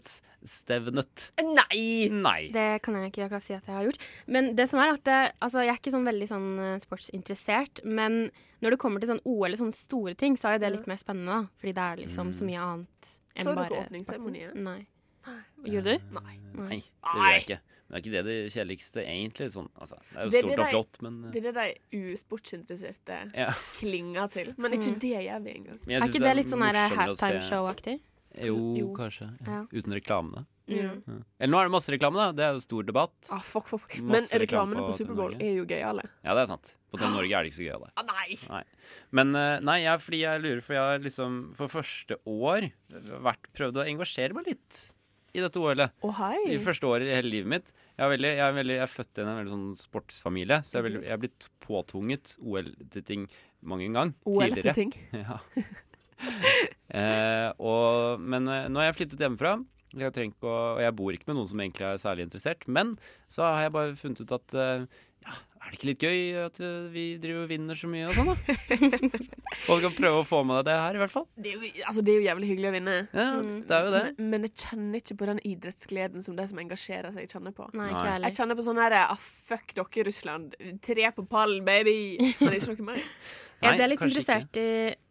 Speaker 3: idrettsstevnet?
Speaker 4: Eh, Nei!
Speaker 3: Nei.
Speaker 1: Det kan jeg ikke akkurat si at jeg har gjort. Men det som er at det, altså, jeg er ikke sånn veldig sånn eh, sportsinteressert. Men når det kommer til sånn OL eller sånne store ting, så er jo det litt mer spennende. da. Fordi det er liksom
Speaker 3: Mm.
Speaker 1: så mye annet enn
Speaker 4: Så du
Speaker 1: bare
Speaker 4: på
Speaker 1: sporten.
Speaker 4: åpningsseremonien?
Speaker 1: Nei. Gjorde du?
Speaker 4: Nei.
Speaker 3: Eh, Nei, det gjør jeg ikke. Men det er ikke det det kjedeligste, egentlig. Sånn, altså, det er jo
Speaker 4: Det er det
Speaker 3: stort og
Speaker 4: de-
Speaker 3: flott, men eh,
Speaker 4: Det er det de usportsinteresserte
Speaker 3: Ja.
Speaker 4: klinger til. Mm. Men ikke det gjør vi engang.
Speaker 3: Men jeg
Speaker 1: er
Speaker 3: synes
Speaker 1: ikke det, litt sånn her, eh,
Speaker 3: morsommere å se-
Speaker 1: halftime show-aktig?
Speaker 3: Jo,
Speaker 1: Jo.
Speaker 3: kanskje.
Speaker 1: Ja.
Speaker 3: Uten reklamene.
Speaker 4: Ja.
Speaker 1: Mm.
Speaker 3: Ja. Eller nå er det masse reklame, da. Det er jo stor debatt.
Speaker 4: Ah, fuck, fuck. fuck. Men
Speaker 3: Masse reklame
Speaker 4: reklamene
Speaker 3: på
Speaker 4: på Superbowl
Speaker 3: Telenor.
Speaker 4: er jo gøyale.
Speaker 3: Ja, det er sant. På TV Norge er det ikke så gøy av det.
Speaker 4: Ah, nei!
Speaker 3: Nei. Men eh, nei, jeg, fordi jeg lurer, for jeg har liksom for første år vært, prøvd å engasjere meg litt i dette OL-et.
Speaker 4: Å, hei.
Speaker 1: Mm.
Speaker 3: I første året i hele livet mitt. Jeg er, veldig, jeg er, veldig, jeg er født i en veldig sånn sportsfamilie, så jeg er,
Speaker 1: Mm.
Speaker 3: veldig, jeg er blitt påtvunget OL til ting mange ganger
Speaker 4: OL til
Speaker 3: tidligere.
Speaker 4: ting.
Speaker 3: *laughs* Ja. eh, og, men eh, nå har jeg flyttet hjemmefra. Jeg trenger ikke å, og jeg bor ikke med noen som egentlig er særlig interessert. Men så har jeg bare funnet ut at eh, ja, er det ikke litt gøy at eh, vi driver og vinner så mye og sånn, da?
Speaker 1: *laughs*
Speaker 3: Folk kan prøve å få med deg det her, i hvert fall.
Speaker 4: Det er, jo, altså, det er jo jævlig hyggelig å vinne.
Speaker 3: Ja,
Speaker 1: Mm.
Speaker 3: det er jo det.
Speaker 4: Men, men jeg kjenner ikke på den idrettsgleden som de som engasjerer seg, kjenner på.
Speaker 1: Nei,
Speaker 3: Nei.
Speaker 1: ikke jeg
Speaker 4: Jeg
Speaker 1: heller.
Speaker 4: kjenner på sånn her ah, Fuck dere, Russland. Tre på pallen, baby! Men det er ikke noe
Speaker 1: *laughs*
Speaker 4: mer.
Speaker 3: Nei,
Speaker 1: Jeg ble litt
Speaker 3: kanskje
Speaker 1: interessert i,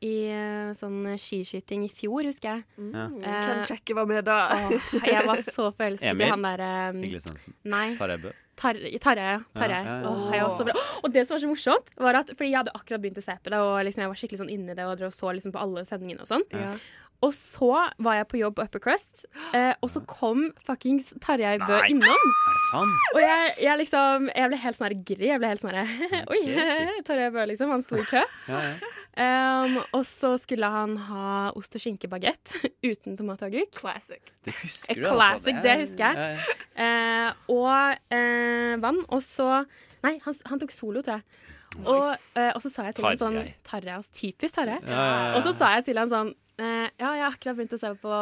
Speaker 1: i eh, sånn skiskyting i fjor, husker jeg.
Speaker 4: Mm,
Speaker 1: Eh,
Speaker 4: kan sjekke hva med, da.
Speaker 1: Åh, jeg var så forelsket
Speaker 3: Emil?
Speaker 1: i han derre
Speaker 3: Ikke Lisensen.
Speaker 1: Mm. Nei.
Speaker 3: Tarjei Bø.
Speaker 1: Tar Tarjei, ja. Tarjei.
Speaker 3: Ja, ja, ja.
Speaker 1: Åh, jeg var så bra. Og det som var så morsomt, var at Fordi jeg hadde akkurat begynt å se på det, og liksom jeg var skikkelig sånn inni det og drev og så liksom på alle sendingene og sånn.
Speaker 4: *laughs* Ja.
Speaker 1: Og så var jeg på jobb på Upper Crust, eh, og så kom fuckings Tarjei Bø
Speaker 3: *gasps*
Speaker 1: innom.
Speaker 3: Er det sant?
Speaker 1: Og jeg, jeg liksom Jeg ble helt sånn her gri. Jeg ble helt sånn her *laughs* Oi, Tarjei Bø, liksom. Han sto i kø.
Speaker 3: Ja, ja.
Speaker 1: Um, og så skulle han ha ost og skinkebagett *laughs* uten tomat og agurk.
Speaker 4: Classic.
Speaker 3: Det
Speaker 1: A
Speaker 3: husker du,
Speaker 1: classic,
Speaker 3: er-
Speaker 1: det husker jeg.
Speaker 3: Ja, ja.
Speaker 1: Eh, og eh, vann. Og så Nei, han, han tok solo, tror jeg. Og,
Speaker 4: Nice.
Speaker 1: eh, og så sa jeg til han sånn
Speaker 3: Tarjei.
Speaker 1: Tarjei, altså, typisk Tarjei.
Speaker 3: Ja, ja, ja.
Speaker 1: Og så sa jeg til han sånn eh, Ja, jeg har akkurat begynt å se på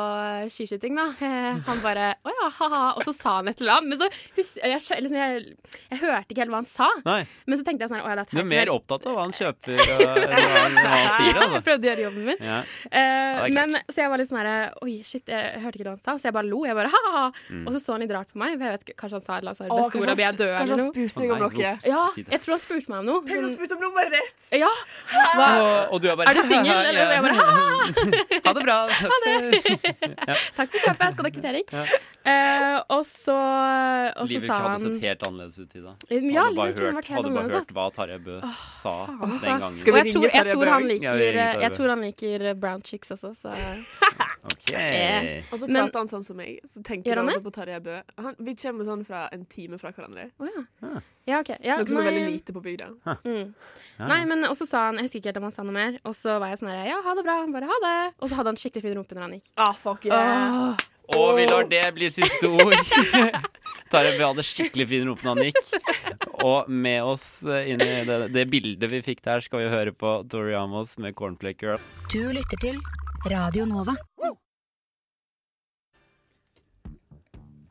Speaker 1: skiskyting, da. *laughs* Eh, han bare Å ja, ha-ha. Og så sa han et eller annet. Men så hus- jeg, skjø- liksom, jeg, jeg hørte ikke helt hva han sa.
Speaker 3: Nei,
Speaker 1: Men så tenkte jeg sånn Å ja, det er
Speaker 3: Du er
Speaker 1: Tarjei.
Speaker 3: mer opptatt av hva han kjøper og hva han, hva han sier.
Speaker 1: *laughs* Jeg
Speaker 3: Altså.
Speaker 1: prøvde å gjøre jobben min.
Speaker 3: Ja.
Speaker 1: Eh,
Speaker 3: det er klart.
Speaker 1: men, så jeg var litt sånn her Oi, shit, jeg hørte ikke hva han sa. Så jeg bare lo. Jeg bare, ha, ha, ha.
Speaker 3: Mm.
Speaker 1: Og så så han litt rart på meg. For jeg vet ikke, Kanskje han sa et eller annet, så er det
Speaker 4: Åh,
Speaker 1: store, og blir jeg død
Speaker 4: kanskje
Speaker 1: eller
Speaker 4: han
Speaker 1: noe.
Speaker 4: spurte meg om
Speaker 3: Å, nei,
Speaker 4: noe.
Speaker 3: uff.
Speaker 1: Ja,
Speaker 3: Si det.
Speaker 1: jeg tror han spurte meg om noe.
Speaker 4: Tenk å
Speaker 1: Sånn,
Speaker 4: spurte om nummeret ditt!
Speaker 1: ja, hva,
Speaker 3: Og, og du er bare
Speaker 1: Er du singel,
Speaker 3: Ja.
Speaker 1: eller? Og jeg bare,
Speaker 3: Ha
Speaker 1: *laughs*
Speaker 3: det bra. Ha *laughs* det.
Speaker 1: Takk for kjøpet, jeg skal ha kvittering. Eh, og så, og så
Speaker 3: Livet ikke
Speaker 1: sa
Speaker 3: hadde
Speaker 1: han
Speaker 3: sett helt annerledes ut i dag.
Speaker 1: Ja,
Speaker 3: hadde bare
Speaker 1: livet kunne
Speaker 3: hørt,
Speaker 1: vært helt
Speaker 3: hadde bare
Speaker 1: annerledes.
Speaker 3: hørt hva Tarjei Bø sa den gangen.
Speaker 1: Og
Speaker 4: Skal vi
Speaker 1: jeg
Speaker 4: ringe
Speaker 1: tror, jeg
Speaker 4: Tarjei
Speaker 1: tror han
Speaker 4: Bø?
Speaker 3: Ja,
Speaker 1: liker,
Speaker 3: vi ringer Tarjei
Speaker 1: jeg
Speaker 3: Bø.
Speaker 1: tror han liker eh, brown chicks også, så
Speaker 3: Ok.
Speaker 1: Eh.
Speaker 4: Og så
Speaker 1: Men-
Speaker 4: prater han sånn som meg. Så
Speaker 1: Gjør
Speaker 4: tenker
Speaker 1: han
Speaker 4: han
Speaker 1: det?
Speaker 4: på Tarjei Bø. Han, vi kommer sånn fra en time fra hverandre.
Speaker 1: Å
Speaker 3: Ah.
Speaker 1: ja. Ja, OK. Ja,
Speaker 4: Noe som er
Speaker 1: nei.
Speaker 4: veldig lite på bygda.
Speaker 1: Mm. Nei, men og så sa han Jeg husker ikke helt om han sa noe mer. Og så var jeg sånn her Ja, ha det bra. Han bare ha det. Og så hadde han skikkelig fin rumpe når han gikk.
Speaker 4: Ah, fuck
Speaker 1: Yeah.
Speaker 3: Og vi lar det bli siste ord. *laughs* Tarjei Bø hadde skikkelig fin rumpe da han gikk. Og med oss eh, inn i det, det bildet vi fikk der, skal vi høre på Tori Amos med Cornflake Girl.
Speaker 12: Du lytter til Radio Nova.